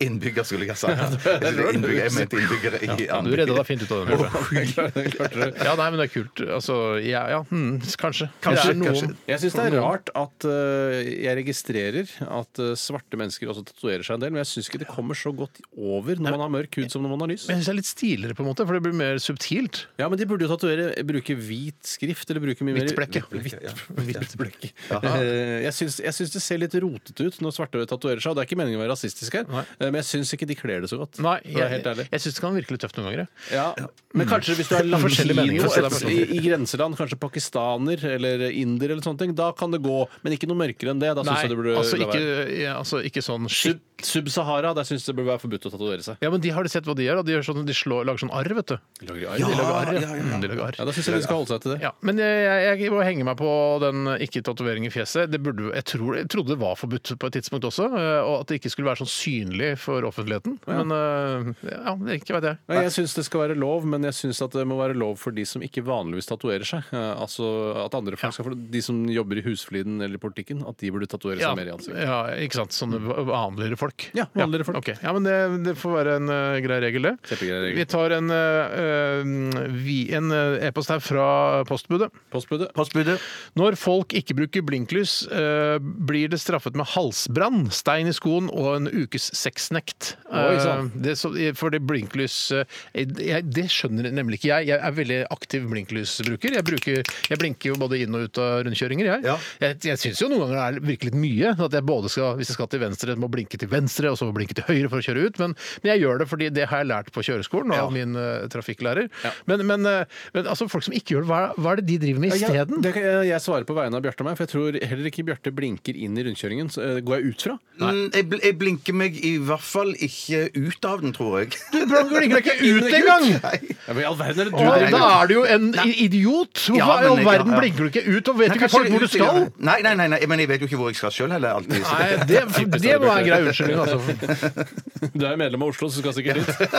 Speaker 7: Innbygger, skulle jeg ha sagt. Innbygger, jeg mente innbyggere i
Speaker 5: Du
Speaker 7: Andeby.
Speaker 5: redda deg fint ut av den. Bjørte.
Speaker 6: Klarte det.
Speaker 5: Ja, nei, men det er kult. Altså, ja, ja hmm, kanskje. det
Speaker 7: Kanskje,
Speaker 5: er noen
Speaker 7: kanskje.
Speaker 6: Jeg syns det er rart at eh, jeg registrerer at eh, svarte mennesker også tatoverer seg en del, men jeg syns ikke det kommer så godt over når man har mørk hud som når man har lys.
Speaker 5: Men jeg syns det er litt stiligere, på en måte, for det blir mer subtilt.
Speaker 6: Ja, men de burde jo tatovere bruke hvit skrift eller bruke mye mer
Speaker 5: Hvitt blekk, ja.
Speaker 6: Hvitt- Hvitt blekk. Eh, Jeg syns jeg syns det ser litt rotete ut når svarte tatoverer seg, og det er ikke meningen å være rasistisk her, eh, men jeg syns ikke de kler det så godt.
Speaker 5: Nei,
Speaker 6: for å være
Speaker 5: jeg,
Speaker 6: helt ærlig.
Speaker 5: jeg syns det kan virke litt tøft noen ganger. jeg.
Speaker 6: Ja, men kanskje hvis du er
Speaker 5: Forskjellige meninger,
Speaker 6: latino
Speaker 5: så det er bare
Speaker 6: i, i grenseland, kanskje pakistaner eller inder eller sånne ting, da kan det gå. Men ikke noe mørkere enn det. Da
Speaker 5: Nei,
Speaker 6: syns jeg det burde
Speaker 5: altså,
Speaker 6: la
Speaker 5: ikke,
Speaker 6: være.
Speaker 5: ja, altså ikke sånn
Speaker 6: Sub-
Speaker 5: skikk.
Speaker 6: Sub-Sahara, der syns jeg det burde være forbudt å tatovere seg.
Speaker 5: Ja, men de har du sett hva de gjør? da? De, gjør sånn, de slår, lager sånn arr, vet du.
Speaker 6: Ja,
Speaker 5: de lager arr. Ja, Mm, de lager arr.
Speaker 6: da syns jeg de skal holde seg til det.
Speaker 5: Ja, men jeg, jeg, jeg må henge meg på den ikke-tatovering i fjeset. Det burde, jeg, tror, jeg trodde det var forbudt på et tidspunkt også, eh, og at det ikke skulle være sånn synlig for offentligheten. Men eh, ja, det- ikke vet jeg.
Speaker 6: Nei, jeg syns det skal være lov, men jeg syns at det må være lov for de som ikke vanligvis tatoverer seg. Eh, Altså at andre folk skal få De som jobber i husfliden eller i politikken, at de burde tatovere
Speaker 5: Ja,
Speaker 6: seg mer i ansiktet. Mm.
Speaker 5: ja, ikke sant. Sånne vanligere folk. folk.
Speaker 6: Ja, vanligere folk.
Speaker 5: ok. Ja, men det, det får være en eh, grei regel, det.
Speaker 6: Kjempegrei regel.
Speaker 5: Vi tar en eh, eh, vi- en eh, e-post her fra postbudet.
Speaker 6: Postbudet.
Speaker 7: Postbudet.
Speaker 5: Når folk ikke bruker blinklys, eh, blir det straffet med halsbrann, stein i skoen og en ukes sexnekt.
Speaker 6: Oi, sann.
Speaker 5: Eh, det, så- for det blinklys eh, jeg, Det skjønner nemlig ikke jeg. Jeg er veldig aktiv blinklysbruker. Jeg, bruker, jeg blinker jo både inn og ut av rundkjøringer, jeg.
Speaker 7: Ja.
Speaker 5: Jeg, jeg syns jo noen ganger det er virkelig litt mye. At jeg både skal, hvis jeg skal til venstre, må blinke til venstre, og så må blinke til høyre for å kjøre ut. Men, men jeg gjør det fordi det har jeg lært på kjøreskolen av min eh, trafikklærer. Men, men, eh, men altså, folk som ikke gjør det, hva, hva er det de driver med
Speaker 6: Ja,
Speaker 5: isteden?
Speaker 6: det kan- jeg, jeg svarer på vegne av Bjarte og meg, for jeg tror heller ikke Bjarte blinker inn i rundkjøringen. Så, eh, går jeg ut fra?
Speaker 7: Mm, jeg, bl jeg blinker meg i hvert fall ikke ut av den, tror jeg.
Speaker 5: Hvordan blinker det ikke ut engang?
Speaker 6: Ja, men i all verden er det
Speaker 5: Å,
Speaker 6: du
Speaker 5: Da er du jo en i- idiot! Hvorfor
Speaker 7: Ja,
Speaker 5: i all
Speaker 7: men-
Speaker 5: verden
Speaker 7: ja, ja.
Speaker 5: blinker du ikke ut, og vet ikke folk hvor du skal?
Speaker 7: Nei, nei, nei, nei, men jeg vet jo ikke hvor jeg skal sjøl heller. alltid.
Speaker 5: Nei, det, det må være en grei unnskyldning, altså.
Speaker 6: Du er medlem av Oslo, så du skal sikkert dit.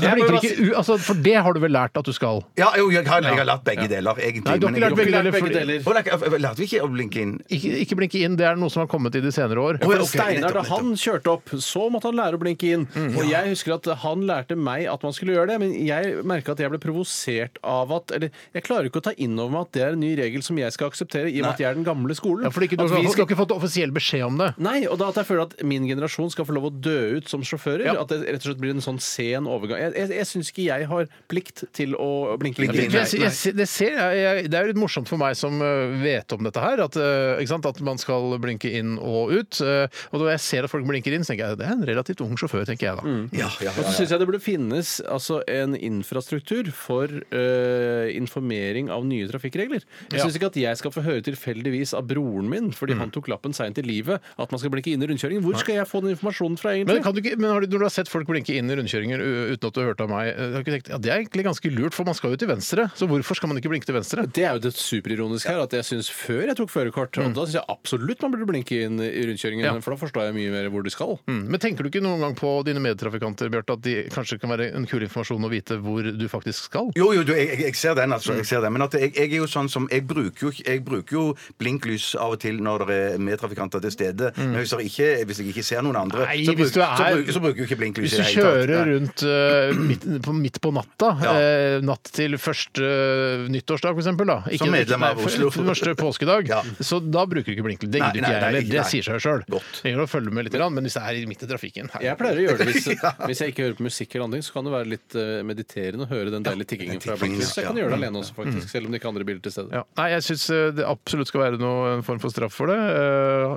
Speaker 5: Du blinker ikke u altså. For det har du vel lært at du skal?
Speaker 7: Ja, jo, jeg har, jeg har latt begge deler, egentlig.
Speaker 5: Nei, du har
Speaker 7: men
Speaker 5: ikke
Speaker 7: jeg-
Speaker 5: lært begge deler.
Speaker 6: Begge
Speaker 5: fordi-
Speaker 6: deler.
Speaker 7: Å, nei, eh, Lærte vi ikke å blinke inn?
Speaker 5: Ikke, ikke blinke inn, det er noe som har kommet i de senere år.
Speaker 6: For
Speaker 7: ok,
Speaker 6: Steinar, da
Speaker 7: nettopp,
Speaker 6: han kjørte opp, så måtte han lære å blinke inn. Og jeg husker at han lærte meg at man skulle gjøre det, men jeg merka at jeg ble provosert av at Eller jeg klarer ikke å ta inn over meg at det er en ny regel som jeg skal akseptere, i og med at jeg er den gamle skolen.
Speaker 5: Ja, for ikke, du,
Speaker 6: At
Speaker 5: har,
Speaker 6: vi
Speaker 5: du
Speaker 6: skal-
Speaker 5: har ikke fått offisiell beskjed om det.
Speaker 6: Nei, og da at jeg føler at min generasjon skal få lov å dø ut som sjåfører.
Speaker 5: Ja.
Speaker 6: At det rett og slett blir en sånn sen overgang. Jeg, jeg, jeg syns ikke jeg har plikt til å blinke.
Speaker 7: Blinke inn.
Speaker 6: inn.
Speaker 7: Nei,
Speaker 5: Jeg, jeg, det, ser, jeg, jeg, det er jo litt morsomt for meg som øh, vet om dette her, at, øh, ikke sant, at man skal blinke inn og ut. øh, Og når jeg ser at folk blinker inn, så tenker jeg det er en relativt ung sjåfør, tenker jeg da.
Speaker 7: Ja,
Speaker 6: Og
Speaker 7: ja, ja,
Speaker 6: så
Speaker 7: ja.
Speaker 6: syns jeg det burde finnes altså, en infrastruktur for eh, informering av nye trafikkregler. Jeg
Speaker 5: Ja. Mm.
Speaker 6: syns ikke at jeg skal få høre tilfeldigvis av broren min, fordi han tok lappen seint i livet, at man skal blinke inn i rundkjøringen. Hvor skal jeg få den informasjonen fra,
Speaker 5: Men,
Speaker 6: egentlig?
Speaker 5: kan du ikke, men har du, når du har sett folk blinke inn i rundkjøringer øh, uten at du har hørt av meg, øh, har du ikke tenkt, ja, det er egentlig ganske lurt, for man skal jo til venstre. Så hvorfor skal man ikke blinke til venstre?
Speaker 6: Det er jo det superironiske her, at jeg syns før jeg tok førerkort, og da syns jeg absolutt man burde blinke inn i rundkjøringen,
Speaker 5: Mm. Ja.
Speaker 6: for da forstår jeg mye mer hvor de skal.
Speaker 5: Mm. Men tenker du ikke noen gang på dine medtrafikanter, Bjarte, at de kanskje kan være en kul informasjon å vite hvor du faktisk skal?
Speaker 7: Jo, jo, du, jeg, jeg- jeg ser den, altså.
Speaker 5: Mm.
Speaker 7: Jeg ser den. Men at jeg, jeg er jo sånn som Jeg bruker jo, ikke- jeg bruker jo blinklys av og til når det er medtrafikanter til stede. Men hvis, det ikke, hvis jeg ikke ser noen andre,
Speaker 5: Mm. Nei,
Speaker 7: så,
Speaker 5: hvis du er-
Speaker 7: så, bruker, så bruker jeg jo ikke blinklys
Speaker 5: Hvis du
Speaker 7: i det hele tatt.
Speaker 5: kjører
Speaker 7: Nei.
Speaker 5: rundt eh, midt, på, midt på natta,
Speaker 7: Ja.
Speaker 5: eh, natt til første eh, nyttårsdag f.eks., da Ikke-
Speaker 7: Som medlem av
Speaker 5: nei,
Speaker 7: Oslo.
Speaker 5: f- Første påskedag.
Speaker 7: Ja.
Speaker 5: Så da bruker du ikke blinklyd. Det
Speaker 7: Nei,
Speaker 5: gidder ikke jeg
Speaker 7: nei, nei,
Speaker 5: heller.
Speaker 7: ikke-
Speaker 5: Det
Speaker 7: nei.
Speaker 5: sier seg sjøl.
Speaker 7: Godt.
Speaker 5: Gjelder å følge med lidt, men hvis det er midt i trafikken her-
Speaker 6: Jeg pleier å gjøre det hvis, hvis jeg ikke hører på musikk eller andre ting, så kan det være litt eh, mediterende å høre den deilige tikkingen fra
Speaker 7: tikkingen,
Speaker 6: blinklys. Så jeg kan
Speaker 7: ja.
Speaker 5: Mm.
Speaker 6: gjøre det alene også, faktisk, selv om det ikke er andre biler til stede.
Speaker 5: Ja. Nei, jeg syns det absolutt skal være noe, en form for straff for det.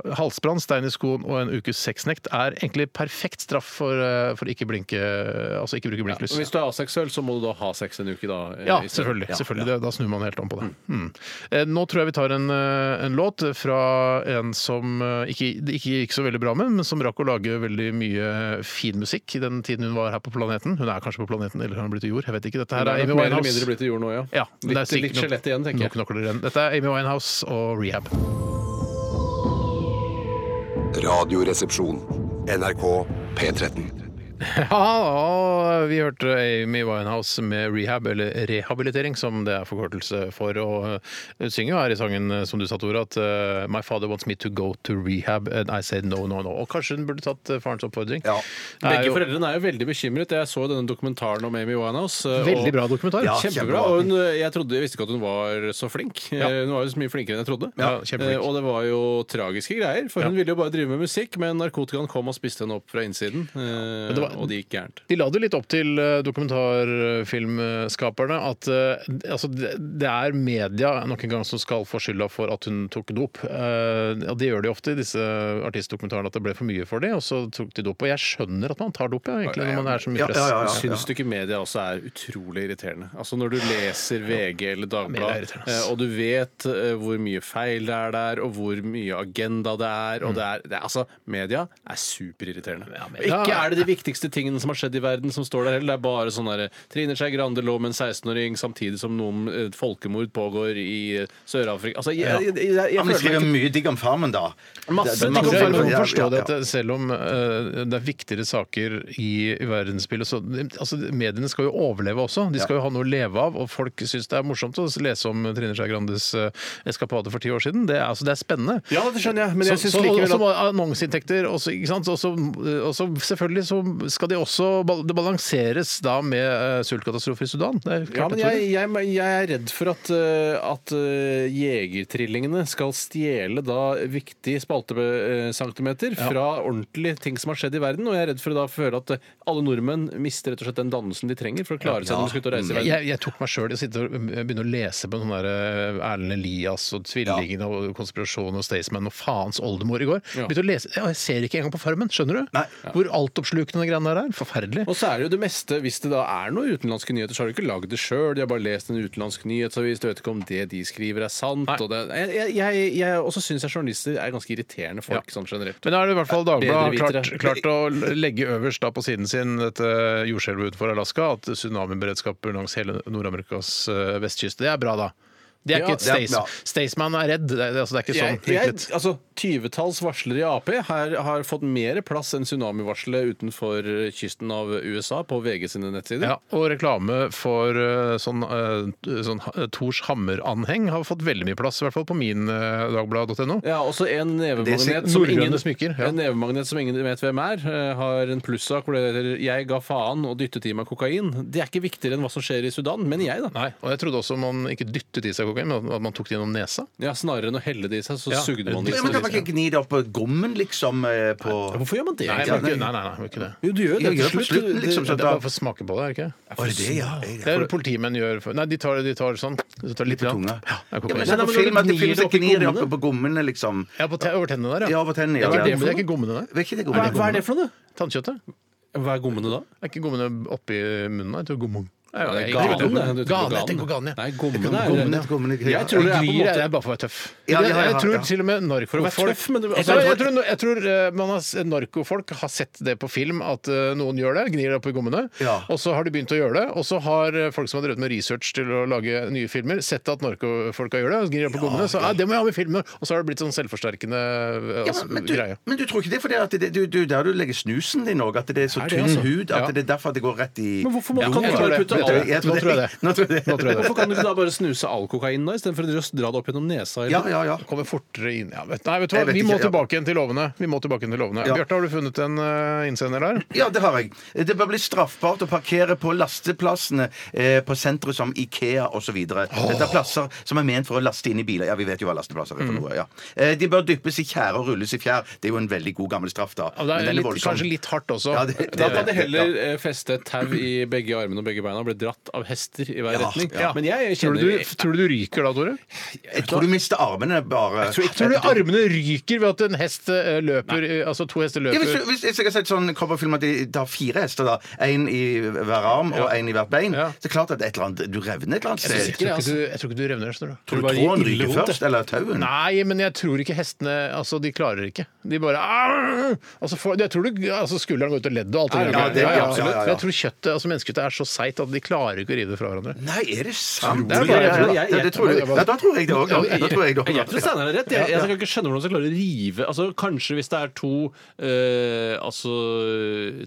Speaker 5: Eh, halsbrann, stein i skoen og en ukes sexnekt er egentlig perfekt straff for, eh, for ikke blinke Altså ikke bruke
Speaker 6: Ja,
Speaker 5: blinklys.
Speaker 6: og hvis du er aseksuell, så må du da ha sex en uke, da. eh,
Speaker 5: Ja,
Speaker 6: i stedet.
Speaker 5: selvfølgelig.
Speaker 6: Ja.
Speaker 5: selvfølgelig. Det, da snur man helt om på det. Mm. Eh, Nå tror jeg vi tar en, eh, en låt fra en som eh, ikke, det ikke gikk så veldig bra med, men som rakk å lage veldig mye eh, fin musikk i den tiden hun var her på planeten. Hun er kanskje på planeten, eller har hun blitt til jord? Jeg vet ikke. Dette her
Speaker 6: Det
Speaker 5: er
Speaker 6: er nok
Speaker 5: Amy
Speaker 6: mer eller
Speaker 5: Winehouse.
Speaker 6: mindre blitt til jord nå, ja.
Speaker 5: Ja, men det er
Speaker 6: litt
Speaker 5: sikkert
Speaker 6: litt
Speaker 5: nok-
Speaker 6: skjelett igjen, tenker
Speaker 5: Nå
Speaker 6: jeg.
Speaker 5: knokler det igjen. Dette er Amy Winehouse og Rehab.
Speaker 2: Radioresepsjon. NRK P13.
Speaker 5: Ja, og vi hørte Amy Winehouse med rehab, eller rehabilitering, som det er forkortelse for. Og eh, hun synger jo her i sangen, eh, som du sa, Tore, at eh, My father wants me to go to rehab, and I say no, no, no. Og kanskje hun burde tatt eh, farens oppfordring.
Speaker 7: Ja.
Speaker 5: Det er
Speaker 6: Begge
Speaker 5: jo
Speaker 6: foreldrene er jo veldig bekymret. Jeg så denne dokumentaren om Amy Winehouse. eh, og-
Speaker 5: veldig bra dokumentar.
Speaker 7: Ja.
Speaker 6: Kjempebra.
Speaker 7: kjempebra.
Speaker 6: Og hun, eh, jeg, trodde, jeg visste ikke at hun var så flink. Eh, Hun var jo så mye flinkere enn jeg trodde.
Speaker 5: Ja, kjempeflink.
Speaker 6: Eh, og det var jo tragiske greier, for hun ville jo bare drive med musikk, men narkotikaen kom og spiste henne opp fra innsiden, eh,
Speaker 5: det var-
Speaker 6: og det gikk gærent.
Speaker 5: De la det litt opp til eh, dokumentarfilmskaperne at eh, d- altså, det det er media nok en gang som skal få skylda for at hun tok dop. Eh, Ja, det gjør de ofte i disse artistdokumentarene, at det ble for mye for dem, og så tok de dop. Og jeg skjønner at man tar dop, ja, egentlig, når man er så mye
Speaker 7: Ja,
Speaker 5: press.
Speaker 7: ja, ja, ja.
Speaker 6: Syns du ikke media også er utrolig irriterende? Altså Når du leser VG eller
Speaker 5: media er
Speaker 6: Dagbladet,
Speaker 5: irriterende, ass.
Speaker 6: eh, og du vet eh, hvor mye feil det er der, og hvor mye agenda det er, og det er, det er Altså, Mm. media er superirriterende.
Speaker 5: media-
Speaker 6: Ikke er det det viktigste viktigste tingene som har skjedd i verden, som står der heller. Det er bare sånn derre Trine Skei Grande lå med en 16-åring samtidig som noen eh, folkemord pågår i eh, Sør-Afrika. Altså, jeg, jeg, jeg, jeg,
Speaker 7: Ja, men de
Speaker 6: føler
Speaker 7: skriver
Speaker 6: meg
Speaker 7: mye digg om Farmen, da.
Speaker 6: Masse
Speaker 7: Det-
Speaker 6: digg om
Speaker 7: det er
Speaker 5: Jeg
Speaker 6: Farmen.
Speaker 5: kan
Speaker 7: Ja, ja,
Speaker 5: forstå
Speaker 7: ja.
Speaker 5: det at det- selv om eh, det er viktigere saker i, i verdensbildet så, altså, Mediene skal jo overleve også. De skal jo ha noe å leve av. Og folk syns det er morsomt å lese om Trine Skei Grandes eh, eskapade for ti år siden. Det er, altså, det er spennende.
Speaker 6: Ja, det skjønner jeg, men jeg
Speaker 5: Så-
Speaker 6: synes
Speaker 5: så-
Speaker 6: likevel
Speaker 5: også må annonseinntekter også, ikke sant? Også, også, Selvfølgelig så skal de også bal- Det balanseres da med eh, sultkatastrofe i Sudan. Det er klart
Speaker 6: Ja, men
Speaker 5: det tror
Speaker 6: jeg, jeg, jeg er redd for at, eh, at eh, jegertrillingene skal stjele da viktig spaltecentimeter fra ordentlige ting som har skjedd i verden, og jeg er redd for å da føle at eh, alle nordmenn mister rett og slett den dannelsen de trenger for å klare seg når de skal ut og reise i verden.
Speaker 5: Jeg, jeg tok meg sjøl i å sitte og eh, begynne å lese på sånn der eh, Erlend Elias og Tvillingene og Konspirasjon og Staysman og faens oldemor i går.
Speaker 6: Ja.
Speaker 5: Begynte å lese, ja, Jeg ser ikke engang på Farmen, skjønner du? Hvor altoppslukende de greiene der er. Forferdelig.
Speaker 6: Og så er det jo det meste, hvis det da er noen utenlandske nyheter, så har de ikke lagd det sjøl, de har bare lest en utenlandsk nyhetsavis, du vet ikke om det de skriver er sant. Og det, jeg, jeg, jeg også syns jeg journalister er ganske irriterende folk sånn generelt.
Speaker 5: Men da er det i hvert fall Dagbladet har klart,
Speaker 6: Bedrevitere.
Speaker 5: klart å legge øverst da på siden sin dette jordskjelvet utenfor Alaska, at tsunamiberedskapen langs hele Nord-Amerikas eh, vestkyst. Det er bra, da. Det er ikke
Speaker 6: Ja,
Speaker 5: et
Speaker 7: det er
Speaker 5: Stays,
Speaker 7: bra.
Speaker 5: Staysman er redd. Det er, altså, det er ikke sånn.
Speaker 6: Jeg, jeg,
Speaker 5: vinklet.
Speaker 6: altså, 20-talls varslere i Ap har, har fått mer plass enn tsunamivarselet utenfor eh, kysten av USA på VG sine nettsider.
Speaker 5: Ja, og reklame for eh, sånn, eh, sånn ha- Thors Hammer-anheng har fått veldig mye plass, i hvert fall på min eh, dagblad.no.
Speaker 6: Ja, også en
Speaker 5: Det er
Speaker 6: nevemagnet
Speaker 5: sikkert
Speaker 6: som,
Speaker 5: norrøne
Speaker 6: ingen,
Speaker 5: smykker, ja.
Speaker 6: en nevemagnet som ingen vet hvem er, eh, har en plussak hvor det heter 'Jeg ga faen og dyttet i meg kokain'. Det er ikke viktigere enn hva som skjer i Sudan, mener jeg, da.
Speaker 5: Nei, og jeg trodde også man ikke dyttet i seg kokain, men at man tok det gjennom nesa.
Speaker 6: Ja, snarere enn å helle det i seg, så
Speaker 5: Ja.
Speaker 6: sugde man det
Speaker 7: Ja,
Speaker 6: i
Speaker 7: men kan
Speaker 6: seg.
Speaker 7: man ikke gni det opp på gommen, liksom? eh,
Speaker 6: Ja,
Speaker 7: På
Speaker 6: Hvorfor gjør man det?
Speaker 5: Nei,
Speaker 6: egentlig?
Speaker 5: man ikke, nei, nei, nei, man ikke det.
Speaker 6: Jo, du gjør jo
Speaker 7: Jeg
Speaker 6: det
Speaker 7: gjør det
Speaker 6: til
Speaker 7: på
Speaker 6: slutt.
Speaker 7: slutten,
Speaker 6: Det-
Speaker 7: liksom.
Speaker 5: Det
Speaker 7: Så
Speaker 5: er bare
Speaker 7: da,
Speaker 5: for å smake på det, er det ikke?
Speaker 7: Å, det er det, ja. Jeg-
Speaker 5: Det er politimenn gjør for- Nei, de tar, de tar sånn. De tar litt
Speaker 7: Litt på
Speaker 5: grann.
Speaker 7: tunga.
Speaker 5: Ja, det er
Speaker 7: Ja,
Speaker 5: kokain.
Speaker 6: Ja,
Speaker 7: men se
Speaker 6: men
Speaker 7: på
Speaker 6: når
Speaker 7: film at
Speaker 6: du
Speaker 7: i
Speaker 6: gnir
Speaker 7: film
Speaker 6: det
Speaker 7: så
Speaker 6: opp i
Speaker 7: gnir de
Speaker 6: gommene.
Speaker 7: opp på gommene, liksom.
Speaker 5: ja, på te over tennene der,
Speaker 7: Ja,
Speaker 5: ja.
Speaker 7: over tennene.
Speaker 5: Ja,
Speaker 7: Ja,
Speaker 5: hva er det
Speaker 7: ja.
Speaker 5: for noe? Det er ikke gommene der.
Speaker 7: Vet ikke det
Speaker 6: Hva er, hva er
Speaker 7: gommene.
Speaker 6: det for noe?
Speaker 5: Tannkjøttet.
Speaker 6: Hva er gommene da?
Speaker 5: Er ikke gommene oppi munnen? da? Jeg tror gommene.
Speaker 6: Ja, det er
Speaker 5: Jeg-
Speaker 6: ganen,
Speaker 5: jeg-
Speaker 6: det. Du tenker
Speaker 5: Ganen,
Speaker 6: på
Speaker 5: jeg
Speaker 6: ganen.
Speaker 5: tenker på ganen, ja.
Speaker 6: Nei, gommene er
Speaker 7: Gommene, gommene, ja.
Speaker 6: Jeg tror det er på en
Speaker 5: Glir er
Speaker 6: måte-
Speaker 5: det bare for å være tøff.
Speaker 7: Ja, ja, ja, ja.
Speaker 5: Jeg tror til og med narkofolk
Speaker 6: For å være tøff, men du-
Speaker 7: altså,
Speaker 5: jeg, tror- jeg, tror, jeg tror eh, man har, s- narkofolk har sett det på film, at eh, noen gjør det, gnir det opp i gommene,
Speaker 7: Ja.
Speaker 5: og så har de begynt å gjøre det. Og så har eh, folk som har drevet med research til å lage nye filmer, sett at narkofolka gjør det, og gnir det opp i gommene. Så «Ah, det må jeg ha med i filmen! Og så har det blitt sånn selvforsterkende eh,
Speaker 7: Ja,
Speaker 5: altså,
Speaker 7: men, du,
Speaker 5: greie.
Speaker 7: men du tror ikke det er fordi at det, du, du, der du legger snusen din òg, at det er så
Speaker 6: Er det,
Speaker 7: tynn
Speaker 6: altså?
Speaker 7: hud at
Speaker 5: Ja.
Speaker 7: det er derfor at det går rett i
Speaker 6: Men hvorfor må
Speaker 5: Ja,
Speaker 6: kan du
Speaker 5: jeg
Speaker 6: ikke
Speaker 5: tror
Speaker 6: bare
Speaker 5: det.
Speaker 6: putte
Speaker 5: Jeg tror
Speaker 6: all
Speaker 5: det. Nå tror jeg det.
Speaker 7: Nå tror jeg det.
Speaker 5: Nå tror jeg det.
Speaker 6: Hvorfor kan du ikke da bare snuse all kokain da, istedenfor å dra det opp gjennom nesa?
Speaker 7: Ja, ja, ja.
Speaker 5: Kommer fortere inn ja, vet, Nei, vet du hva,
Speaker 7: Jeg vet
Speaker 5: vi må
Speaker 7: ikke, ja.
Speaker 5: tilbake igjen til lovene. Vi må tilbake igjen til lovene.
Speaker 7: Ja.
Speaker 5: Bjarte, har du funnet en eh, innsender der?
Speaker 7: Ja, det har jeg. Det bør bli straffbart å parkere på lasteplassene eh, på sentre som Ikea osv. Dette er plasser som er ment for å laste inn i biler. Ja, vi vet jo hva lasteplasser er for
Speaker 5: Mm.
Speaker 7: noe. ja. Eh, de bør dyppes i tjære og rulles i fjær. Det er jo en veldig god gammel straff, da.
Speaker 5: Ja, det
Speaker 7: Men
Speaker 5: er
Speaker 7: den
Speaker 5: litt,
Speaker 7: voldsom.
Speaker 5: kanskje litt hardt også.
Speaker 7: Ja, det- det-
Speaker 6: Da kan det
Speaker 7: det-
Speaker 6: heller
Speaker 7: ja.
Speaker 6: eh, feste et tau i begge armene og begge beina og bli dratt av hester i hver
Speaker 7: Ja,
Speaker 6: retning.
Speaker 7: ja.
Speaker 6: Men jeg
Speaker 5: Tror
Speaker 6: kjenner
Speaker 5: du, du, tror du du ryker da, Tore?
Speaker 7: Jeg tror du mister armene bare.
Speaker 5: Tror du armene ryker ved at en hest eh, løper eh, Altså to hester
Speaker 7: Ja, hvis,
Speaker 5: løper
Speaker 7: du- hvis, hvis jeg har sett sånn cowboyfilm at de tar fire hester, da. Én i hver arm og én i hvert bein.
Speaker 5: Ja.
Speaker 7: Så er det klart at et eller annet, du revner et eller annet
Speaker 5: jeg,
Speaker 7: sted.
Speaker 5: tror ikke du, jeg tror ikke du revner. Esther, da.
Speaker 7: Tror du
Speaker 6: bare gir
Speaker 7: tråden
Speaker 6: ille
Speaker 7: ryker
Speaker 6: vondt,
Speaker 7: først, eller tauen?
Speaker 5: Nei, men jeg tror ikke hestene Altså, de klarer ikke. De bare «Arr!» altså, får- Jeg tror du, altså, skulderen går ut og leddet og alt det
Speaker 7: Ja,
Speaker 5: greiene.
Speaker 7: det-
Speaker 5: Ja, ja,
Speaker 7: ja,
Speaker 5: absolutt.
Speaker 7: ja, ja.
Speaker 5: Men Jeg tror kjøttet, altså menneskekjøttet er så seigt at de klarer ikke å rive det fra hverandre.
Speaker 7: Nei, er det sant?
Speaker 5: Det er bare-
Speaker 7: Ja, ja, ja.
Speaker 6: jeg- jeg-
Speaker 7: Ja, det tror jeg. Ja, da tror jeg det òg. Da tror jeg det
Speaker 6: Jeg tror
Speaker 7: også.
Speaker 6: Steinar har rett. Jeg, jeg kan ikke skjønne hvordan de klarer å rive altså, Kanskje hvis det er to eh, altså,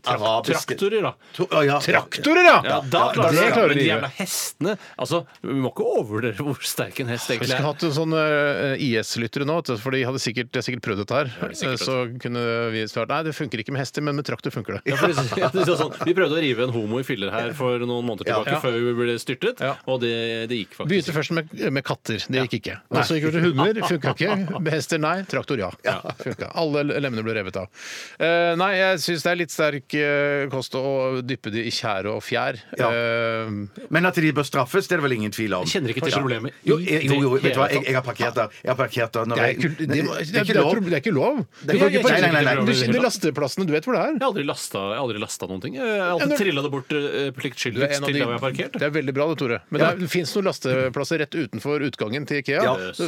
Speaker 6: trak
Speaker 7: Arabiske-
Speaker 6: traktorer, da.
Speaker 7: To- å, ja.
Speaker 5: Traktorer, ja!
Speaker 6: Ja, da
Speaker 5: det
Speaker 6: klarer de det.
Speaker 5: klarer
Speaker 6: Men
Speaker 5: de
Speaker 6: de
Speaker 5: det.
Speaker 6: jævla hestene altså, Vi må ikke overvurdere hvor sterk en hest
Speaker 5: Vi
Speaker 6: egentlig
Speaker 5: skulle
Speaker 6: er.
Speaker 5: hatt en sånn eh, IS-lyttere nå, vet du, for de hadde sikkert, de har sikkert prøvd dette her.
Speaker 6: sikkert
Speaker 5: Eh, så kunne vi svart nei, det funker ikke med hester, men med traktor funker det.
Speaker 6: Ja, for det- ja, det er sånn, vi prøvde å rive en homo i filler her for noen måneder tilbake
Speaker 5: Ja.
Speaker 6: før vi ble styrtet,
Speaker 5: Ja.
Speaker 6: og det, det gikk faktisk.
Speaker 5: Begynte først med, med katter. Det gikk ikke. Og så gikk vi til hunder. Funka ikke. Med hester, nei. Traktor, ja. Funka. Alle lemmene ble revet av. Eh, nei, jeg syns det er litt sterk eh, kost å dyppe de i tjære og fjær.
Speaker 7: Ja.
Speaker 5: Eh,
Speaker 7: Men at de bør straffes, det er det vel ingen tvil om.
Speaker 6: Jeg kjenner ikke til problemet. i
Speaker 7: Jo, jeg- jo, jo,
Speaker 6: det
Speaker 7: vet du hva,
Speaker 6: hele
Speaker 7: jeg, jeg har parkert der. Jeg har parkert der når
Speaker 5: det, er
Speaker 7: jeg-
Speaker 5: ikke, det, det,
Speaker 7: Nei,
Speaker 5: det, er ikke lov. det er ikke lov. Du kan ikke
Speaker 7: Nei, nei, nei, nei.
Speaker 5: parkere- Du- De lasteplassene, du vet hvor det er?
Speaker 6: Jeg har aldri lasta, jeg har aldri lasta noen ting. Jeg har
Speaker 5: Ja,
Speaker 6: alltid
Speaker 5: når-
Speaker 6: trilla det bort
Speaker 5: Du
Speaker 6: uh,
Speaker 5: er en
Speaker 6: pliktskyldigst
Speaker 5: av de
Speaker 6: til
Speaker 8: bilen der hvor jeg har parkert.
Speaker 5: Det er veldig bra det, Tore. Men det fins noen lasteplasser rett utenfor utgangen til Ikea.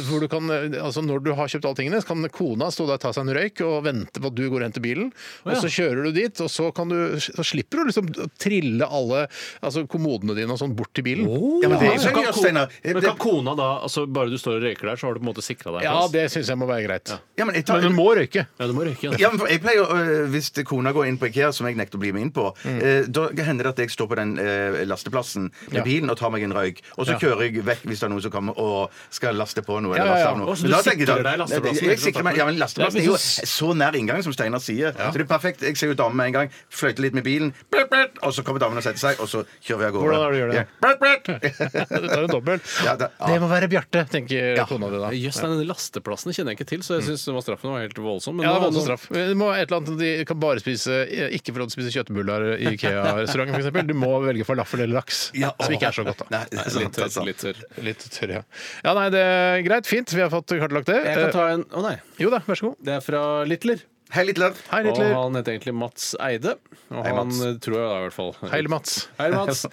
Speaker 5: Hvor du kan, altså Når du har kjøpt alle tingene, så kan kona stå der, ta seg en røyk og vente på at du går og henter bilen. Og så kjører du dit, og så, kan du, så slipper du liksom å trille alle altså kommodene dine og sånn bort til bilen.
Speaker 7: Ja, men det
Speaker 8: Men
Speaker 7: er jo
Speaker 8: kan
Speaker 7: seriøst,
Speaker 8: ko-
Speaker 7: Steinar.
Speaker 8: Men kan kona da altså Bare du står og røyker der, så har du på en måte sikra deg en
Speaker 5: Ja,
Speaker 8: plass?
Speaker 5: det syns jeg må være greit.
Speaker 7: Ja, men jeg tar-
Speaker 5: Men du må røyke.
Speaker 8: Ja, du må røyke. Ja.
Speaker 7: Ja, men for jeg pleier, å- øh, Hvis kona går inn på Ikea, som jeg nekter å bli med inn på,
Speaker 5: Mm.
Speaker 7: eh, da hender det at jeg står på den eh, lasteplassen med
Speaker 5: Ja.
Speaker 7: bilen og tar meg en røyk. Og så
Speaker 5: Ja.
Speaker 7: kjører jeg vekk hvis det er noen som kommer og skal laste på noe.
Speaker 5: Ja,
Speaker 7: eller
Speaker 5: ja,
Speaker 7: laste
Speaker 5: ja.
Speaker 7: av noe.
Speaker 8: Å, så
Speaker 7: Men
Speaker 8: du
Speaker 7: da tenker jeg da-
Speaker 8: sikrer deg lasteplassen,
Speaker 7: Jeg,
Speaker 8: ikke
Speaker 7: jeg
Speaker 8: sant?
Speaker 5: liksom.
Speaker 7: sikrer meg, ja, men Lasteplassen
Speaker 8: Ja,
Speaker 7: er
Speaker 8: men
Speaker 7: jo
Speaker 8: så-
Speaker 7: så nær inngangen, som Steinar sier. Så det er perfekt. Jeg ser jo damen med en gang, fløyter litt med bilen, blert, blert, og så kommer damen og setter seg, og så kjører vi av gårde.
Speaker 5: Hvordan er det du gjør det?
Speaker 7: Ja, blert,
Speaker 5: Du tar en dobbel.
Speaker 7: Ja, det- ja.
Speaker 5: Det må være Bjarte, tenker kona di da.
Speaker 6: Jøss, nei, den lasteplassen kjenner jeg ikke til, så jeg syns straffen var helt voldsom. Men
Speaker 5: Mm. Ja, det er
Speaker 6: nå-
Speaker 5: voldsom straff. Men Det må være et eller annet De kan bare spise ikke få lov til å spise kjøttbuller i Ikea-restauranten, f.eks. Du må velge falafel eller laks,
Speaker 7: Ja,
Speaker 5: som
Speaker 7: å.
Speaker 5: ikke er så godt. da
Speaker 7: Nei, det er sant,
Speaker 6: Litt
Speaker 7: altså.
Speaker 6: tørr. Litt tørr.
Speaker 5: Litt tørr, ja. Ja, nei, det er greit. Fint. Vi har fått kartlagt det.
Speaker 6: Jeg kan ta en Å nei.
Speaker 5: Eh, Jo da, vær så god.
Speaker 6: Det er fra Littler.
Speaker 7: Hei, Littler.
Speaker 5: Hei,
Speaker 6: Og
Speaker 5: Hitler.
Speaker 6: han heter egentlig Mats Eide. Og
Speaker 7: Hei,
Speaker 6: han
Speaker 7: Mats.
Speaker 6: eh, tror jeg da, i hvert fall.
Speaker 5: Hei, Mats.
Speaker 6: Hei, Mats.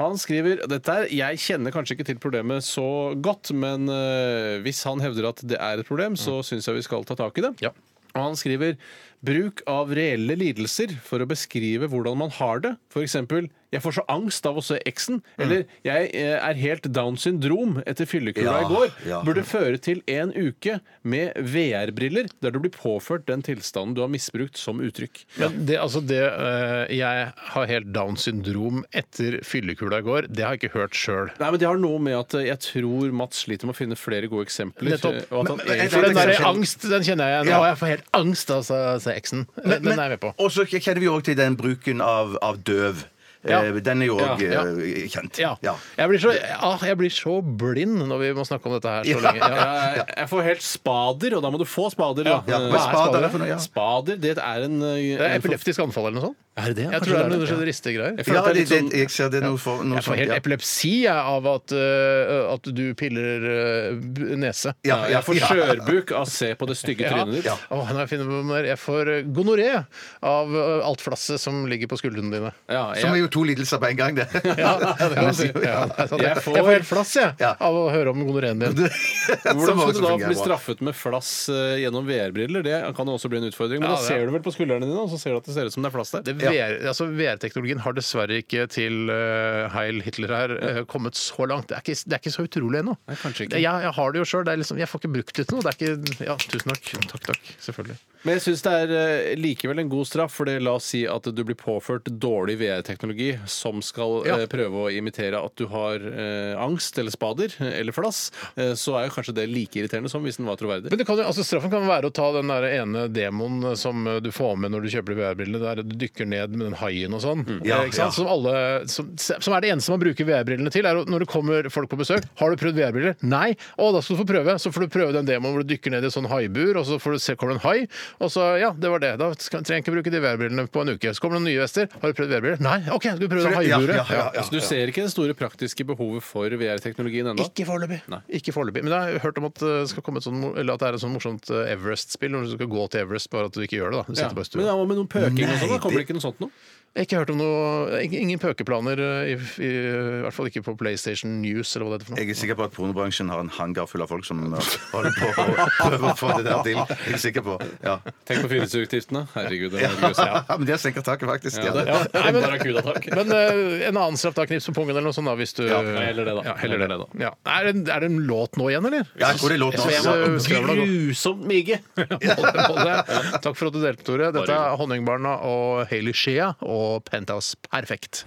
Speaker 6: Han skriver dette er, Jeg kjenner kanskje ikke til problemet så godt, men eh, hvis han hevder at det er et problem, så
Speaker 7: Mm.
Speaker 6: syns jeg vi skal ta tak i det.
Speaker 5: Ja.
Speaker 6: Og han skriver bruk av reelle lidelser for å beskrive hvordan man har det. F.eks.: Jeg får så angst av å se eksen.
Speaker 7: Mm.
Speaker 6: Eller jeg eh, er helt down syndrom etter fyllekula
Speaker 7: Ja,
Speaker 6: i går.
Speaker 7: ja.
Speaker 6: Burde føre til en uke med VR-briller der du blir påført den tilstanden du har misbrukt som uttrykk.
Speaker 5: Men det, altså det eh, Jeg har helt Downs syndrom etter fyllekula i går. Det har jeg ikke hørt sjøl.
Speaker 6: Nei, men Det har noe med at eh, jeg tror Mats sliter med å finne flere gode eksempler.
Speaker 5: Nettopp.
Speaker 6: Og at han
Speaker 7: Men- men-
Speaker 6: egentlig...
Speaker 5: For den
Speaker 7: Det er
Speaker 5: der
Speaker 7: ikke så
Speaker 5: angst, den kjenner jeg igjen.
Speaker 7: Ja.
Speaker 5: Nå har jeg får helt angst av å se eksen. Den
Speaker 7: Men-
Speaker 5: den er jeg med på.
Speaker 7: Og så kjenner vi jo òg til den bruken av, av døv.
Speaker 5: Ja.
Speaker 7: Eh, Den er jo òg
Speaker 5: Ja, ja.
Speaker 7: kjent.
Speaker 5: Ja.
Speaker 7: Ja.
Speaker 5: Jeg, blir så, ah, jeg blir så blind når vi må snakke om dette her så
Speaker 7: Ja.
Speaker 5: lenge. Ja.
Speaker 6: Jeg, jeg får helt spader, og da må du få spader. Da.
Speaker 7: Ja,
Speaker 6: Eh,
Speaker 7: Hva er
Speaker 5: spader?
Speaker 7: spader for noe? Ja.
Speaker 6: Spader, det er en eh,
Speaker 5: Det er
Speaker 6: en for-
Speaker 5: epileptisk anfall eller noe sånt.
Speaker 6: Er det det?
Speaker 5: Jeg tror det er noe sånn ristegreier.
Speaker 6: føler
Speaker 7: Ja,
Speaker 6: at det er
Speaker 7: det,
Speaker 6: litt
Speaker 7: det,
Speaker 6: sånn-
Speaker 7: jeg ser det noe for noe
Speaker 5: Jeg får
Speaker 7: sånt,
Speaker 5: helt
Speaker 7: ja.
Speaker 5: epilepsi jeg, av at, øh, at du piller øh, b- nese.
Speaker 7: Ja,
Speaker 6: Ja,
Speaker 7: ja,
Speaker 6: jeg får
Speaker 7: ja.
Speaker 6: skjørbuk av å se på det stygge trynet ditt.
Speaker 5: Ja. Åh, nå har jeg, funnet på mer. jeg får øh, gonoré av øh, alt flasset som ligger på skuldrene dine.
Speaker 6: Ja,
Speaker 7: Som er
Speaker 6: jeg,
Speaker 7: jo to lidelser på en gang, det.
Speaker 5: det kan du si. Ja, det er sant. jeg,
Speaker 6: Jeg får-
Speaker 5: jeg får helt flass jeg,
Speaker 7: Ja.
Speaker 5: av å høre om gonoréen din.
Speaker 6: hvordan skal du da
Speaker 7: også sånn fungerer
Speaker 6: bli
Speaker 7: bra.
Speaker 6: straffet med flass eh, gjennom VR-briller? Det kan jo også bli en utfordring. Men
Speaker 5: Ja,
Speaker 6: da
Speaker 5: det er-
Speaker 6: ser du vel på skuldrene dine, og så ser du at det ser ut som det er flass der.
Speaker 5: Det VR, altså VR-teknologien har dessverre ikke til øh, Heil Hitler her øh, kommet så langt. Det er ikke, det er ikke så utrolig ennå.
Speaker 6: Nei, kanskje ikke.
Speaker 5: Det- Jeg, jeg har det jo sjøl. Liksom, jeg får ikke brukt det til noe. Det er ikke, ja, tusen takk. Takk, takk. Selvfølgelig.
Speaker 6: Men jeg syns det er eh, likevel en god straff, for det la oss si at du blir påført dårlig VR-teknologi som skal
Speaker 5: Ja.
Speaker 6: eh, prøve å imitere at du har eh, angst eller spader eh, eller flass, eh, så er jo kanskje det like irriterende som hvis den var troverdig.
Speaker 5: Men det kan, jo- altså Straffen kan være å ta den der ene demonen som eh, du får med når du kjøper de VR-brillene, der du dykker ned med den haien og sånn.
Speaker 7: Mm. Ja,
Speaker 5: Eh, ikke sant?
Speaker 7: ja.
Speaker 5: Som, alle, som, som er det eneste man bruker VR-brillene til. er å- Når det kommer folk på besøk, har du prøvd VR-briller? Nei! Å, da skal du få prøve. Så får du prøve den demonen hvor du dykker ned i et sånn haibur, og så får du se, kommer det en hai. Og så, ja, det var det. Da skal, trenger jeg ikke bruke de VR-brillene på en uke. Så kommer det noen nye vester. Har du prøvd VR-briller? Nei! OK, skal vi prøve
Speaker 7: Så det- ja,
Speaker 5: haiburet?
Speaker 7: ja, ja, ja.
Speaker 6: Så du ser ikke det store praktiske behovet for VR-teknologien ennå?
Speaker 5: Ikke foreløpig. Ikke foreløpig. Men jeg har hørt om at det, skal komme et sånn, eller at det er et sånn morsomt eh, Everest-spill når du skal gå til Everest, bare at du ikke gjør det. da. Du
Speaker 6: Ja.
Speaker 5: sitter bare i
Speaker 6: Men
Speaker 5: stua.
Speaker 6: hva med noen pøking og sånn? da?
Speaker 7: Nei,
Speaker 6: Kommer det
Speaker 7: det-
Speaker 6: ikke noe sånt noe?
Speaker 5: Jeg har Ikke hørt om noe, ing- ingen pøkeplaner, eh, i, i, i hvert fall ikke på PlayStation News eller hva det heter for noe.
Speaker 7: Jeg er sikker på at pornobransjen har en hangar full av folk som uh, holder på å prøve å få det der til. Jeg er sikker på. Ja.
Speaker 6: Tenk på fyllesugeutgiftene. Herregud, det
Speaker 7: Ja.
Speaker 6: er grusomt.
Speaker 7: Men det senker taket, faktisk. Ja,
Speaker 6: det-
Speaker 7: det.
Speaker 5: Nei, men-
Speaker 6: Barracuda-tak.
Speaker 5: Men eh, en annen straff da, knips på pungen eller noe sånt da, hvis du
Speaker 6: Ja, heller det da.
Speaker 5: Ja, heller det. Ja. Er, det, er det en låt nå igjen, eller?
Speaker 7: Ja, jeg tror det låter
Speaker 5: Så jeg
Speaker 7: også.
Speaker 5: må- Skravla går.
Speaker 6: eh, Grusomt mye!
Speaker 5: Hold det, hold det. Takk for at du delte, Tore. Dette er Honningbarna og Hailey Shea og Penthouse Perfekt.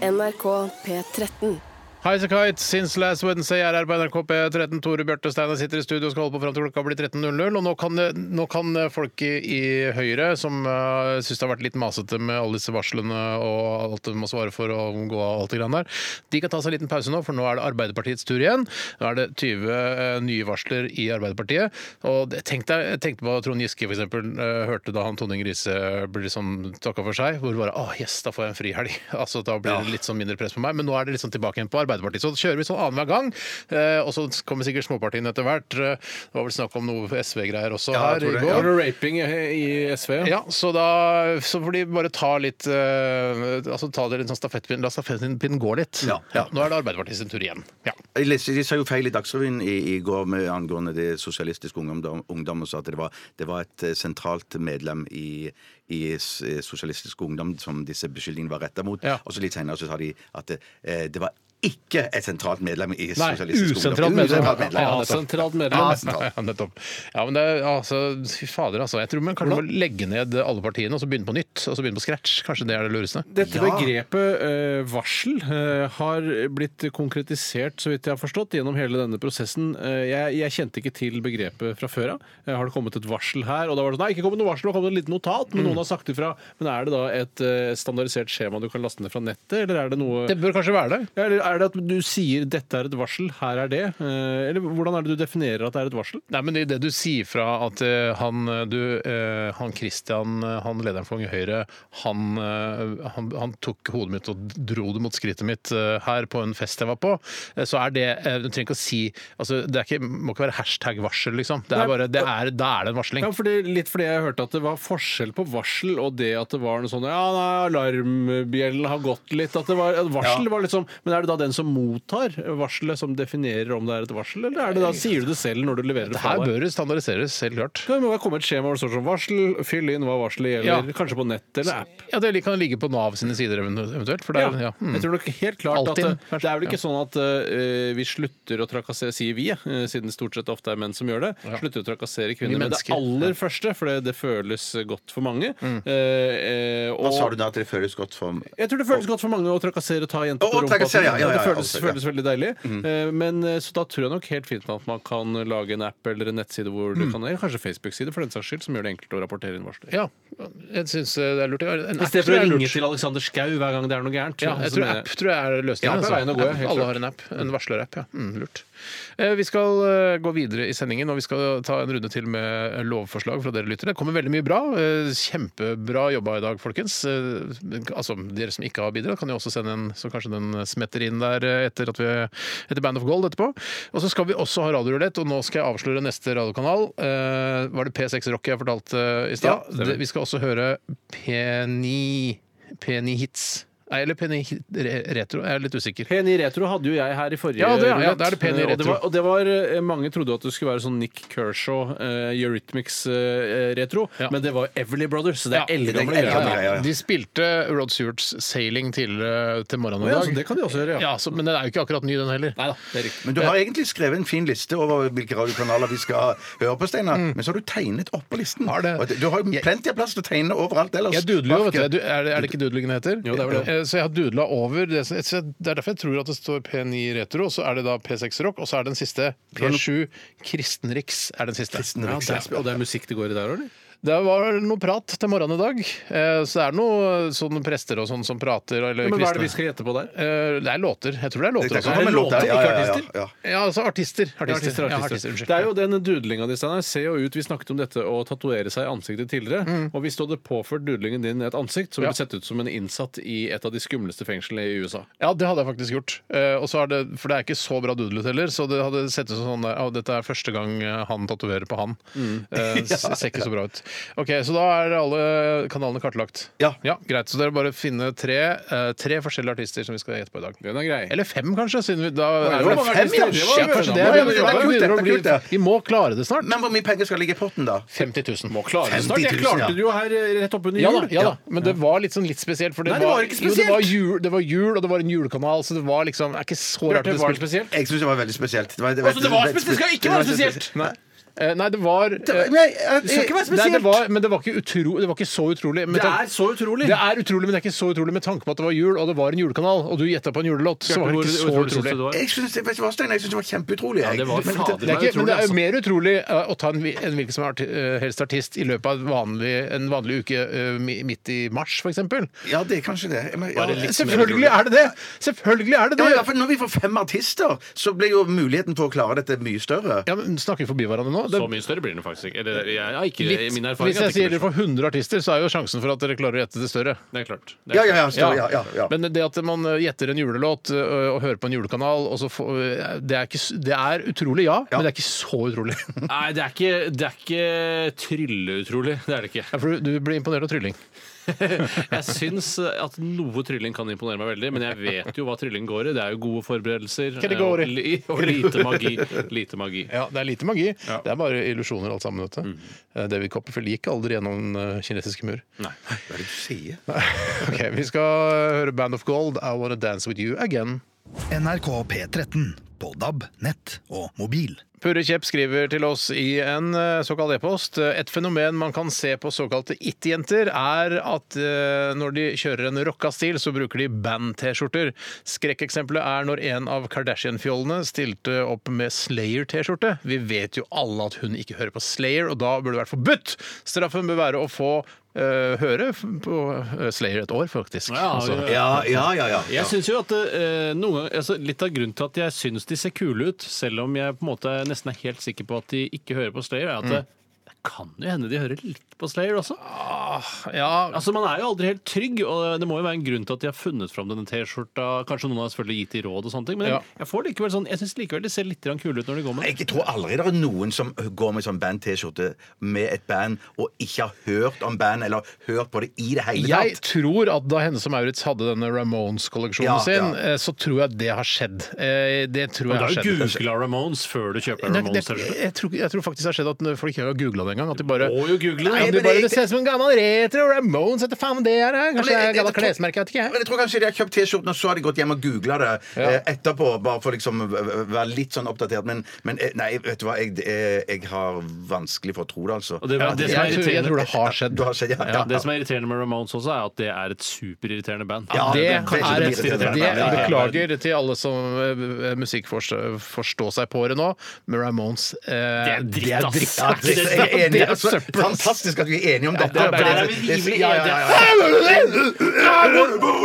Speaker 11: NRK P13.
Speaker 5: Highas and Kite, Since Last Wednesday er her på NRK P13. Tore Bjarte Steine sitter i studio og skal holde på fram til klokka blir 13.00. Og nå kan, nå kan folk i, i Høyre, som uh, syns det har vært litt masete med alle disse varslene og alt de må svare for og gå av alt det grann der, de kan ta seg en liten pause nå, for nå er det Arbeiderpartiets tur igjen. Nå er det 20 eh, nye varsler i Arbeiderpartiet. Og det- tenk deg, jeg tenkte på Trond Giske, for eksempel, eh, hørte da han Tonning Riise ble sånn takka for seg, hvor bare Å, yes, da får jeg en frihelg. Altså, da blir det litt sånn mindre press på meg. Men nå er det litt sånn tilbake igjen på Arbeiderpartiet. Arbeiderpartiet. Så kjører vi sånn annenhver gang, eh, og så kommer sikkert småpartiene etter hvert. Eh, Det var vel snakk om noe SV-greier også
Speaker 6: Ja,
Speaker 5: her i
Speaker 6: det. Var
Speaker 5: går.
Speaker 6: det raping i i SV? ja?
Speaker 5: Ja, så da så får de bare ta litt eh, Altså ta dere en sånn stafettpinn, la stafettpinnen gå litt.
Speaker 7: Ja.
Speaker 5: Nå er det Arbeiderpartiet sin tur igjen. Ja.
Speaker 7: Jeg leste, de sa jo feil i Dagsrevyen i, i går med angående det sosialistiske ungdom, ungdom og sa at det var, det var et eh, sentralt medlem i, i s- eh, sosialistisk ungdom som disse beskyldningene var retta mot.
Speaker 5: Ja.
Speaker 7: Og så litt senere så sa de at det, eh, det var ikke et sentralt medlem i
Speaker 5: Nei,
Speaker 7: sosialistisk
Speaker 5: usentralt
Speaker 7: ungdom.
Speaker 5: medlem.
Speaker 7: Usentralt medlem.
Speaker 5: Ja,
Speaker 7: altså.
Speaker 6: Sentralt medlem.
Speaker 7: Ja,
Speaker 5: Ja,
Speaker 7: sentralt.
Speaker 5: nettopp. Ja, men det er, altså, fy fader, altså. Jeg tror man kanskje må legge ned alle partiene og så begynne på nytt. Og så begynne på scratch. Kanskje det er det lureste.
Speaker 6: Dette begrepet eh, varsel eh, har blitt konkretisert, så vidt jeg har forstått, gjennom hele denne prosessen. Eh, jeg, jeg kjente ikke til begrepet fra før av. Eh, har det kommet et varsel her? Og da var det sånn, nei, ikke kommet noe varsel, det har kommet et lite notat,
Speaker 5: Mm.
Speaker 6: men noen har sagt ifra. Men er det da et eh, standardisert skjema du kan laste ned fra nettet, eller er det noe
Speaker 5: Det bør kanskje være det.
Speaker 6: Ja, eller er det at du sier 'dette er et varsel, her er det'? Eh, Eller hvordan er det du definerer at det er et varsel?
Speaker 5: Nei, men Idet du sier fra at eh, han, eh, du, eh, han Christian, eh, han lederen for Unge Høyre, han, eh, han, han tok hodet mitt og dro det mot skrittet mitt eh, her på en fest jeg var på, eh, så er det eh, Du trenger ikke å si altså, Det er ikke, må ikke være hashtag-varsel, liksom. Det
Speaker 6: Nei,
Speaker 5: er bare, det er, da er det en varsling.
Speaker 6: Ja, fordi, litt fordi jeg hørte at det var forskjell på varsel og det at det var noe sånn Ja, nei, alarmbjellen har gått litt. At det var at varsel var liksom Men er det da den som mottar varselet, som definerer om det er et varsel, eller er det da sier du det selv når du leverer det
Speaker 5: Det
Speaker 6: fra
Speaker 5: her
Speaker 6: deg?
Speaker 5: bør det standardiseres, helt klart.
Speaker 6: Det må da komme et skjema hvor det står sånn varsel, fyll inn hva varselet
Speaker 5: Ja.
Speaker 6: gjelder, kanskje på nett eller app.
Speaker 5: Ja, Det kan ligge på Nav sine sider eventuelt. For det er, ja. mm.
Speaker 6: Jeg tror nok helt klart at
Speaker 5: Altinn,
Speaker 6: eh,
Speaker 5: kanskje.
Speaker 6: Det er vel ikke sånn at eh, vi slutter å trakassere, sier vi, eh, siden det stort sett ofte er menn som gjør det, slutter å trakassere
Speaker 5: Vi
Speaker 6: kvinner med det
Speaker 5: mennesker. Mm.
Speaker 6: aller første, for det, det føles godt for mange. Eh, eh,
Speaker 7: Hva
Speaker 6: og-
Speaker 7: sa du da at det føles godt for
Speaker 6: Jeg tror det føles godt for mange å trakassere og ta jenter
Speaker 7: Å,
Speaker 6: på
Speaker 7: å,
Speaker 6: rumpa.
Speaker 7: trakassere, ja, ja, ja,
Speaker 6: det føles,
Speaker 7: altså, ja.
Speaker 6: føles veldig deilig. Eh, Men eh, Så da tror jeg nok helt fint at man kan lage en app eller en nettside hvor
Speaker 7: Mm.
Speaker 6: du kan, eller kanskje Facebook-side for den saks skyld, som gjør det enkelt å rapportere inn varsler.
Speaker 5: Ja, jeg syns det er lurt. En
Speaker 6: I
Speaker 5: app
Speaker 6: stedet for
Speaker 5: tror
Speaker 6: å
Speaker 5: jeg er
Speaker 6: ringe
Speaker 5: lurt.
Speaker 6: til Alexander Schou hver gang det er noe gærent.
Speaker 5: Ja, jeg tror
Speaker 6: mener-
Speaker 5: app tror jeg er løsningen.
Speaker 6: Ja, det er veien å gå, ja, helt
Speaker 5: Alle
Speaker 6: klart.
Speaker 5: har en app. En varslerapp, ja. Mm, lurt. Eh, Vi skal eh, gå videre i sendingen, og vi skal ta en runde til med lovforslag fra dere lyttere. Det kommer veldig mye bra. Eh, Kjempebra jobba i dag, folkens. Eh, Altså, dere som ikke har bidratt, kan jo også sende en, så kanskje den smetter inn der eh, etter, at vi, etter Band of Gold etterpå. Og så skal vi også ha radiorulett, og nå skal jeg avsløre neste radiokanal. Eh, Var det P6 Rock jeg fortalte eh, i stad?
Speaker 6: Ja, stemmer.
Speaker 5: Det- vi skal også høre P9 P9 Hits. Nei, eller P9 hit- re- Retro. Jeg er litt usikker.
Speaker 6: P9 Retro hadde jo jeg her i forrige
Speaker 5: Ja, det- ja,
Speaker 6: rulett.
Speaker 5: da er det P9
Speaker 6: Og det
Speaker 5: Retro.
Speaker 6: var, og det var, eh, mange trodde at det skulle være sånn Nick Kershaw, eh, Eurythmics eh, retro,
Speaker 5: Ja.
Speaker 6: men det var Everly Brothers, så det
Speaker 5: Ja,
Speaker 6: er eldgamle
Speaker 7: det er
Speaker 6: greier.
Speaker 7: eldgamle greier. ja, ja.
Speaker 5: De spilte Rod Stewarts Sailing tidligere til morgenen i
Speaker 6: Ja,
Speaker 5: dag.
Speaker 6: så det kan de også gjøre, ja.
Speaker 5: Ja, så, men den er jo ikke akkurat ny, den heller.
Speaker 6: Neida, det er riktig.
Speaker 7: Men du har egentlig skrevet en fin liste over hvilke radiokanaler vi skal høre på, Steinar. Men så har du tegnet oppå listen.
Speaker 5: Mm. Har det.
Speaker 7: Og Du har jo plenty av plass til å tegne overalt ellers.
Speaker 5: Jeg dudler jo, vet du. Jeg
Speaker 7: Marken.
Speaker 5: du- Er det, er det ikke dudlingen det heter?
Speaker 6: Jo, det er vel det.
Speaker 5: Eh, Så jeg har dudla over. Det så jeg- det er derfor jeg tror at det står P9 Retro, og så er det da P6 Rock, og så er den siste P7 Kristenriks er den siste.
Speaker 6: Ja, det er, og det er musikk det går i der, eller?
Speaker 5: Det var noe prat til morgenen i dag. Eh, Så det er noe sånn prester og sånn som prater. Eller
Speaker 6: Men hva er det
Speaker 5: kristne.
Speaker 6: vi skal gjette på der?
Speaker 5: Eh, Det er låter. Jeg tror det er
Speaker 7: Det
Speaker 5: låter
Speaker 7: kan
Speaker 5: også.
Speaker 7: komme en låt der. Ja, ja, ja,
Speaker 6: artister.
Speaker 7: ja.
Speaker 5: Ja, altså artister. Artister,
Speaker 6: Artister,
Speaker 5: Ja,
Speaker 6: artister.
Speaker 5: artister, unnskyld.
Speaker 6: det er jo den dudlinga di, Steinar. Ser jo ut Vi snakket om dette å tatovere seg i ansiktet tidligere. Og hvis du hadde påført dudlingen din et ansikt, så ville
Speaker 5: Mm. Ja.
Speaker 6: du sett ut som en innsatt i et av de skumleste fengslene i USA.
Speaker 5: Ja, det hadde jeg faktisk gjort. Eh, og så er det, for det er ikke så bra dudlet heller, så det hadde sett ut som sånn der, «Å, dette er første gang eh, han tatoverer på han.
Speaker 6: Mm.
Speaker 5: Eh, s- ser ikke så bra ut. Ok, Så da er alle kanalene kartlagt?
Speaker 7: Ja.
Speaker 5: Greit. Så dere bare finne tre, eh, tre forskjellige artister som vi skal gjette på i dag.
Speaker 6: Den er grei.
Speaker 5: Eller fem, kanskje? Siden vi, da,
Speaker 6: det
Speaker 5: er
Speaker 6: var
Speaker 5: det
Speaker 6: mange
Speaker 5: fem, ja!
Speaker 6: artister, det var-
Speaker 5: Shit, kanskje det
Speaker 6: Ja,
Speaker 5: er-
Speaker 6: ja, men det
Speaker 7: var kult, det
Speaker 5: begynner
Speaker 7: var
Speaker 5: å bli-
Speaker 7: kult, det.
Speaker 5: Vi må klare det snart.
Speaker 7: Men hvor mye penger skal ligge i potten, da?
Speaker 5: 50 000.
Speaker 6: Må klare det
Speaker 7: 50
Speaker 6: snart.
Speaker 7: 000,
Speaker 6: Jeg klarte
Speaker 7: ja.
Speaker 6: det jo her eh, rett oppunder
Speaker 5: Ja da,
Speaker 6: jul.
Speaker 5: ja da, men det var litt sånn litt spesielt. For det,
Speaker 6: Nei, det var ikke
Speaker 5: Jo, det, var
Speaker 6: spesielt.
Speaker 5: jul, det var jul, og det var en julekanal, så det var liksom det er ikke så rart
Speaker 6: Bjarte,
Speaker 5: at det
Speaker 6: var det
Speaker 5: spilte-
Speaker 6: spesielt?
Speaker 7: Jeg syns det var veldig spesielt. Det var, det
Speaker 6: Altså, det var
Speaker 7: veldig
Speaker 6: spesielt. Det skal ikke være spesielt.
Speaker 7: Nei.
Speaker 5: Eh, Nei, det var eh,
Speaker 7: Nei, jeg-
Speaker 6: Det skal ikke være
Speaker 5: Nei, det
Speaker 6: spesielt.
Speaker 5: var, men det var ikke, utro, det var ikke så utrolig. med
Speaker 6: Det
Speaker 5: tanke-
Speaker 6: er så utrolig.
Speaker 5: Det er utrolig, men det er ikke så utrolig med tanke på at det var jul, og det var en julekanal, og du gjetta på en julelåt. Så var det ikke så utrolig.
Speaker 7: Jeg syns det, vet du hva, Steinar? Jeg synes det var kjempeutrolig. jeg.
Speaker 6: det var
Speaker 7: Men-
Speaker 6: fader.
Speaker 5: Det er, ikke, men det er jo
Speaker 6: utrolig,
Speaker 5: mer utrolig eh, å ta en, vi- en hvilken som arti, eh, helst artist i løpet av et vanlig, en vanlig uke eh, mi- midt i mars, f.eks.
Speaker 7: Ja, det er kanskje det. Men, ja.
Speaker 5: Selvfølgelig er det det! Selvfølgelig er det
Speaker 7: Ja, men i hvert
Speaker 5: det!
Speaker 7: fall Når vi får fem artister, så blir jo muligheten for å klare dette mye større.
Speaker 5: Ja, men Snakker vi forbi hverandre nå? nå. Det,
Speaker 6: Så mye større blir den faktisk ikke. Eller, jeg, jeg, ikke,
Speaker 5: litt,
Speaker 6: min erfaring
Speaker 5: hvis
Speaker 6: er at
Speaker 5: jeg sier dere
Speaker 6: det ikke blir
Speaker 5: får 100 artister, så er jo sjansen for at dere klarer å gjette det større.
Speaker 6: sånn. Det er klart. Det er
Speaker 7: Ja, ja, ja,
Speaker 6: klart.
Speaker 7: så, ja, ja, ja.
Speaker 5: Men det at man ø, gjetter en julelåt ø, og hører på en julekanal og så får, ø, det, er ikke, s- det er utrolig, ja, men det er ikke så utrolig. Ja,
Speaker 6: Nei, det er ikke, det er ikke trylleutrolig. Det er det ikke.
Speaker 5: for du, du blir imponert av trylling.
Speaker 6: jeg syns at noe trylling kan imponere meg veldig, men jeg vet jo hva trylling går i. Det er jo gode forberedelser
Speaker 5: Hva det
Speaker 6: eh, og,
Speaker 5: går i?
Speaker 6: li- og lite magi. Lite magi.
Speaker 5: Ja, Det er lite magi. Det er bare illusjoner alt sammen. Vet du.
Speaker 6: Mm.
Speaker 5: Eh, David Copperfield gikk aldri gjennom den ø, kinesiske mur.
Speaker 7: Hva er det du sier?
Speaker 5: Ok, Vi skal eh, høre Band of Gold, I Wanna Dance With You Again.
Speaker 4: NRK P13 på DAB, nett og mobil.
Speaker 5: Purre Kjepp skriver til oss i en eh, såkalt e-post. Et fenomen man kan se på såkalte it-jenter, er at eh, når de kjører en rocka stil, så bruker de band-T-skjorter. Skrekkeksempelet er når en av Kardashian-fjollene stilte opp med Slayer-T-skjorte. Vi vet jo alle at hun ikke hører på Slayer, og da burde det vært forbudt! Straffen bør være å få eh, høre f- på eh, Slayer et år, faktisk.
Speaker 6: Ja,
Speaker 5: Altså,
Speaker 6: ja.
Speaker 7: Ja, ja, ja. ja.
Speaker 6: Jeg synes jo at eh, noen ganger, altså Litt av grunnen til at jeg syns de ser kule ut, selv om jeg på en måte nesten er helt sikker på at de ikke hører på Slayer,
Speaker 5: Mm.
Speaker 6: er at det, det kan jo hende de hører litt på Slayer også.
Speaker 5: ja,
Speaker 6: Altså, Man er jo aldri helt trygg, og det må jo være en grunn til at de har funnet fram denne T-skjorta. Kanskje noen har selvfølgelig gitt de råd og sånne ting, men
Speaker 5: Ja.
Speaker 6: jeg får likevel sånn, jeg syns likevel de ser litt grann kule ut når de går med det.
Speaker 7: Jeg tror aldri det er noen som går med sånn band-T-skjorte med et band og ikke har hørt om band eller hørt på det i det hele
Speaker 5: Jeg
Speaker 7: tatt.
Speaker 5: tror at da Hennes og Maurits hadde denne Ramones-kolleksjonen
Speaker 7: Ja,
Speaker 5: sin,
Speaker 7: ja.
Speaker 5: eh, så tror jeg det har skjedd. Eh, Det tror jeg
Speaker 6: Men
Speaker 5: har
Speaker 6: da
Speaker 5: skjedd.
Speaker 6: googla Ramones før du kjøper
Speaker 5: Nei, det,
Speaker 6: Ramones-T-skjorte.
Speaker 5: jeg, tror, jeg tror faktisk det har skjedd at folk ikke har googla det engang. At de bare
Speaker 6: må jo google det.
Speaker 5: Nei,
Speaker 7: Nei,
Speaker 5: de
Speaker 7: men
Speaker 5: bare,
Speaker 7: jeg-
Speaker 5: Det ser ut som en gammel retro Ramones, vet du faen hva det er. eh? Kanskje det er
Speaker 7: Men jeg- jeg-
Speaker 5: gammelt klesmerke, jeg vet
Speaker 7: Men
Speaker 5: ikke. jeg.
Speaker 7: jeg tror kanskje de har kjøpt T-skjorten, og så har de gått hjem og googla det eh, etterpå. Bare for liksom å være litt sånn oppdatert. Men, men eh, nei, vet du hva, jeg, eh, jeg har vanskelig for å tro det, altså.
Speaker 6: Og det, var- det, som
Speaker 5: Jeg tror,
Speaker 6: er
Speaker 5: jeg tror
Speaker 6: irriterende-
Speaker 5: det har skjedd.
Speaker 7: Du har sett, ja,
Speaker 6: ja, det som er irriterende med Ramones også, er at det er et superirriterende band.
Speaker 7: Ja,
Speaker 5: Det
Speaker 7: det kan
Speaker 5: er
Speaker 7: bli
Speaker 5: et
Speaker 7: irriterende.
Speaker 5: det,
Speaker 7: Ja, ja, ja.
Speaker 5: Beklager til alle som eh, musikkforstå-seg-på-ere nå, men Ramones eh,
Speaker 6: Det er dritt,
Speaker 5: Det
Speaker 6: ass.
Speaker 5: er dritt,
Speaker 7: Ja,
Speaker 5: ass.
Speaker 7: det er jeg enig i.
Speaker 5: Det er
Speaker 7: Altså,
Speaker 5: søppel, ass.
Speaker 7: Fantastisk at vi er enige om dette.
Speaker 5: der- der er vi
Speaker 6: rimelig
Speaker 7: Ja, ja, ja,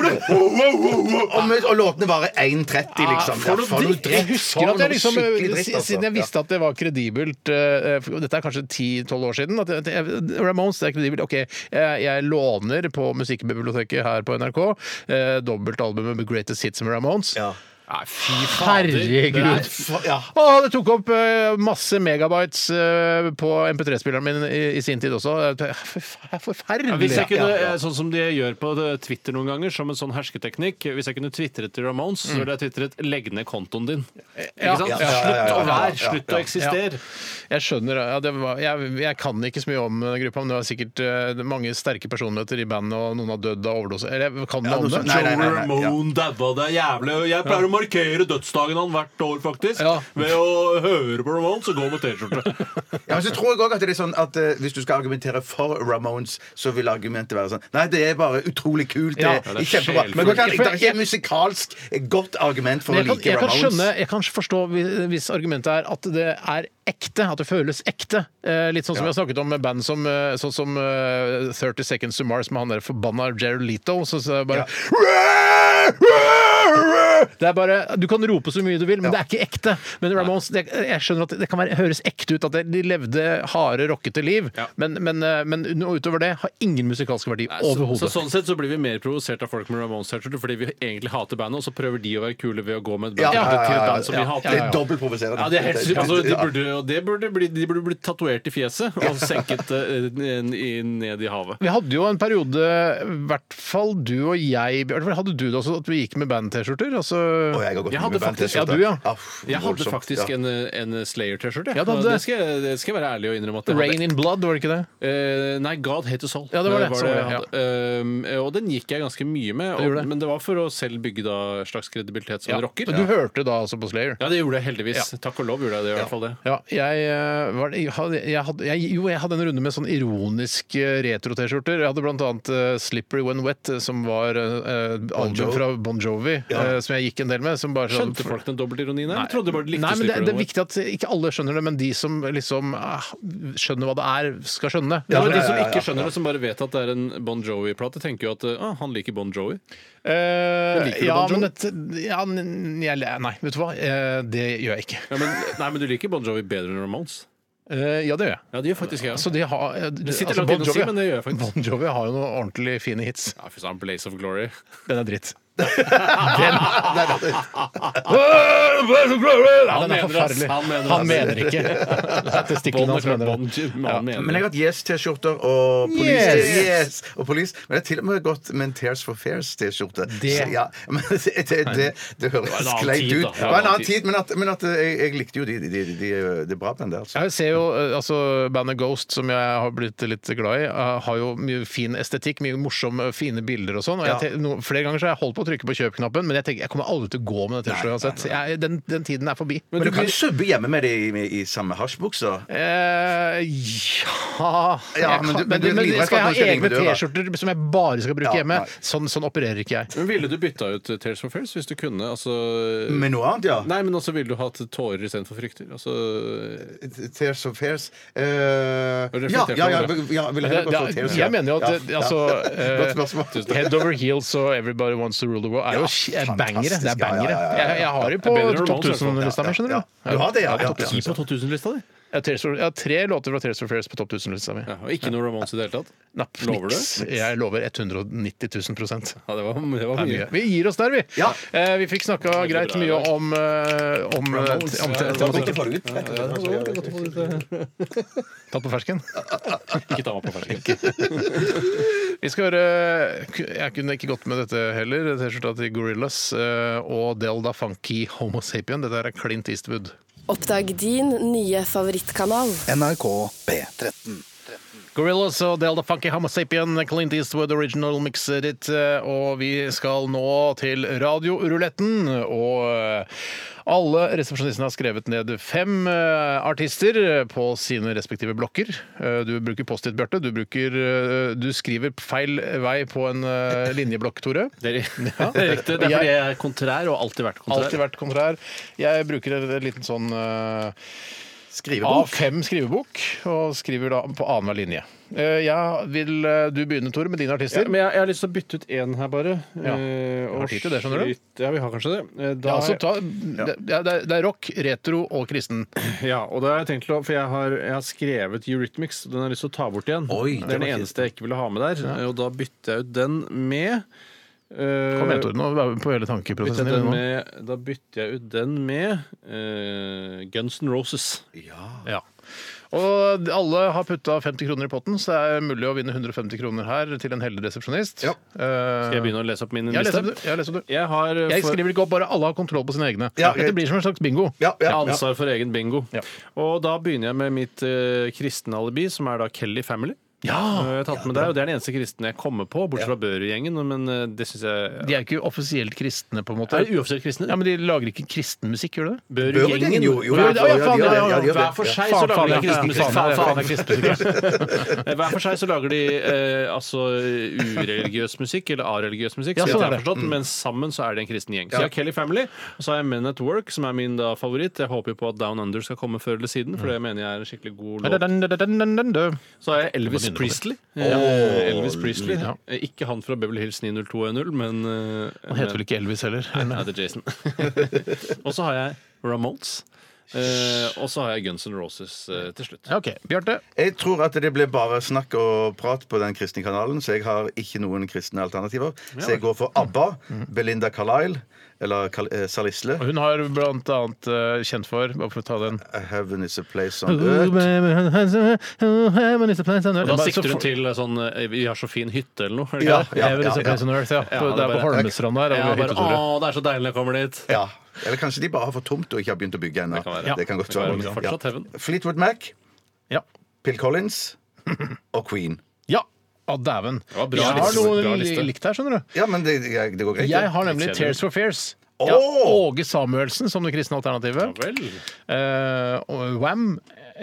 Speaker 7: ja. Og med- Og låtene varer 1,30, liksom.
Speaker 5: Ja, for noe dritt. Jeg husker at jeg liksom,
Speaker 7: skikkelig dritt, altså.
Speaker 5: Siden jeg visste at det var kredibelt eh, for Dette er kanskje 10-12 år siden. At jeg- jeg- Ramones det er kredibelt. OK, jeg, jeg låner på musikkbiblioteket her på NRK eh, dobbeltalbumet med Greatest Hits med Ramones.
Speaker 7: Ja.
Speaker 6: Nei, fy fader. Det er-
Speaker 5: Herregud!
Speaker 7: For- Ja.
Speaker 5: Å, det tok opp eh, masse megabytes eh, på MP3-spilleren min i, i sin tid også. Det er forfer-
Speaker 6: Ja, hvis
Speaker 5: Forferdelig!
Speaker 6: jeg kunne, eh, sånn som de gjør på eh, Twitter noen ganger, som en sånn hersketeknikk Hvis jeg kunne tvitret til Ramones, så ville jeg tvitret 'legg ned kontoen din'. Ikke sant?
Speaker 5: ja,
Speaker 7: ja, ja,
Speaker 6: Slutt å
Speaker 7: ja, ja, ja,
Speaker 6: være,
Speaker 7: ja,
Speaker 6: slutt å eksistere.
Speaker 5: Jeg skjønner, ja, det var, jeg, jeg kan ikke så mye om eh, gruppa, men det var sikkert eh, mange sterke personligheter i bandet, og noen har dødd av overdose. Eller jeg kan
Speaker 7: Ja,
Speaker 5: noe om
Speaker 7: noe
Speaker 5: det.
Speaker 7: sånt. Nei, nei, nei, nei, ja.
Speaker 6: Ramone daua, det er jævlig. Jeg pleier å markere dødsdagen han hvert år, faktisk.
Speaker 5: Ja.
Speaker 6: Ved å høre på Ramones og gå med T-skjorte.
Speaker 7: Ja, men så tror jeg også at det er sånn at eh, Hvis du skal argumentere for Ramones, så vil argumentet være sånn Nei, det er bare utrolig kult. Det
Speaker 5: Ja,
Speaker 7: er
Speaker 6: det er
Speaker 7: kjempebra.
Speaker 6: sjelfullt.
Speaker 7: Men det kan- det er ikke et musikalsk eh, godt argument for
Speaker 5: Men jeg, kan,
Speaker 7: å like
Speaker 5: jeg kan skjønne,
Speaker 7: Ramones.
Speaker 5: jeg kan forstå hvis- hvis argumentet er at det er ekte, at det føles ekte. Eh, litt sånn som vi har snakket om med band som, eh, sånn som eh, 30 Seconds to Mars med han der forbanna Jared Leto. Så, så er det bare Det er bare, Du kan rope så mye du vil, men det er ikke ekte. Men Ramones, det, jeg skjønner at det kan være, høres ekte ut at det- de levde harde, rockete liv,
Speaker 6: Ja.
Speaker 5: men, men, eh, men noe utover det har ingen musikalsk verdi
Speaker 6: Så,
Speaker 5: overhodet.
Speaker 6: sånn sett så blir vi mer provosert av folk med Ramones-T-skjorte fordi vi egentlig hater bandet, og så prøver de å være kule ved å gå med et band til et band som vi hater.
Speaker 7: Det er dobbelt provoserende.
Speaker 6: Ja, det er helt sykt. Altså, de,
Speaker 7: Ja.
Speaker 6: burde, og det burde bli, de burde bli tatovert i fjeset og senket eh, n- i- ned i havet.
Speaker 5: Vi hadde jo en periode, i hvert fall du og jeg Bjørn, Hadde du det også, at vi gikk med band-T-skjorter? Altså,
Speaker 7: Og jeg har gått
Speaker 6: Jeg
Speaker 7: med
Speaker 6: hadde
Speaker 7: band
Speaker 6: faktisk-
Speaker 7: T-skjorte.
Speaker 5: ja, du, ja.
Speaker 7: f-
Speaker 6: Jeg hadde
Speaker 7: voldsomt,
Speaker 6: faktisk
Speaker 7: ja.
Speaker 6: en, eh, en Slayer-T-skjorte. jeg.
Speaker 5: Ja, du hadde det.
Speaker 6: det, skal jeg- det skal jeg være ærlig og innrømme. at jeg
Speaker 5: Rain
Speaker 6: hadde.
Speaker 5: in Blood, var det ikke det?
Speaker 6: Eh, nei, God Hate Us All. Eh,
Speaker 5: Ja, det var det. Sånn var
Speaker 6: jeg
Speaker 5: det, ja.
Speaker 6: hadde. Um, og den gikk jeg ganske mye med,
Speaker 5: Du gjorde
Speaker 6: og,
Speaker 5: det.
Speaker 6: men det var for å selv bygge da slags kredibilitet som en rocker.
Speaker 5: Men du hørte da altså på Slayer?
Speaker 6: Ja, det gjorde jeg heldigvis. Takk og lov gjorde jeg det. i hvert fall det.
Speaker 5: Ja, jeg, eh, var, det- jeg, hadde, jeg, hadde, jeg Jo, jeg hadde en runde med sånn ironisk eh, retro-T-skjorter. Jeg hadde blant annet eh, Slippery When Wet, eh, som var eh, album
Speaker 7: Jovi.
Speaker 5: fra Bon Jovi, eh, som jeg gikk en del med. Som bare, sånn-
Speaker 6: Skjønte folk den dobbeltironien her? Jeg Trodde bare de likte
Speaker 5: Nei, men det,
Speaker 6: Slippery
Speaker 5: det er
Speaker 6: When Wet.
Speaker 5: viktig at ikke alle skjønner det, men de som liksom ah, skjønner hva det er, skal skjønne.
Speaker 6: Ja, men
Speaker 7: ja,
Speaker 6: De som
Speaker 7: ja, ja,
Speaker 6: ikke
Speaker 7: ja.
Speaker 6: skjønner det, som bare vet at det er en Bon Jovi-plate, tenker jo at eh, ah, han liker Bon Jovi.
Speaker 5: Eh,
Speaker 6: liker du
Speaker 5: ja,
Speaker 6: Bon Jovi?
Speaker 5: men et, ja, n- jeg, nei, vet du hva? Eh, det gjør jeg ikke.
Speaker 6: Ja, men, nei, men du liker Bon Jovi bedre enn Ramones?
Speaker 5: Eh, ja, det gjør jeg.
Speaker 6: Ja, det gjør faktisk jeg.
Speaker 5: Altså, de har, eh,
Speaker 6: Det sitter
Speaker 5: altså,
Speaker 6: langt inne å si, men det gjør jeg faktisk.
Speaker 5: Bon Jovi har jo noen ordentlig fine hits.
Speaker 6: Ja, fy søren, Blaze of Glory.
Speaker 5: Den er dritt. den, den er dritt.
Speaker 6: Eh,
Speaker 5: Ja, den er
Speaker 6: mener ass,
Speaker 5: forferdelig.
Speaker 6: han mener
Speaker 5: Han
Speaker 6: ass.
Speaker 5: mener ikke. Det er
Speaker 6: Bånd
Speaker 5: testiklene
Speaker 6: er
Speaker 5: hans
Speaker 6: klart
Speaker 5: mener det.
Speaker 6: bånd, men han mener
Speaker 7: Men jeg har hatt Yes-T-skjorter og Police.
Speaker 5: Yes!
Speaker 7: Yes! Og police. Men jeg har til og med gått med en Tears for Fairs-T-skjorte.
Speaker 5: Det-
Speaker 7: Så Ja, men det, det, det, det høres
Speaker 6: en annen
Speaker 7: skleit
Speaker 6: tid,
Speaker 7: ut.
Speaker 6: da.
Speaker 7: Det var en annen tid, men, at, men at eh, jeg, jeg likte jo de. de, de, de det er bra, den der. Altså.
Speaker 5: Jeg ser jo, eh, altså Bandet Ghost, som jeg har blitt litt glad i, eh, har jo mye fin estetikk, mye morsomme, fine bilder og sånn. Og jeg,
Speaker 7: Ja.
Speaker 5: te- no, flere ganger så har jeg holdt på å trykke på kjøp-knappen, men jeg tenker, jeg kommer aldri til å gå med det T-skjorta uansett. Jeg- Den, den tiden er forbi.
Speaker 7: Men du kan jo subbe hjemme med det i, med- i samme hasjbukser.
Speaker 5: Eh, ja
Speaker 7: Ja,
Speaker 5: Jeg kan-
Speaker 7: men du- men du er livredd
Speaker 5: Skal
Speaker 7: for
Speaker 5: jeg
Speaker 7: at noen kjører
Speaker 5: ha
Speaker 7: inn
Speaker 5: egne
Speaker 7: ved døra?
Speaker 5: T-skjorter som jeg bare skal bruke
Speaker 7: Ja,
Speaker 5: hjemme?
Speaker 7: nei.
Speaker 5: Sånn, sånn opererer ikke jeg.
Speaker 6: Men ville du bytta ut Tears for Fears hvis du kunne? Altså
Speaker 7: Med noe annet, ja.
Speaker 6: Nei, men også ville du hatt tårer istedenfor frykter? Altså
Speaker 7: Tears of Fairs. Eh, ja, ja, ja, ja, vil jeg heller
Speaker 5: Det-
Speaker 7: gått for
Speaker 5: det-
Speaker 7: Tears of
Speaker 5: jeg mener jo at
Speaker 7: Ja,
Speaker 5: det-
Speaker 7: ja.
Speaker 5: altså,
Speaker 7: Godt spørsmål.
Speaker 5: eh, Head Over Heels og Everybody Wants to Rule the World er jo
Speaker 7: Ja,
Speaker 5: sh- er bangere. Det er
Speaker 7: fantastisk. Ja, ja,
Speaker 5: bangere.
Speaker 7: ja, ja, ja.
Speaker 5: Jeg, jeg har det på
Speaker 6: Det er bedre altså. enn
Speaker 5: topp
Speaker 6: Ramones, i hvert fall.
Speaker 5: 1000-lista mi, skjønner
Speaker 7: Ja, ja. Du har det, ja.
Speaker 5: Jeg har
Speaker 7: Ja,
Speaker 5: topp 10 på topp-
Speaker 6: 2000-lista di?
Speaker 5: jeg har Tears for- jeg har tre låter fra Tears for Fairs på topp 1000-lista mi.
Speaker 6: Ja, og ikke noe Ramones i det hele tatt?
Speaker 5: Napp,
Speaker 6: Lover
Speaker 5: niks. Jeg lover 190 000 prosent.
Speaker 6: Ja, det var, det var
Speaker 5: Det er mye.
Speaker 6: mye.
Speaker 5: Vi gir oss der, vi.
Speaker 7: Ja.
Speaker 5: Eh, vi fikk snakka greit
Speaker 6: bra,
Speaker 5: mye om, eh, om, eh,
Speaker 6: Ramones,
Speaker 5: te- om
Speaker 6: ja,
Speaker 5: te-
Speaker 6: det var
Speaker 5: tematikken.
Speaker 6: godt
Speaker 5: Tatt på fersken.
Speaker 6: Ikke ta meg på fersken.
Speaker 5: Vi skal høre Jeg kunne ikke gått med dette heller. T-skjorta til Gorillas og Delda Funky Homo Sapien. Dette her er Clint Eastwood.
Speaker 11: Oppdag din nye favorittkanal.
Speaker 4: NRK P13.
Speaker 5: Gorillas og Delda Funky Homo Sapien, Clint Eastwood original mixer it. eh, Og vi skal nå til radioruletten. Og eh, alle resepsjonistene har skrevet ned fem eh, artister eh, på sine respektive blokker. Eh, Du bruker Post-It, Bjarte. Du, bruker, eh, du skriver feil vei på en eh, linjeblokk, Tore.
Speaker 6: Det er, det er riktig. Det er fordi jeg er kontrær og har alltid vært kontrær.
Speaker 5: Alltid vært kontrær. Jeg bruker en liten sånn eh,
Speaker 7: Skrivebok.
Speaker 5: A5-skrivebok, og skriver da på annenhver linje. Eh, jeg vil eh, du begynne, Tore, med dine
Speaker 6: Ja,
Speaker 5: artister?
Speaker 6: men jeg, jeg har lyst til å bytte ut én her, bare.
Speaker 5: Ja.
Speaker 6: Eh,
Speaker 5: Vi har
Speaker 6: og
Speaker 5: tid til det, skjønner du.
Speaker 6: skyte- Ja, vi har kanskje det. Eh,
Speaker 5: Ja,
Speaker 6: Da har
Speaker 5: altså,
Speaker 6: jeg-
Speaker 5: ta, det, ja, det er- det er rock, retro og kristen.
Speaker 6: Ja, og da har jeg tenkt til å, for jeg har, jeg har skrevet Eurythmics, og den har jeg lyst til å ta bort igjen.
Speaker 7: Oi,
Speaker 6: det
Speaker 7: det
Speaker 6: er den
Speaker 7: var
Speaker 6: eneste jeg ikke ville ha med der, Eh, og da bytter jeg ut den med eh,
Speaker 5: Kom igjen, Tore. Nå er vi på hele
Speaker 6: bytter
Speaker 5: tankeprosessen
Speaker 6: jeg den
Speaker 5: din. nå.
Speaker 6: med, da bytter jeg ut den med eh, Guns N' Roses.
Speaker 5: Ja. Og alle har putta 50 kroner i potten, så det er mulig å vinne 150 kroner her til en heldig resepsjonist. Eh,
Speaker 7: Ja.
Speaker 6: Skal jeg begynne å lese opp min
Speaker 5: Jeg leser
Speaker 6: liste?
Speaker 5: opp, du. Jeg leser opp, du.
Speaker 6: Jeg har eh,
Speaker 5: Jeg
Speaker 6: for-
Speaker 5: skriver ikke opp, bare alle har kontroll på sine egne.
Speaker 7: Ja,
Speaker 5: Dette blir som en slags bingo.
Speaker 7: Ja, ja,
Speaker 6: Jeg har
Speaker 7: ja.
Speaker 6: ansvar for egen bingo.
Speaker 5: Ja.
Speaker 6: Og da begynner jeg med mitt uh, kristne alibi, som er da Kelly Family.
Speaker 5: Ja!
Speaker 6: Eh, jeg har tatt med der, og Det er den eneste kristne jeg kommer på, bortsett fra Børud-gjengen. Men eh, det synes jeg
Speaker 5: De er ikke offisielt kristne, på en måte.
Speaker 6: Er det uoffisielt kristne?
Speaker 5: Ja, men De lager ikke kristen musikk, gjør de det?
Speaker 7: Børud-gjengen, jo, jo,
Speaker 6: Hver-
Speaker 7: jo,
Speaker 6: ja,
Speaker 7: jo,
Speaker 6: faen,
Speaker 7: jo,
Speaker 6: ja, ja,
Speaker 7: jo, jo, jo.
Speaker 6: Hver for seg
Speaker 5: Faen,
Speaker 6: så lager de
Speaker 5: faen, ja,
Speaker 6: kristen musikk.
Speaker 5: faen, ja, faen,
Speaker 6: Faen, faen. Hver for seg så lager de eh, altså ureligiøs musikk, eller areligiøs musikk,
Speaker 5: Ja,
Speaker 6: så vidt
Speaker 5: sånn
Speaker 6: jeg
Speaker 5: er
Speaker 6: har
Speaker 5: det.
Speaker 6: forstått, men sammen så er det en kristen gjeng. Så jeg har Kelly Family, og så har jeg Men at Work, som er min da favoritt. Jeg håper jo på at Down Under skal komme før eller siden,
Speaker 5: Mm.
Speaker 6: for det mener jeg er en skikkelig god låt. Så har jeg Elvis Priestley. Eh, Elvis Priestley.
Speaker 5: ja.
Speaker 6: Eh, Ikke han fra Beverly Hills 90210, men
Speaker 5: Han heter vel ikke Elvis heller?
Speaker 6: Nei, det er Jason. og så har jeg Ramones. Eh, og så har jeg Guns N' Roses eh, til slutt.
Speaker 5: Ja, OK. Bjarte.
Speaker 7: Jeg tror at det ble bare snakk og prat på den kristne kanalen, så jeg har ikke noen kristne alternativer. Så jeg går for ABBA, Belinda Carlisle eller Kal eh, Salisle.
Speaker 5: Hun har blant annet eh, kjent for Bare for å ta den
Speaker 7: Heaven is a place on earth.
Speaker 6: Da
Speaker 5: Da
Speaker 6: sikter hun til eh, sånn eh, Vi har så fin hytte, eller noe. er det
Speaker 7: Ja,
Speaker 6: ikke det?
Speaker 7: ja, ja, ja.
Speaker 6: Ja,
Speaker 5: Det er
Speaker 6: bare-
Speaker 5: på Holmestrand her.
Speaker 6: Ja,
Speaker 5: over
Speaker 6: bare,
Speaker 5: hytteturet.
Speaker 6: å, det er så deilig å komme dit!
Speaker 7: ja. Eller kanskje de bare har for tomt og ikke har begynt å bygge ennå.
Speaker 6: Det kan være.
Speaker 7: Det kan godt
Speaker 6: Det kan
Speaker 7: være.
Speaker 6: være fortsatt heaven.
Speaker 7: Fleetwood Mac,
Speaker 5: Ja.
Speaker 7: Pill Collins og Queen.
Speaker 5: ja. Å, dæven.
Speaker 6: var bra
Speaker 5: Jeg har
Speaker 6: liste. Bra
Speaker 5: noe
Speaker 6: liste.
Speaker 5: likt her, skjønner du.
Speaker 7: Ja, men det, det går greit.
Speaker 5: Jeg
Speaker 7: det.
Speaker 5: har nemlig Tears for Fears.
Speaker 7: Åh!
Speaker 5: Ja, Åge Samuelsen som det kristne alternativet.
Speaker 6: Vel.
Speaker 5: Eh, og Wham,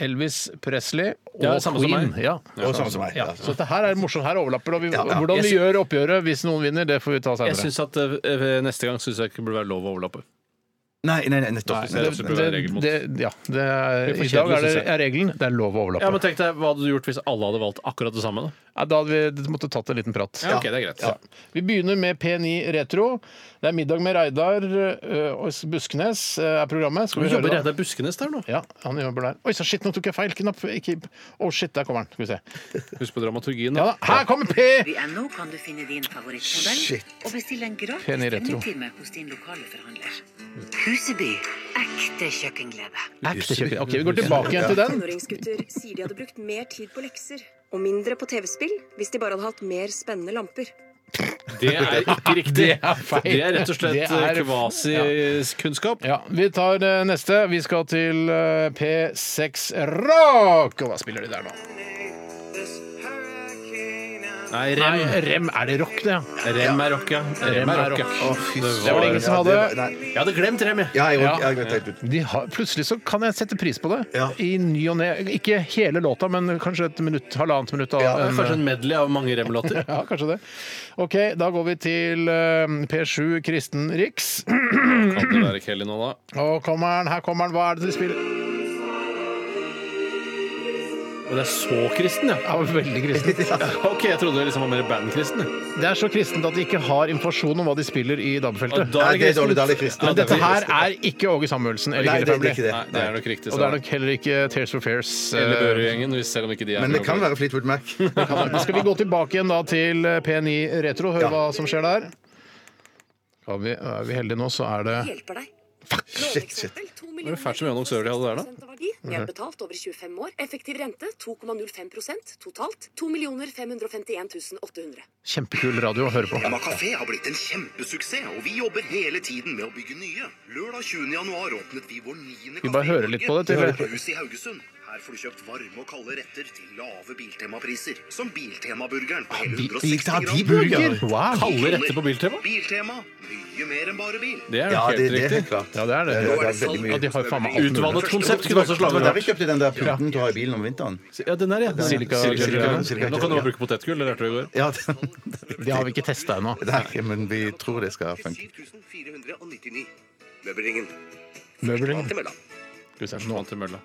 Speaker 5: Elvis Presley og
Speaker 6: Ja, samme som
Speaker 5: Queen.
Speaker 6: meg.
Speaker 5: Ja.
Speaker 7: Og samme som meg.
Speaker 5: Ja,
Speaker 7: Ja.
Speaker 5: så dette her er morsomt. Her overlapper og vi,
Speaker 7: Ja, ja.
Speaker 5: Hvordan vi
Speaker 6: Jeg sy-
Speaker 5: gjør oppgjøret hvis noen vinner, det får vi ta
Speaker 6: Jeg
Speaker 5: senere.
Speaker 6: eh, synes at eh, Neste gang syns jeg ikke det burde være lov å overlappe.
Speaker 7: Nei, nei, nei, nettopp.
Speaker 6: Nei, det er
Speaker 7: nettopp.
Speaker 6: absolutt
Speaker 7: nettopp.
Speaker 6: det er regel mot.
Speaker 5: det, ja, det
Speaker 6: Det
Speaker 5: er,
Speaker 6: er
Speaker 5: I dag
Speaker 6: for kjedelig,
Speaker 5: er, det,
Speaker 6: synes jeg.
Speaker 5: er regelen det er lov å overlappe.
Speaker 6: Ja, men tenk deg, Hva hadde du gjort hvis alle hadde valgt akkurat det samme? da?
Speaker 5: Ja, da hadde vi måttet tatt en liten prat.
Speaker 6: Ja, ok, det er greit.
Speaker 5: Ja. Vi begynner med P9 Retro. Det er middag med Reidar ø, og Buskenes ø, er programmet. Skal vi høre da?
Speaker 6: Reidar Buskenes der nå?
Speaker 5: Ja, han jobber der. Oi, så shit, nå tok jeg feil knapp. Ikke... Å, shit, der kommer han. Skal vi se.
Speaker 6: Husk på dramaturgien.
Speaker 5: Ja da, her kommer P!
Speaker 12: VNO kan du finne din favorittmodell og bestille en gratis
Speaker 5: Pen i retro.
Speaker 12: vennetime hos din lokale forhandler. Huseby ekte kjøkkenglede.
Speaker 5: Ekte kjøkken. Ok, vi går tilbake igjen til den.
Speaker 13: Tenåringsgutter sier de hadde brukt mer tid på lekser og mindre på TV-spill hvis de bare hadde hatt mer spennende lamper.
Speaker 6: Det er ikke riktig. Det
Speaker 5: er feil.
Speaker 6: Det er rett og slett
Speaker 5: Det er-
Speaker 6: eh, kvasikunnskap.
Speaker 5: Ja, Vi tar ø, neste. Vi skal til ø, P6 Rock. Og hva spiller de der nå?
Speaker 6: Nei,
Speaker 5: Rem.
Speaker 6: rem.
Speaker 5: Nei, rem. Er det rock, det? ja?
Speaker 6: Rem er rock, ja. Rem er rock. ja.
Speaker 7: Å, fy
Speaker 6: Det
Speaker 5: Det var det
Speaker 6: var
Speaker 5: ingen som
Speaker 7: Ja,
Speaker 5: hadde.
Speaker 7: det var- nei.
Speaker 6: Jeg hadde glemt rem, jeg.
Speaker 7: Ja, jeg
Speaker 5: Ja.
Speaker 7: jeg har glemt helt ut.
Speaker 5: De har, plutselig så kan jeg sette pris på det.
Speaker 7: Ja.
Speaker 5: I ny og ne. Ikke hele låta, men kanskje et minutt, halvannet minutt. Av,
Speaker 6: Ja,
Speaker 5: en- eh,
Speaker 6: Kanskje en medley av mange rem-låter.
Speaker 5: ja, kanskje det. OK, da går vi til eh, P7 Kristen Riks.
Speaker 6: Kan det være Kelly nå, da?
Speaker 5: Og kommer han, her kommer han. Hva er det dere spiller?
Speaker 6: Og det er så kristen, ja.
Speaker 5: Ja, veldig kristent.
Speaker 6: OK, jeg trodde det liksom var mer bandkristen. jeg.
Speaker 5: Det er så kristent at de ikke har informasjon om hva de spiller i
Speaker 6: Og
Speaker 5: DAB-feltet.
Speaker 6: da
Speaker 7: Nei,
Speaker 6: er
Speaker 7: det
Speaker 6: det
Speaker 7: er dårlig,
Speaker 6: kristent.
Speaker 7: dårlig kristen.
Speaker 5: Men dette her er ikke Åge Samuelsen eller
Speaker 7: Nei, det
Speaker 5: Killer
Speaker 7: er
Speaker 5: Family.
Speaker 7: ikke det.
Speaker 6: Nei, det er nok riktig. Eh,
Speaker 5: Og det er nok heller ikke Tears for Fears. eh,
Speaker 6: Eller Børud-gjengen, hvis- selv om ikke de er
Speaker 7: Men
Speaker 6: med
Speaker 7: det kan
Speaker 6: på-
Speaker 7: være Fleetwood Mac.
Speaker 5: Men Skal vi gå tilbake igjen da til P9 Retro og høre
Speaker 7: Ja.
Speaker 5: hva som skjer der? Skal vi, er vi heldige nå, så er det
Speaker 13: Hjelper deg.
Speaker 7: Shit, shit.
Speaker 6: Var det fælt så mye annonsører de hadde der, da? Mhm.
Speaker 13: Mer betalt over 25 år. Effektiv rente 2,05 totalt. 2 551 800.
Speaker 5: kjempekul radio å høre på.
Speaker 14: Emma Café har blitt en kjempesuksess, og vi jobber hele tiden med å bygge nye. Lørdag 20. januar åpnet vi vår niende
Speaker 5: Vi bare hører litt på det, til-
Speaker 14: til hus i Haugesund. Her får du kjøpt varme og kalde retter til lave Biltema-priser. Som Biltema-burgeren på hele 160
Speaker 5: Ja, de
Speaker 14: gram.
Speaker 5: burger! Wow!
Speaker 6: Kalde retter på Biltema?
Speaker 14: Biltema mye mer enn bare bil.
Speaker 6: Det er
Speaker 7: Ja,
Speaker 6: nok helt
Speaker 7: det, det er
Speaker 6: riktig.
Speaker 7: helt klart.
Speaker 5: Ja, det er det.
Speaker 7: Ja, det er veldig mye.
Speaker 5: Ja, de har jo faen meg alt mulig.
Speaker 6: Utvannet konsept kunne også
Speaker 7: Det var
Speaker 6: slage
Speaker 7: der vi kjøpte den der pulten du har i bilen om vinteren.
Speaker 6: Ja, den er, ja.
Speaker 5: Silika-
Speaker 6: Silika-
Speaker 5: Silika-
Speaker 7: Silika-
Speaker 6: Nå kan du bare bruke potetgull, det lærte du i går.
Speaker 7: Ja, den,
Speaker 5: Det har vi ikke testa ennå.
Speaker 7: Nei, men vi tror det skal funke.
Speaker 14: 7499. Møbelringen.
Speaker 5: Møbelringen.
Speaker 14: Til mølla.
Speaker 6: Skal vi se, nå til mølla.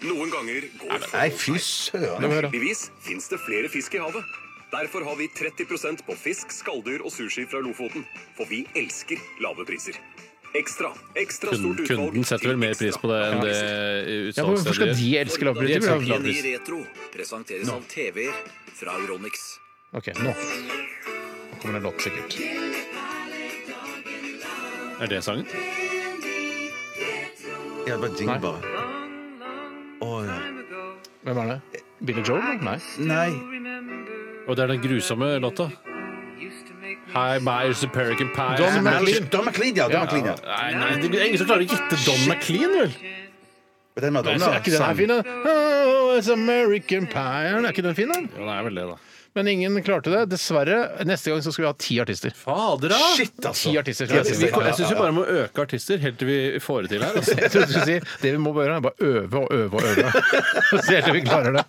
Speaker 14: Noen ganger går folk
Speaker 7: Nei, fy søren.
Speaker 14: Heldigvis fins det flere fisk i havet. Derfor har vi 30 på fisk, skalldyr og sushi fra Lofoten. For vi elsker lave priser. Ekstra, ekstra stort
Speaker 6: Kunden,
Speaker 14: utvalg
Speaker 6: kunden setter vel mer pris på det enn det
Speaker 5: Ja, men hvorfor skal
Speaker 6: utsalgsstedet
Speaker 5: de
Speaker 6: gjør.
Speaker 5: elske lavpriser?
Speaker 6: Lavpris.
Speaker 14: Retro presenteres av TV-er fra Euronix.
Speaker 5: OK, nå. Nå kommer det en låt, sikkert.
Speaker 6: Er det sangen?
Speaker 7: Ja, det var jingle bare. Å, ja.
Speaker 5: Hvem er det? Billy Joel? Nei.
Speaker 7: Nei.
Speaker 6: Og det er den grusomme låta. Hi, my superican pie.
Speaker 5: Don
Speaker 6: Nei,
Speaker 5: McLean.
Speaker 7: Don McLean, ja. Don McLean, ja.
Speaker 6: nei, det er ingen som klarer å gjette Don McLean, vel?
Speaker 7: Og Den
Speaker 5: Nei, så Er ikke den her fin, da? Oh, it's American pie. Er ikke den fin, da?
Speaker 6: Jo, det er vel det, da.
Speaker 5: Men ingen klarte det. Dessverre. Neste gang så skal vi ha ti artister.
Speaker 6: Fader, da!
Speaker 7: Shit, altså.
Speaker 5: Ti artister. Ti
Speaker 6: Vi,
Speaker 5: artister.
Speaker 6: jeg syns vi bare må øke artister helt til vi får det til her. Altså.
Speaker 5: Jeg trodde du skulle si det vi må gjøre, er bare øve og øve og øve. Så helt til vi klarer det.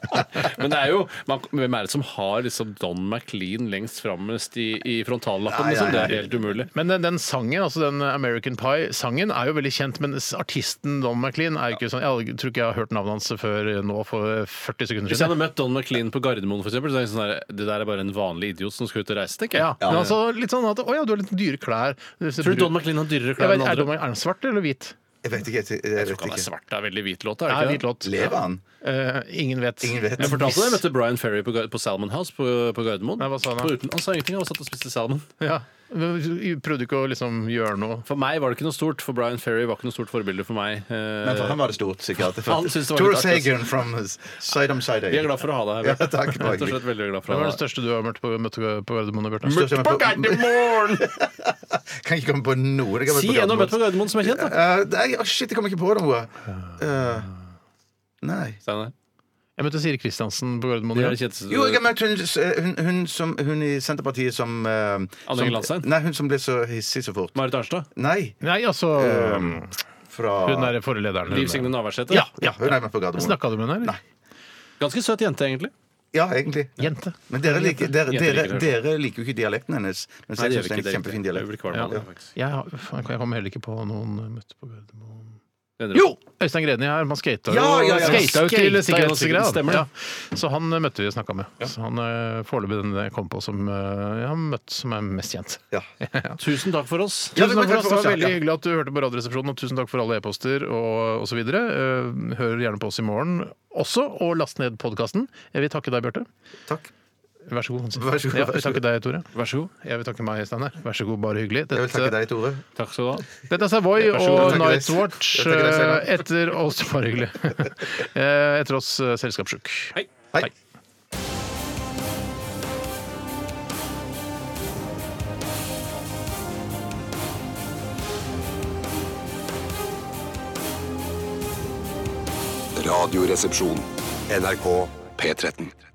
Speaker 6: Men det er jo man, Hvem er det som har liksom Don McLean lengst frammest i, i frontallappen?
Speaker 7: Nei,
Speaker 6: Liksom? Det
Speaker 7: nei,
Speaker 6: er helt umulig.
Speaker 5: Men den, den sangen, altså den American Pie-sangen, er jo veldig kjent. Men s- artisten Don McLean er jo ikke sånn Jeg tror ikke jeg har hørt navnet hans før nå for 40 sekunder
Speaker 6: Hvis jeg
Speaker 5: siden.
Speaker 6: hadde møtt Don McLean på Gardermoen, for eksempel, så er jeg sånn der, det der er bare en vanlig idiot som skal ut og reise, tenker
Speaker 5: Ja,
Speaker 6: jeg.
Speaker 5: men altså litt sånn at Å ja, du har litt dyre klær.
Speaker 6: Tror du Don McLean har dyrere
Speaker 5: Jeg
Speaker 6: klær
Speaker 5: vet,
Speaker 6: enn
Speaker 5: er,
Speaker 6: andre?
Speaker 5: Don- er han svart eller hvit?
Speaker 7: Jeg vet ikke. Jeg,
Speaker 6: Jeg
Speaker 7: jeg
Speaker 6: tror
Speaker 7: vet
Speaker 6: ikke han er
Speaker 7: ikke.
Speaker 6: svart. Det er veldig hvit låt, er
Speaker 5: Det
Speaker 6: det
Speaker 5: er
Speaker 6: ikke?
Speaker 5: hvit låt.
Speaker 7: Lever han?
Speaker 5: Eh, ingen vet.
Speaker 7: Ingen vet.
Speaker 6: Jeg fortalte det, jeg møtte Brian Ferry på, Gar- på Salmon House på, på Gardermoen.
Speaker 5: Nei, hva sa han da?
Speaker 6: På uten, han sa ingenting, han satt og spiste salmon.
Speaker 5: Ja. Men du Prøvde ikke å liksom gjøre noe
Speaker 6: For meg var det ikke noe stort, for Brian Ferry var ikke noe stort forbilde for meg. Eh,
Speaker 7: Men for han var det stort, sikkert.
Speaker 6: Han syntes det var
Speaker 7: Tor
Speaker 6: litt artig,
Speaker 7: Sagan from Sidom Side
Speaker 6: vi er glad for å ha deg her.
Speaker 7: Ja,
Speaker 6: Bjarte.
Speaker 7: takk, bare
Speaker 6: Rett og slett veldig glad for
Speaker 5: Hvem
Speaker 6: å
Speaker 5: var
Speaker 6: ha
Speaker 5: det
Speaker 6: deg
Speaker 5: største du har møtt på, møtt på Gardermoen, Bjarte?
Speaker 7: Møtt på
Speaker 6: Gardermoen!
Speaker 7: Kan ikke komme på noe. det kan være
Speaker 6: Si
Speaker 7: på
Speaker 6: en du har møtt på Gardermoen
Speaker 7: Gardermoen.
Speaker 6: som er kjent, da.
Speaker 7: Eh, nei, å, shit, jeg kommer ikke på noe. Eh, nei.
Speaker 6: Steinar,
Speaker 5: Jeg møtte Siri Kristiansen på Gardermoen.
Speaker 6: de
Speaker 5: ja.
Speaker 6: er det kjenteste-
Speaker 7: Jo, jeg har møtt hun, eh, hun, hun, som, hun i Senterpartiet som eh,
Speaker 6: Anne
Speaker 7: som-
Speaker 6: Gladstein?
Speaker 7: Nei, hun som ble så hissig så fort.
Speaker 6: Marit Arnstad.
Speaker 7: Nei.
Speaker 5: Nei, altså
Speaker 7: eh, fra
Speaker 5: Hun der forrige lederen.
Speaker 6: Liv Signe Navarsete.
Speaker 5: Ja, ja.
Speaker 7: Hun er med på Gardermoen.
Speaker 5: Snakka du med henne? eller?
Speaker 7: Nei.
Speaker 6: Ganske søt jente, egentlig.
Speaker 7: Ja, egentlig.
Speaker 5: Jente.
Speaker 7: Men dere liker, dere,
Speaker 5: Jente
Speaker 7: dere,
Speaker 5: liker det.
Speaker 7: dere liker jo ikke dialekten hennes. Mens
Speaker 5: Nei,
Speaker 7: jeg
Speaker 5: det gjør
Speaker 7: synes det er
Speaker 5: vi
Speaker 7: en
Speaker 5: ikke,
Speaker 7: kjempefin
Speaker 5: det er riktig.
Speaker 7: dialekt.
Speaker 5: Jeg blir kvalm av det,
Speaker 7: faktisk.
Speaker 5: Jeg, har- faen, jeg kommer heller ikke på noen jeg møtte på Gardermoen
Speaker 6: Venner.
Speaker 5: Jo! Øystein Greni her. Man skata jo,
Speaker 6: Ja, ja, ja.
Speaker 5: skata jo til
Speaker 6: Skata,
Speaker 5: sikkerhetsgrad.
Speaker 6: stemmer det.
Speaker 5: Ja. Så han eh, møtte vi og snakka med. Så han eh, Foreløpig den jeg kom på som eh, jeg har møtt som er mest kjent.
Speaker 6: Tusen takk for oss.
Speaker 5: Tusen takk for oss. Det var
Speaker 6: ja.
Speaker 5: veldig hyggelig at du hørte på Radioresepsjonen, og tusen takk for alle e-poster og osv. Hør gjerne på oss i morgen også, og last ned podkasten. Jeg vil takke deg, Bjarte.
Speaker 7: Takk.
Speaker 5: Vær så god, Hansi.
Speaker 7: Vær så god,
Speaker 5: Ja,
Speaker 7: vær
Speaker 5: jeg vil
Speaker 7: så
Speaker 5: takke
Speaker 7: god.
Speaker 5: deg, Tore. Vær så god. Jeg vil takke meg, Steinar. Vær så god, bare hyggelig.
Speaker 7: Jeg vil takke deg, Tore.
Speaker 6: Takk skal du ha.
Speaker 5: Dette er Savoy
Speaker 6: Vær så
Speaker 5: og
Speaker 6: god. Jeg takker deg.
Speaker 5: Night's Watch
Speaker 6: Jeg takker deg, Steinar.
Speaker 5: eh, etter oss Bare hyggelig. Eh, Etter oss eh, Selskapssjuk.
Speaker 7: Hei.
Speaker 2: Radioresepsjon. NRK P13.